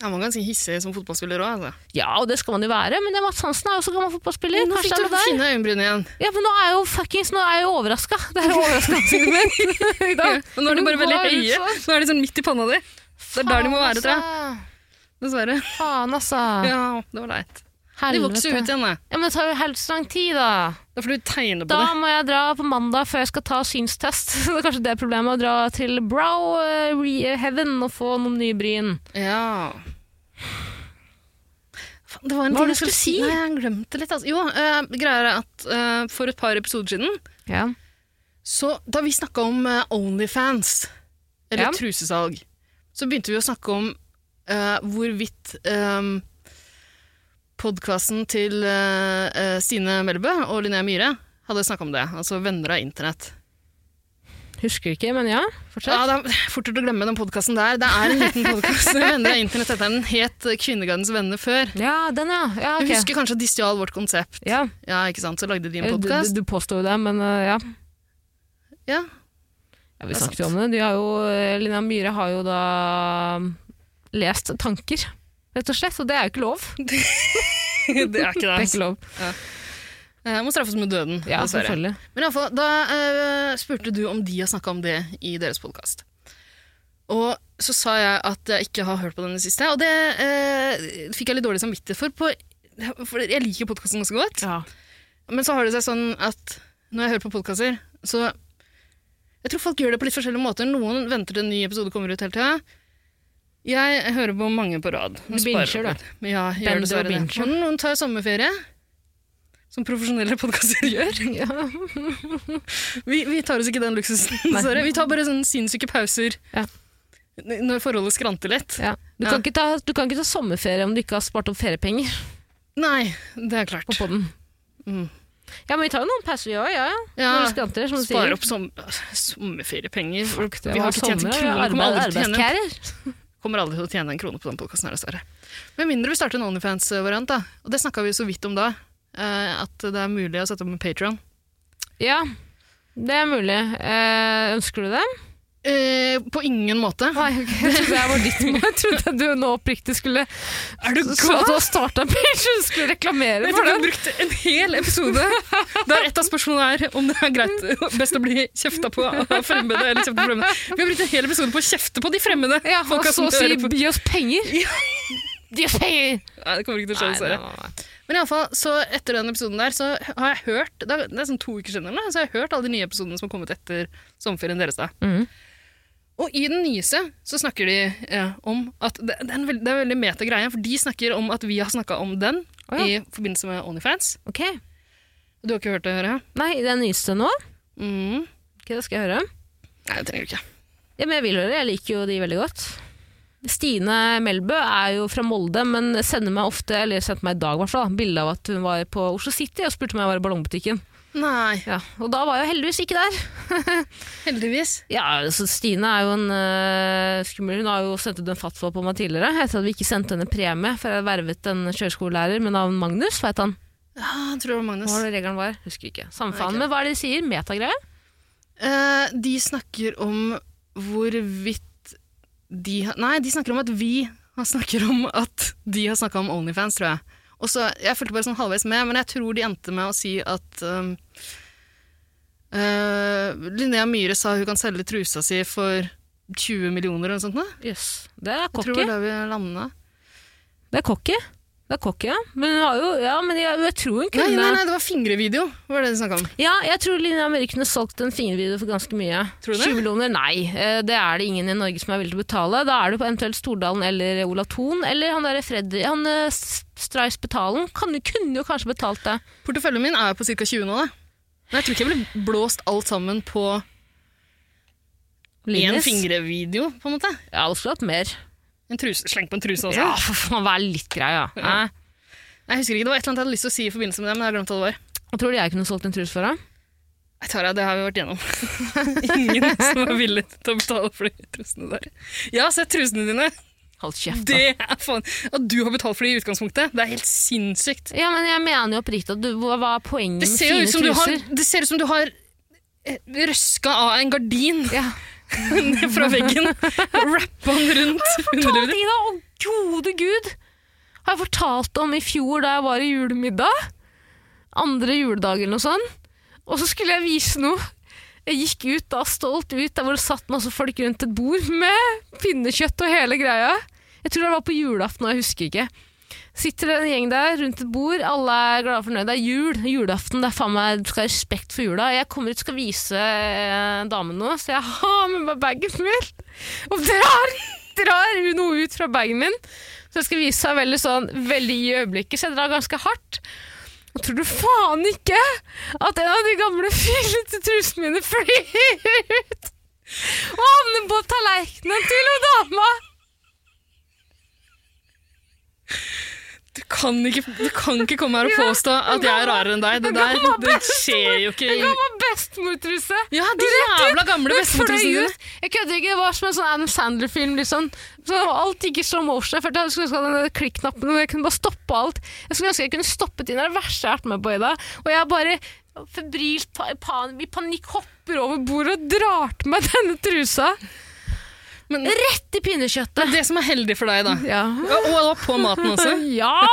S3: Han var ganske hissig som fotballspiller òg. Altså.
S2: Ja, og det skal man jo være, men det er Mads Hansen er jo også gammel fotballspiller.
S3: Nå
S2: Kanskje
S3: fikk
S2: det
S3: du
S2: er noe der?
S3: fine øyenbryn igjen.
S2: Ja, men nå er jeg jo fuckings Nå er jeg jo overraska. Det er jo overraskelsen min i dag.
S3: Og nå er de bare veldig
S2: Hva er det
S3: høye.
S2: for?
S3: Nå er de sånn midt i panna di. Det er der de må være, tror jeg. Dessverre.
S2: altså. Faen, altså.
S3: Ja, det var leit. De vokser jo ut igjen, da.
S2: Ja, men det tar jo helt så lang tid, da.
S3: Da får du tegne på
S2: Da
S3: det.
S2: må jeg dra på mandag før jeg skal ta synstest. Så det er kanskje det problemet, å dra til Brow eh, Re- Heaven og få noen nye bryn.
S3: Ja. Faen, Det var en
S2: Hva var
S3: ting
S2: det
S3: jeg skulle
S2: du
S3: si.
S2: skulle si?
S3: Nei, jeg glemte litt. Altså. Jo, eh, greier er at eh, for et par episoder siden,
S2: Ja.
S3: så da vi snakka om eh, Onlyfans, eller
S2: Ja.
S3: trusesalg, så begynte vi å snakke om eh, hvorvidt um, podkasten til eh, eh, Stine Melbø og Linnea Myhre hadde snakka om det. Altså venner av internett.
S2: Husker ikke, men ja.
S3: Ja,
S2: Fortsett.
S3: det er fortere å glemme den podkasten der. Det er en liten podkast. Venner av internett. Dette er den het Kvinnegardens venner før.
S2: Ja, den, ja. Ja, ok.
S3: Jeg husker kanskje at de stjal vårt konsept.
S2: Ja.
S3: Ja, ikke sant? Så lagde de en
S2: Du,
S3: podkast.
S2: du påstår jo det, men eh, ja.
S3: Ja.
S2: Ja, vi
S3: Det er
S2: snakket jo om det. De har jo, eh, Linnea Myhre har jo da mm, lest tanker, rett og slett, og det er jo ikke lov. Det
S3: det er ikke det.
S2: er
S3: Altså.
S2: ikke lov.
S3: Eh, må straffes med døden,
S2: Ja,
S3: dessverre.
S2: selvfølgelig.
S3: Men iallfall, da eh, spurte du om de har snakka om det i deres podkast. Og så sa jeg at jeg ikke har hørt på den i det siste, og det eh, fikk jeg litt dårlig samvittighet for. På, for jeg liker podkasten ganske godt.
S2: Ja.
S3: Men så har det seg sånn at når jeg hører på podkaster, så Jeg tror folk gjør det på litt forskjellige måter. Noen venter til en ny episode kommer ut hele tida. Jeg hører på mange på rad.
S2: Du binger, da.
S3: Ja, jeg
S2: Bender
S3: gjør dessverre
S2: og
S3: det.
S2: binger.
S3: Og noen tar sommerferie, som profesjonelle podkaster gjør. Vi, vi tar oss ikke den luksusen,
S2: Nei.
S3: dessverre. Vi tar bare sånne sinnssyke pauser
S2: Ja.
S3: n- når forholdet skranter litt.
S2: Ja. Du,
S3: Ja.
S2: kan ikke ta, du kan ikke ta sommerferie om du ikke har spart opp feriepenger
S3: Nei, det er
S2: på
S3: klart.
S2: podden.
S3: Mm.
S2: Ja, men vi tar jo noen pauser, vi òg. Ja, ja. Når vi skranter, som du
S3: Spare
S2: sier.
S3: opp som, sommerferiepenger.
S2: Fuck, det
S3: vi
S2: var
S3: har ikke tjent en
S2: sommer,
S3: krone.
S2: ja.
S3: Kommer
S2: Arbeid,
S3: aldri til å tjene
S2: arbeidskærer.
S3: kommer aldri til å tjene en krone på den podkasten her, dessverre. Med mindre vi starter en Onlyfans-variant, da. Og det snakka vi jo så vidt om da. eh, At det er mulig å sette opp en Patreon.
S2: Ja, det er mulig. Eh, ønsker du det?
S3: Eh, på ingen måte.
S2: Nei, ok. Jeg trodde jeg var ditt mål. Jeg trodde du nå oppriktig skulle
S3: Er du
S2: Så at du har starta en page, skulle reklamere
S3: Jeg
S2: for
S3: tror du
S2: det.
S3: har brukt en hel episode der ett av spørsmålene er om det er greit best å bli kjefta på av fremmede eller kjefta på fremmede. Vi har brukt en hel episode på å kjefte på de fremmede.
S2: Ja, og
S3: folka
S2: så
S3: som
S2: si
S3: hører på-
S2: 'gi oss penger'. Gi oss penger!
S3: Nei, det kommer ikke til å
S2: Nei,
S3: skje,
S2: nei,
S3: dessverre.
S2: nei, nei.
S3: Men iallfall, så etter den episoden der, så har jeg hørt Det er, det er sånn to uker siden, eller noe, så har jeg hørt alle de nye episodene som har kommet etter sommerferien deres. da.
S2: Mhm.
S3: Og i den nyeste så snakker de eh, om at det, det, er en veld, det er en veldig meta greie, for de snakker om at vi har snakka om den
S2: Å ja.
S3: i forbindelse med Onlyfans.
S2: Ok.
S3: Du har ikke hørt det, hører jeg?
S2: Nei, det er nyeste nå.
S3: Mhm.
S2: Ok, det skal jeg høre.
S3: Nei, det trenger du ikke.
S2: Ja, men jeg vil høre. Jeg liker jo de veldig godt. Stine Melbø er jo fra Molde, men sender meg ofte, eller sendte meg i dag i hvert fall, da, bilde av at hun var på Oslo City og spurte om jeg var i ballongbutikken.
S3: Nei,
S2: Ja, og da var jeg jo heldigvis ikke der.
S3: heldigvis.
S2: Ja, altså Stine er jo en øh, skummel Hun har jo sendt ut en fatwa på meg tidligere, etter at vi ikke sendte henne premie, for jeg vervet en kjøreskolelærer med navn Magnus, veit han.
S3: Ja, jeg tror det var
S2: Hva
S3: Magnus.
S2: var det regelen var? Husker ikke. Samme
S3: Nei,
S2: faen.
S3: ikke.
S2: Men hva er det de sier? Metagreie?
S3: Eh, de snakker om hvorvidt de har Nei, de snakker om at vi har snakker om at de har snakka om Onlyfans, tror jeg. Og så, Jeg fulgte bare sånn halvveis med, men jeg tror de endte med å si at um, eh, Linnea Myhre sa hun kan selge trusa si for 20 millioner eller noe sånt. nå.
S2: Jøss. Det er
S3: Jeg tror det
S2: cocky.
S3: var der vi landa.
S2: Det er cocky. Det er cocky, ja. Men hun har jo Ja, men jeg, jeg tror hun
S3: Nei,
S2: kunne
S3: nei, nei, det var fingrevideo. var det de snakket om.
S2: Ja, jeg tror Linnea Myhre kunne solgt en fingervideo for ganske mye.
S3: Tror du det?
S2: 20 millioner? Nei, eh, det er det ingen i Norge som er villig til å betale. Da er det på eventuelt Stordalen eller Olav Thon, eller han derre Fredrik Han eh, S- Streis Betalen kan, kunne jo kanskje betalt det.
S3: Porteføljen min er på ca. 20 nå. da. Men jeg tror ikke jeg ville blåst alt sammen på én
S2: Linus?
S3: fingrevideo, på en måte.
S2: Ja, det skulle hatt mer.
S3: En truse, sleng på en truse også?
S2: Ja, for faen, vær litt grei, ja.
S3: Ja.
S2: Eh,
S3: Jeg husker ikke, Det var et eller annet jeg hadde lyst til å si i forbindelse med det, men jeg har glemt hva det var.
S2: Og tror du jeg kunne solgt en trus for deg?
S3: Jeg tar av, det har vi vært gjennom. Ingen som var villig til å betale for de trusene der. Jeg har sett trusene dine!
S2: Hold kjeft, da.
S3: Det er faen At du har betalt for de i utgangspunktet, det er helt sinnssykt.
S2: Ja, men jeg mener jo oppriktig at du, hva hva er poenget
S3: Det
S2: med
S3: ser jo
S2: fine
S3: ut som du har,
S2: truser?
S3: det ser ut som du har eh, røska av en gardin
S2: Ja.
S3: ned fra veggen og rappa den rundt
S2: Fortalt
S3: underlivet ditt.
S2: Ida, å gode gud! Har jeg fortalt om i fjor da jeg var i julemiddag? Andre juledag eller noe sånt. Og så skulle jeg vise noe. Jeg gikk ut da, stolt ut, der hvor det satt masse folk rundt et bord med pinnekjøtt og hele greia. Jeg tror det var på julaften, og jeg husker ikke. Sitter det en gjeng der rundt et bord, alle er glade og fornøyde. Det er jul, julaften, det er faen meg, du skal ha respekt for jula. Jeg kommer ut og skal vise eh, damen noe, så jeg har med meg bagen min. Og drar, drar hun noe ut fra bagen min. Så jeg skal vise seg veldig sånn, veldig i øyeblikket, så jeg drar ganske hardt. Og tror du faen ikke at en av de gamle filete trusene mine flyr ut og havner på tallerkenen til hun dama?
S3: Du kan, ikke, du kan ikke komme her og påstå at jeg er rarere enn deg. Det der det skjer jo ikke.
S2: En
S3: i-
S2: gammel bestemortruse.
S3: Ja, de jævla gamle
S2: Den fløy
S3: bestemortrusene dine.
S2: ut. Jeg kødder ikke, det var som en sånn Adam Sandler-film. liksom. Så Alt gikk i slow motion. Jeg følte jeg skulle ønske jeg hadde den klikk-knappen, og jeg kunne bare stoppe alt. Jeg skulle ønske jeg kunne stoppet inn. Det er det verste jeg har vært med på i dag. Og jeg bare febrilt pa- pan, i panikk hopper over bordet og drar til meg denne trusa.
S3: Men-
S2: Rett i pinnekjøttet.
S3: Det som er heldig for deg, da.
S2: Ja.
S3: Og og det var på maten også.
S2: ja!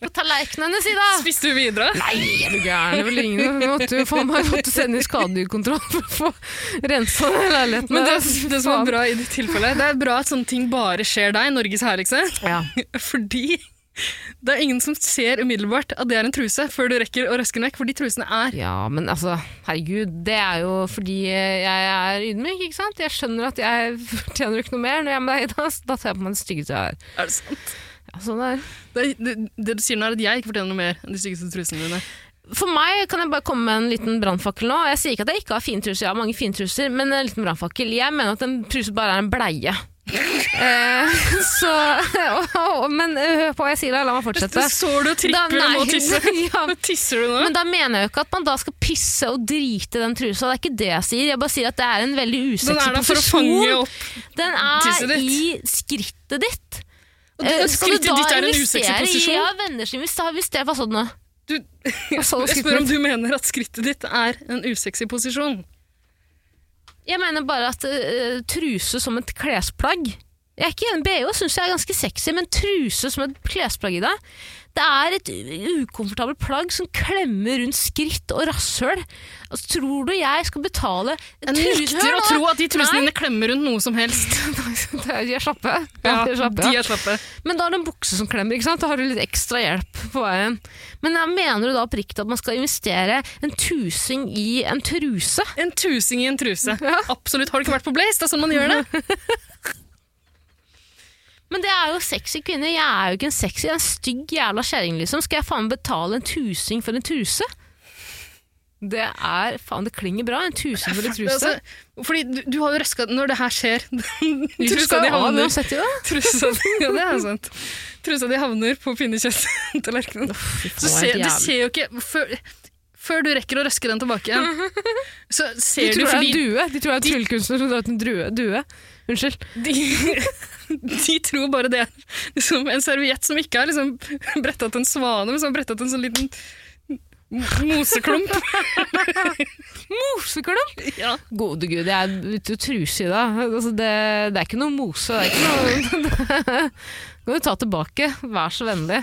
S2: På tallerkenen hennes, Ida.
S3: Spiste du videre?
S2: Nei, er du gæren? Det var lignende. Vi måtte jo faen meg måtte sende i skadedyrkontroll for å få rensa den leiligheten.
S3: Men det,
S2: der.
S3: det som
S2: Faen.
S3: er bra i ditt tilfelle, det er bra at sånne ting bare skjer deg, Norges herligste.
S2: Ja.
S3: Fordi det er ingen som ser umiddelbart at det er en truse før du rekker å røske den vekk, for de trusene er
S2: Ja, men altså, herregud, det er jo fordi eh, jeg er ydmyk, ikke sant? Jeg skjønner at jeg fortjener jo ikke noe mer når jeg er med deg, da, så da tar jeg på meg den styggeste jeg har.
S3: Er det sant?
S2: Ja, sånn er det.
S3: Det, det, det du sier nå, er at jeg ikke fortjener noe mer enn de styggeste trusene dine.
S2: For meg kan jeg bare komme med en liten brannfakkel nå. Jeg sier ikke at jeg ikke har fine truser, jeg har mange fine truser, men en liten brannfakkel. Jeg mener at en truse bare er en bleie. eh, så, og- og- men eh, hør på hva jeg sier, da. La meg
S3: Så
S2: fortsette.
S3: sår du
S2: Da-
S3: og tripper og
S2: nei,
S3: må tisse.
S2: ja,
S3: Nå Tisser du nå?
S2: Men da mener jeg jo ikke at man da skal pisse og drite den trusa. Det er ikke det jeg sier. Jeg bare sier at det er en veldig
S3: Den
S2: usexy
S3: er der for å fange opp.
S2: Den
S3: tisset
S2: er
S3: ditt.
S2: i skrittet ditt.
S3: Og det-
S2: Eh, skal du
S3: skrittet
S2: da
S3: ditt er en
S2: investere
S3: usexy
S2: i-
S3: posisjon.
S2: Ja, venner som hvis hvis det Hva sa du nå?
S3: Du,
S2: Hva sa du,
S3: jeg spør om du mener at skrittet ditt er en usexy posisjon.
S2: Jeg mener bare at eh, truse som et klesplagg Jeg er ikke enig. BH syns jeg er ganske sexy, men truse som et klesplagg i dag Det er et u- ukomfortabelt plagg som klemmer rundt skritt og rasshøl. Altså, tror du jeg skal betale
S3: Jeg
S2: Truse-
S3: nekter
S2: Hør
S3: å
S2: nå!
S3: tro at de trusene dine klemmer rundt noe som helst.
S2: Det er- De er slappe. Ja,
S3: Ja,
S2: de er slappe.
S3: de er slappe.
S2: Men da er det en bukse som klemmer, ikke sant? Da har du litt ekstra hjelp på veien. Men jeg mener du da oppriktig at man skal investere en tusing i en truse?
S3: En tusing i en truse. Absolutt. Har du ikke vært på Blaze? Det er sånn man gjør det.
S2: Men det er jo sexy kvinner. Jeg er jo ikke en sexy, jeg er en stygg jævla kjerring, liksom. Skal jeg faen meg betale en tusing for en truse? Det er Faen, det klinger bra. En tusing for en truse.
S3: Altså, fordi du, du har jo røska Når det her skjer
S2: Du
S3: Trusa
S2: skal jo
S3: di
S2: av
S3: havner
S2: uansett, jo.
S3: Trusa di ja, det er sant. Trusa di havner på pinnekjøtttallerkenen. Så ser, du ser jo ikke før, før du rekker å røske den tilbake igjen, så
S2: De
S3: ser
S2: tror
S3: du,
S2: jeg er en
S3: fordi
S2: due. De tror jeg er en tryllekunstner som drar ut en drue. due. Unnskyld.
S3: de, de tror bare det er liksom en serviett som ikke er liksom bretta til en svane, men som er bretta til en sånn liten moseklump.
S2: Moseklump!
S3: Ja.
S2: Gode gud, jeg er ute og truse i dag. Altså, det, det er ikke noe mose. Det er ikke noe Det kan du ta tilbake. Vær så vennlig.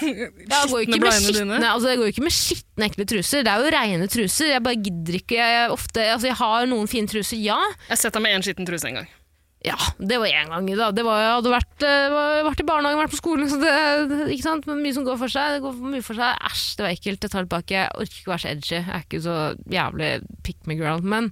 S2: Jeg går ikke med
S3: blindene dine.
S2: skitne, altså jeg går ikke med skitne, ekle truser. Det er jo reine truser. Jeg bare gidder ikke. Jeg, er ofte, altså jeg har noen fine truser, ja.
S3: Jeg har sett deg med én skitten truse en gang.
S2: Ja, det var én gang i dag. Det var, jeg hadde vært, eh, var- vært i barnehagen, vært på skolen. Så det, ikke sant? Men mye som går for seg. Det går for mye for seg. Æsj, det var ekkelt. Jeg tar det tilbake. Jeg orker ikke å være så edgy. Jeg er ikke så jævlig pick me girl. Men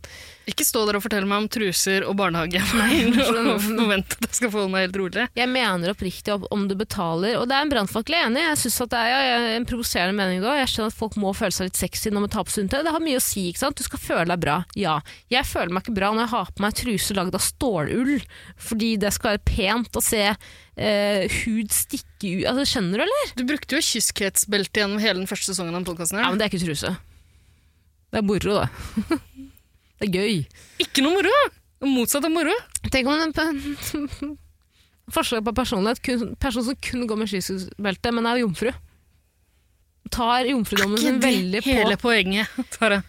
S3: Ikke stå der og fortell meg om truser og barnehage. og forvent at jeg skal forholde meg helt rolig.
S2: Jeg mener oppriktig opp- om du betaler, og det er en brannfakkel jeg er enig i. Jeg synes at det er ja, jeg- en provoserende mening da. Jeg skjønner at folk må føle seg litt sexy når man tar på seg undertøy. Det har mye å si, ikke sant? Du skal føle deg bra. Ja. Jeg føler meg ikke bra når jeg har på meg truse lagd av stålull. gull, fordi det skal være pent å se eh, hud stikke ut altså, Skjønner du, eller?
S3: Du brukte jo kyskhetsbelte gjennom hele den første sesongen av podkasten.
S2: Ja,
S3: her.
S2: men det er ikke truse. Det er moro, det. det er gøy.
S3: Ikke noe moro! Motsatt av moro.
S2: Tenk om en pe- forskjell på personlighet. Kun, person som kun går med skiskutsbelte, men er jomfru. Tar jomfrudommen sin veldig på
S3: hele poenget, Tara?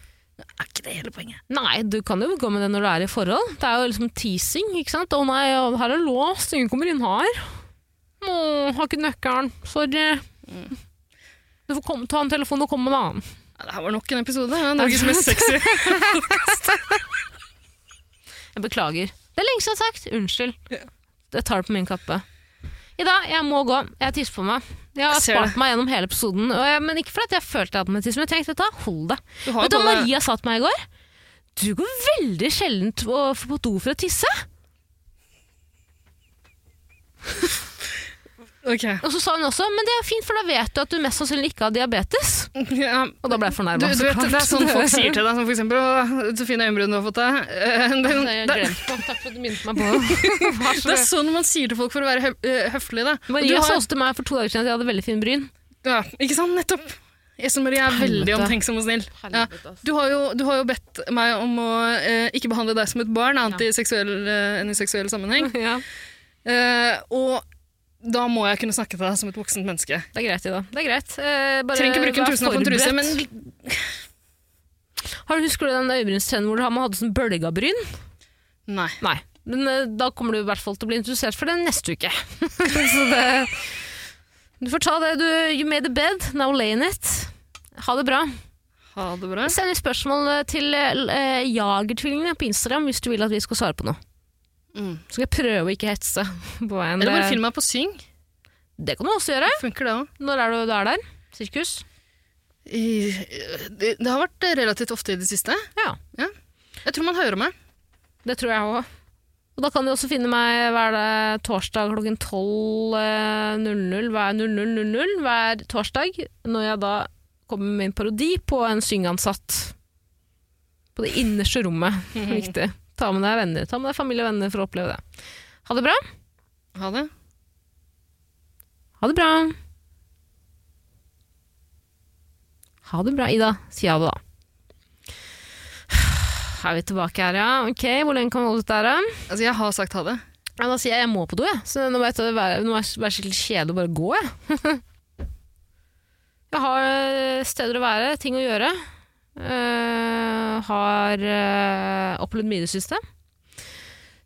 S3: Er ikke det hele poenget?
S2: Nei, du kan jo gå med det når du er i forhold. Det er jo liksom teasing, ikke sant? Å nei, ja, her er låst, ingen kommer inn her. Å, har ikke nøkkelen. Sorry. Du får komme, ta en telefon og komme med en annen.
S3: Ja, det her var nok en episode. Ja, Norges mest sexy.
S2: Jeg beklager. Det er lenge siden jeg har sagt. Unnskyld. Jeg tar det på min kappe. Ida, jeg må gå. Jeg tisser på meg. Jeg har
S3: Jeg ser
S2: spart
S3: det.
S2: meg gjennom hele episoden. Og jeg, men ikke fordi at jeg følte jeg hadde med tiss, men jeg tenkte, vet du hva, hold det.
S3: Du har jo
S2: Vet du hva
S3: både-
S2: Maria sa til meg i går? Du går veldig sjelden på på do for å tisse.
S3: Ok.
S2: Og så sa hun også, men det er fint, for da vet du at du mest sannsynlig ikke har diabetes.
S3: Ja.
S2: Og da ble jeg
S3: Du,
S2: fornærma.
S3: du vet, det er sånn folk sier til deg, som for eksempel «Å, så fine øyenbryn du har fått deg. Eh, Det,
S2: Jeg glemte
S3: det,
S2: det. Takk for at du minnet meg på det. Vær så
S3: det er
S2: god.
S3: sånn man sier til folk for å være hø eh, høflig. Da. Og du
S2: Maria sa
S3: har-
S2: også til meg for to dager siden at jeg hadde veldig fine bryn.
S3: ja, ikke sant? Nettopp. Esen Marie er veldig
S2: Helvete.
S3: omtenksom og snill. Ja. Du, har jo, du har jo bedt meg om å eh, ikke behandle deg som et barn, annet i seksuell, eh, enn i seksuell sammenheng.
S2: Ja, Mm.
S3: Eh, og da må jeg kunne snakke til deg som et voksent menneske.
S2: det er greit, Ida. Det er greit. Eh, bare
S3: Trenger ikke bruke en
S2: vær
S3: truse på en truse,
S2: forberedt.
S3: men
S2: Har du Husker du den øyebrynstrenden hvor du har- man hadde sånn bølgabryn?
S3: Nei.
S2: Nei. Men eh, da kommer du i hvert fall til å bli interessert for den neste uke. Så det Du får ta det. Du, you made the bed, now lay in it. Ha det bra.
S3: Ha det bra.
S2: Send inn spørsmål eh, til eh, Jagertvillingene på Instagram hvis du vil at vi skal svare på noe.
S3: Mm.
S2: Så skal jeg prøve å ikke hetse på veien.
S3: Eller bare
S2: Det-
S3: film meg på syng.
S2: Det kan du også gjøre.
S3: Funker det òg?
S2: Når er du du er der? Sirkus?
S3: Det, det har vært relativt ofte i det siste.
S2: Ja,
S3: Jeg tror man hører meg.
S2: det tror jeg òg. Og da kan du også finne meg hver eh, torsdag klokken eh, 12.00 hver 00.00 hver torsdag, når jeg da kommer med en parodi på en syngeansatt. På det innerste rommet. Viktig. Ta med deg venner. Ta med deg familie og venner for å oppleve det. Ha det bra.
S3: Ha det.
S2: Ha det bra. Ha det bra, Ida. Si ha det, da. Er vi tilbake her, ja? Ok, Hvor lenge kan vi holde ut der, da?
S3: Altså, jeg har sagt ha det.
S2: Ja, da sier jeg jeg må på do, jeg. Så nå vet jeg, vær- nå er det vær skikkelig kjedelig å bare gå, jeg. jeg har øh, steder å være, ting å gjøre. Øh, har øh, opplevd mye i det siste.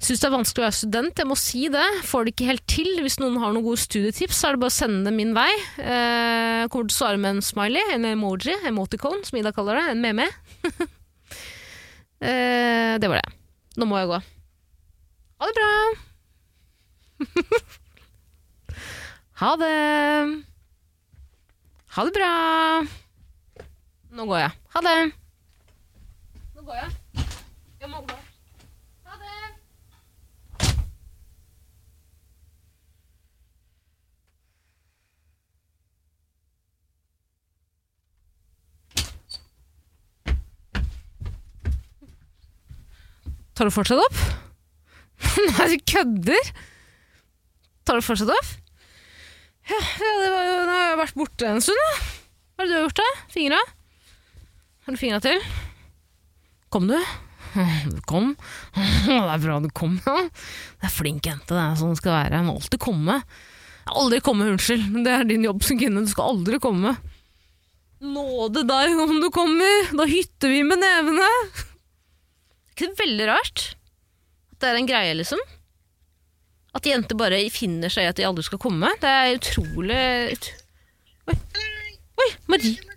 S2: Syns det er vanskelig å være student, jeg må si det. Får det ikke helt til. Hvis noen har noen gode studietips, så er det bare å sende dem min vei. Uh, kommer til å svare med en smiley, en emoji, emoticon, som Ida kaller det. En meme. Eh, det var det. Nå må jeg gå. Ha det bra! Ha det! Ha det bra! Nå går jeg. Ha det! Nå går jeg. Jeg må gå. Ha det! Tar du fortsatt opp? Nei, du kødder! Tar du fortsatt opp? Ja, det var jo, nå har jeg vært borte en stund, da. Hva er det du har gjort, da? Fingra? Har du fingra til? Kom du? Du kom. Det er bra du kom, ja. Det er flink jente, det er sånn det skal være. Jeg må alltid komme. Jeg har Aldri komme, unnskyld. men Det er din jobb som kvinne, du skal aldri komme. Nåde deg om du kommer, da hytter vi med nevene. Er ikke det veldig rart? At det er en greie, liksom? At jenter bare finner seg i at de aldri skal komme. Det er utrolig ut- Oi! Oi, Marie.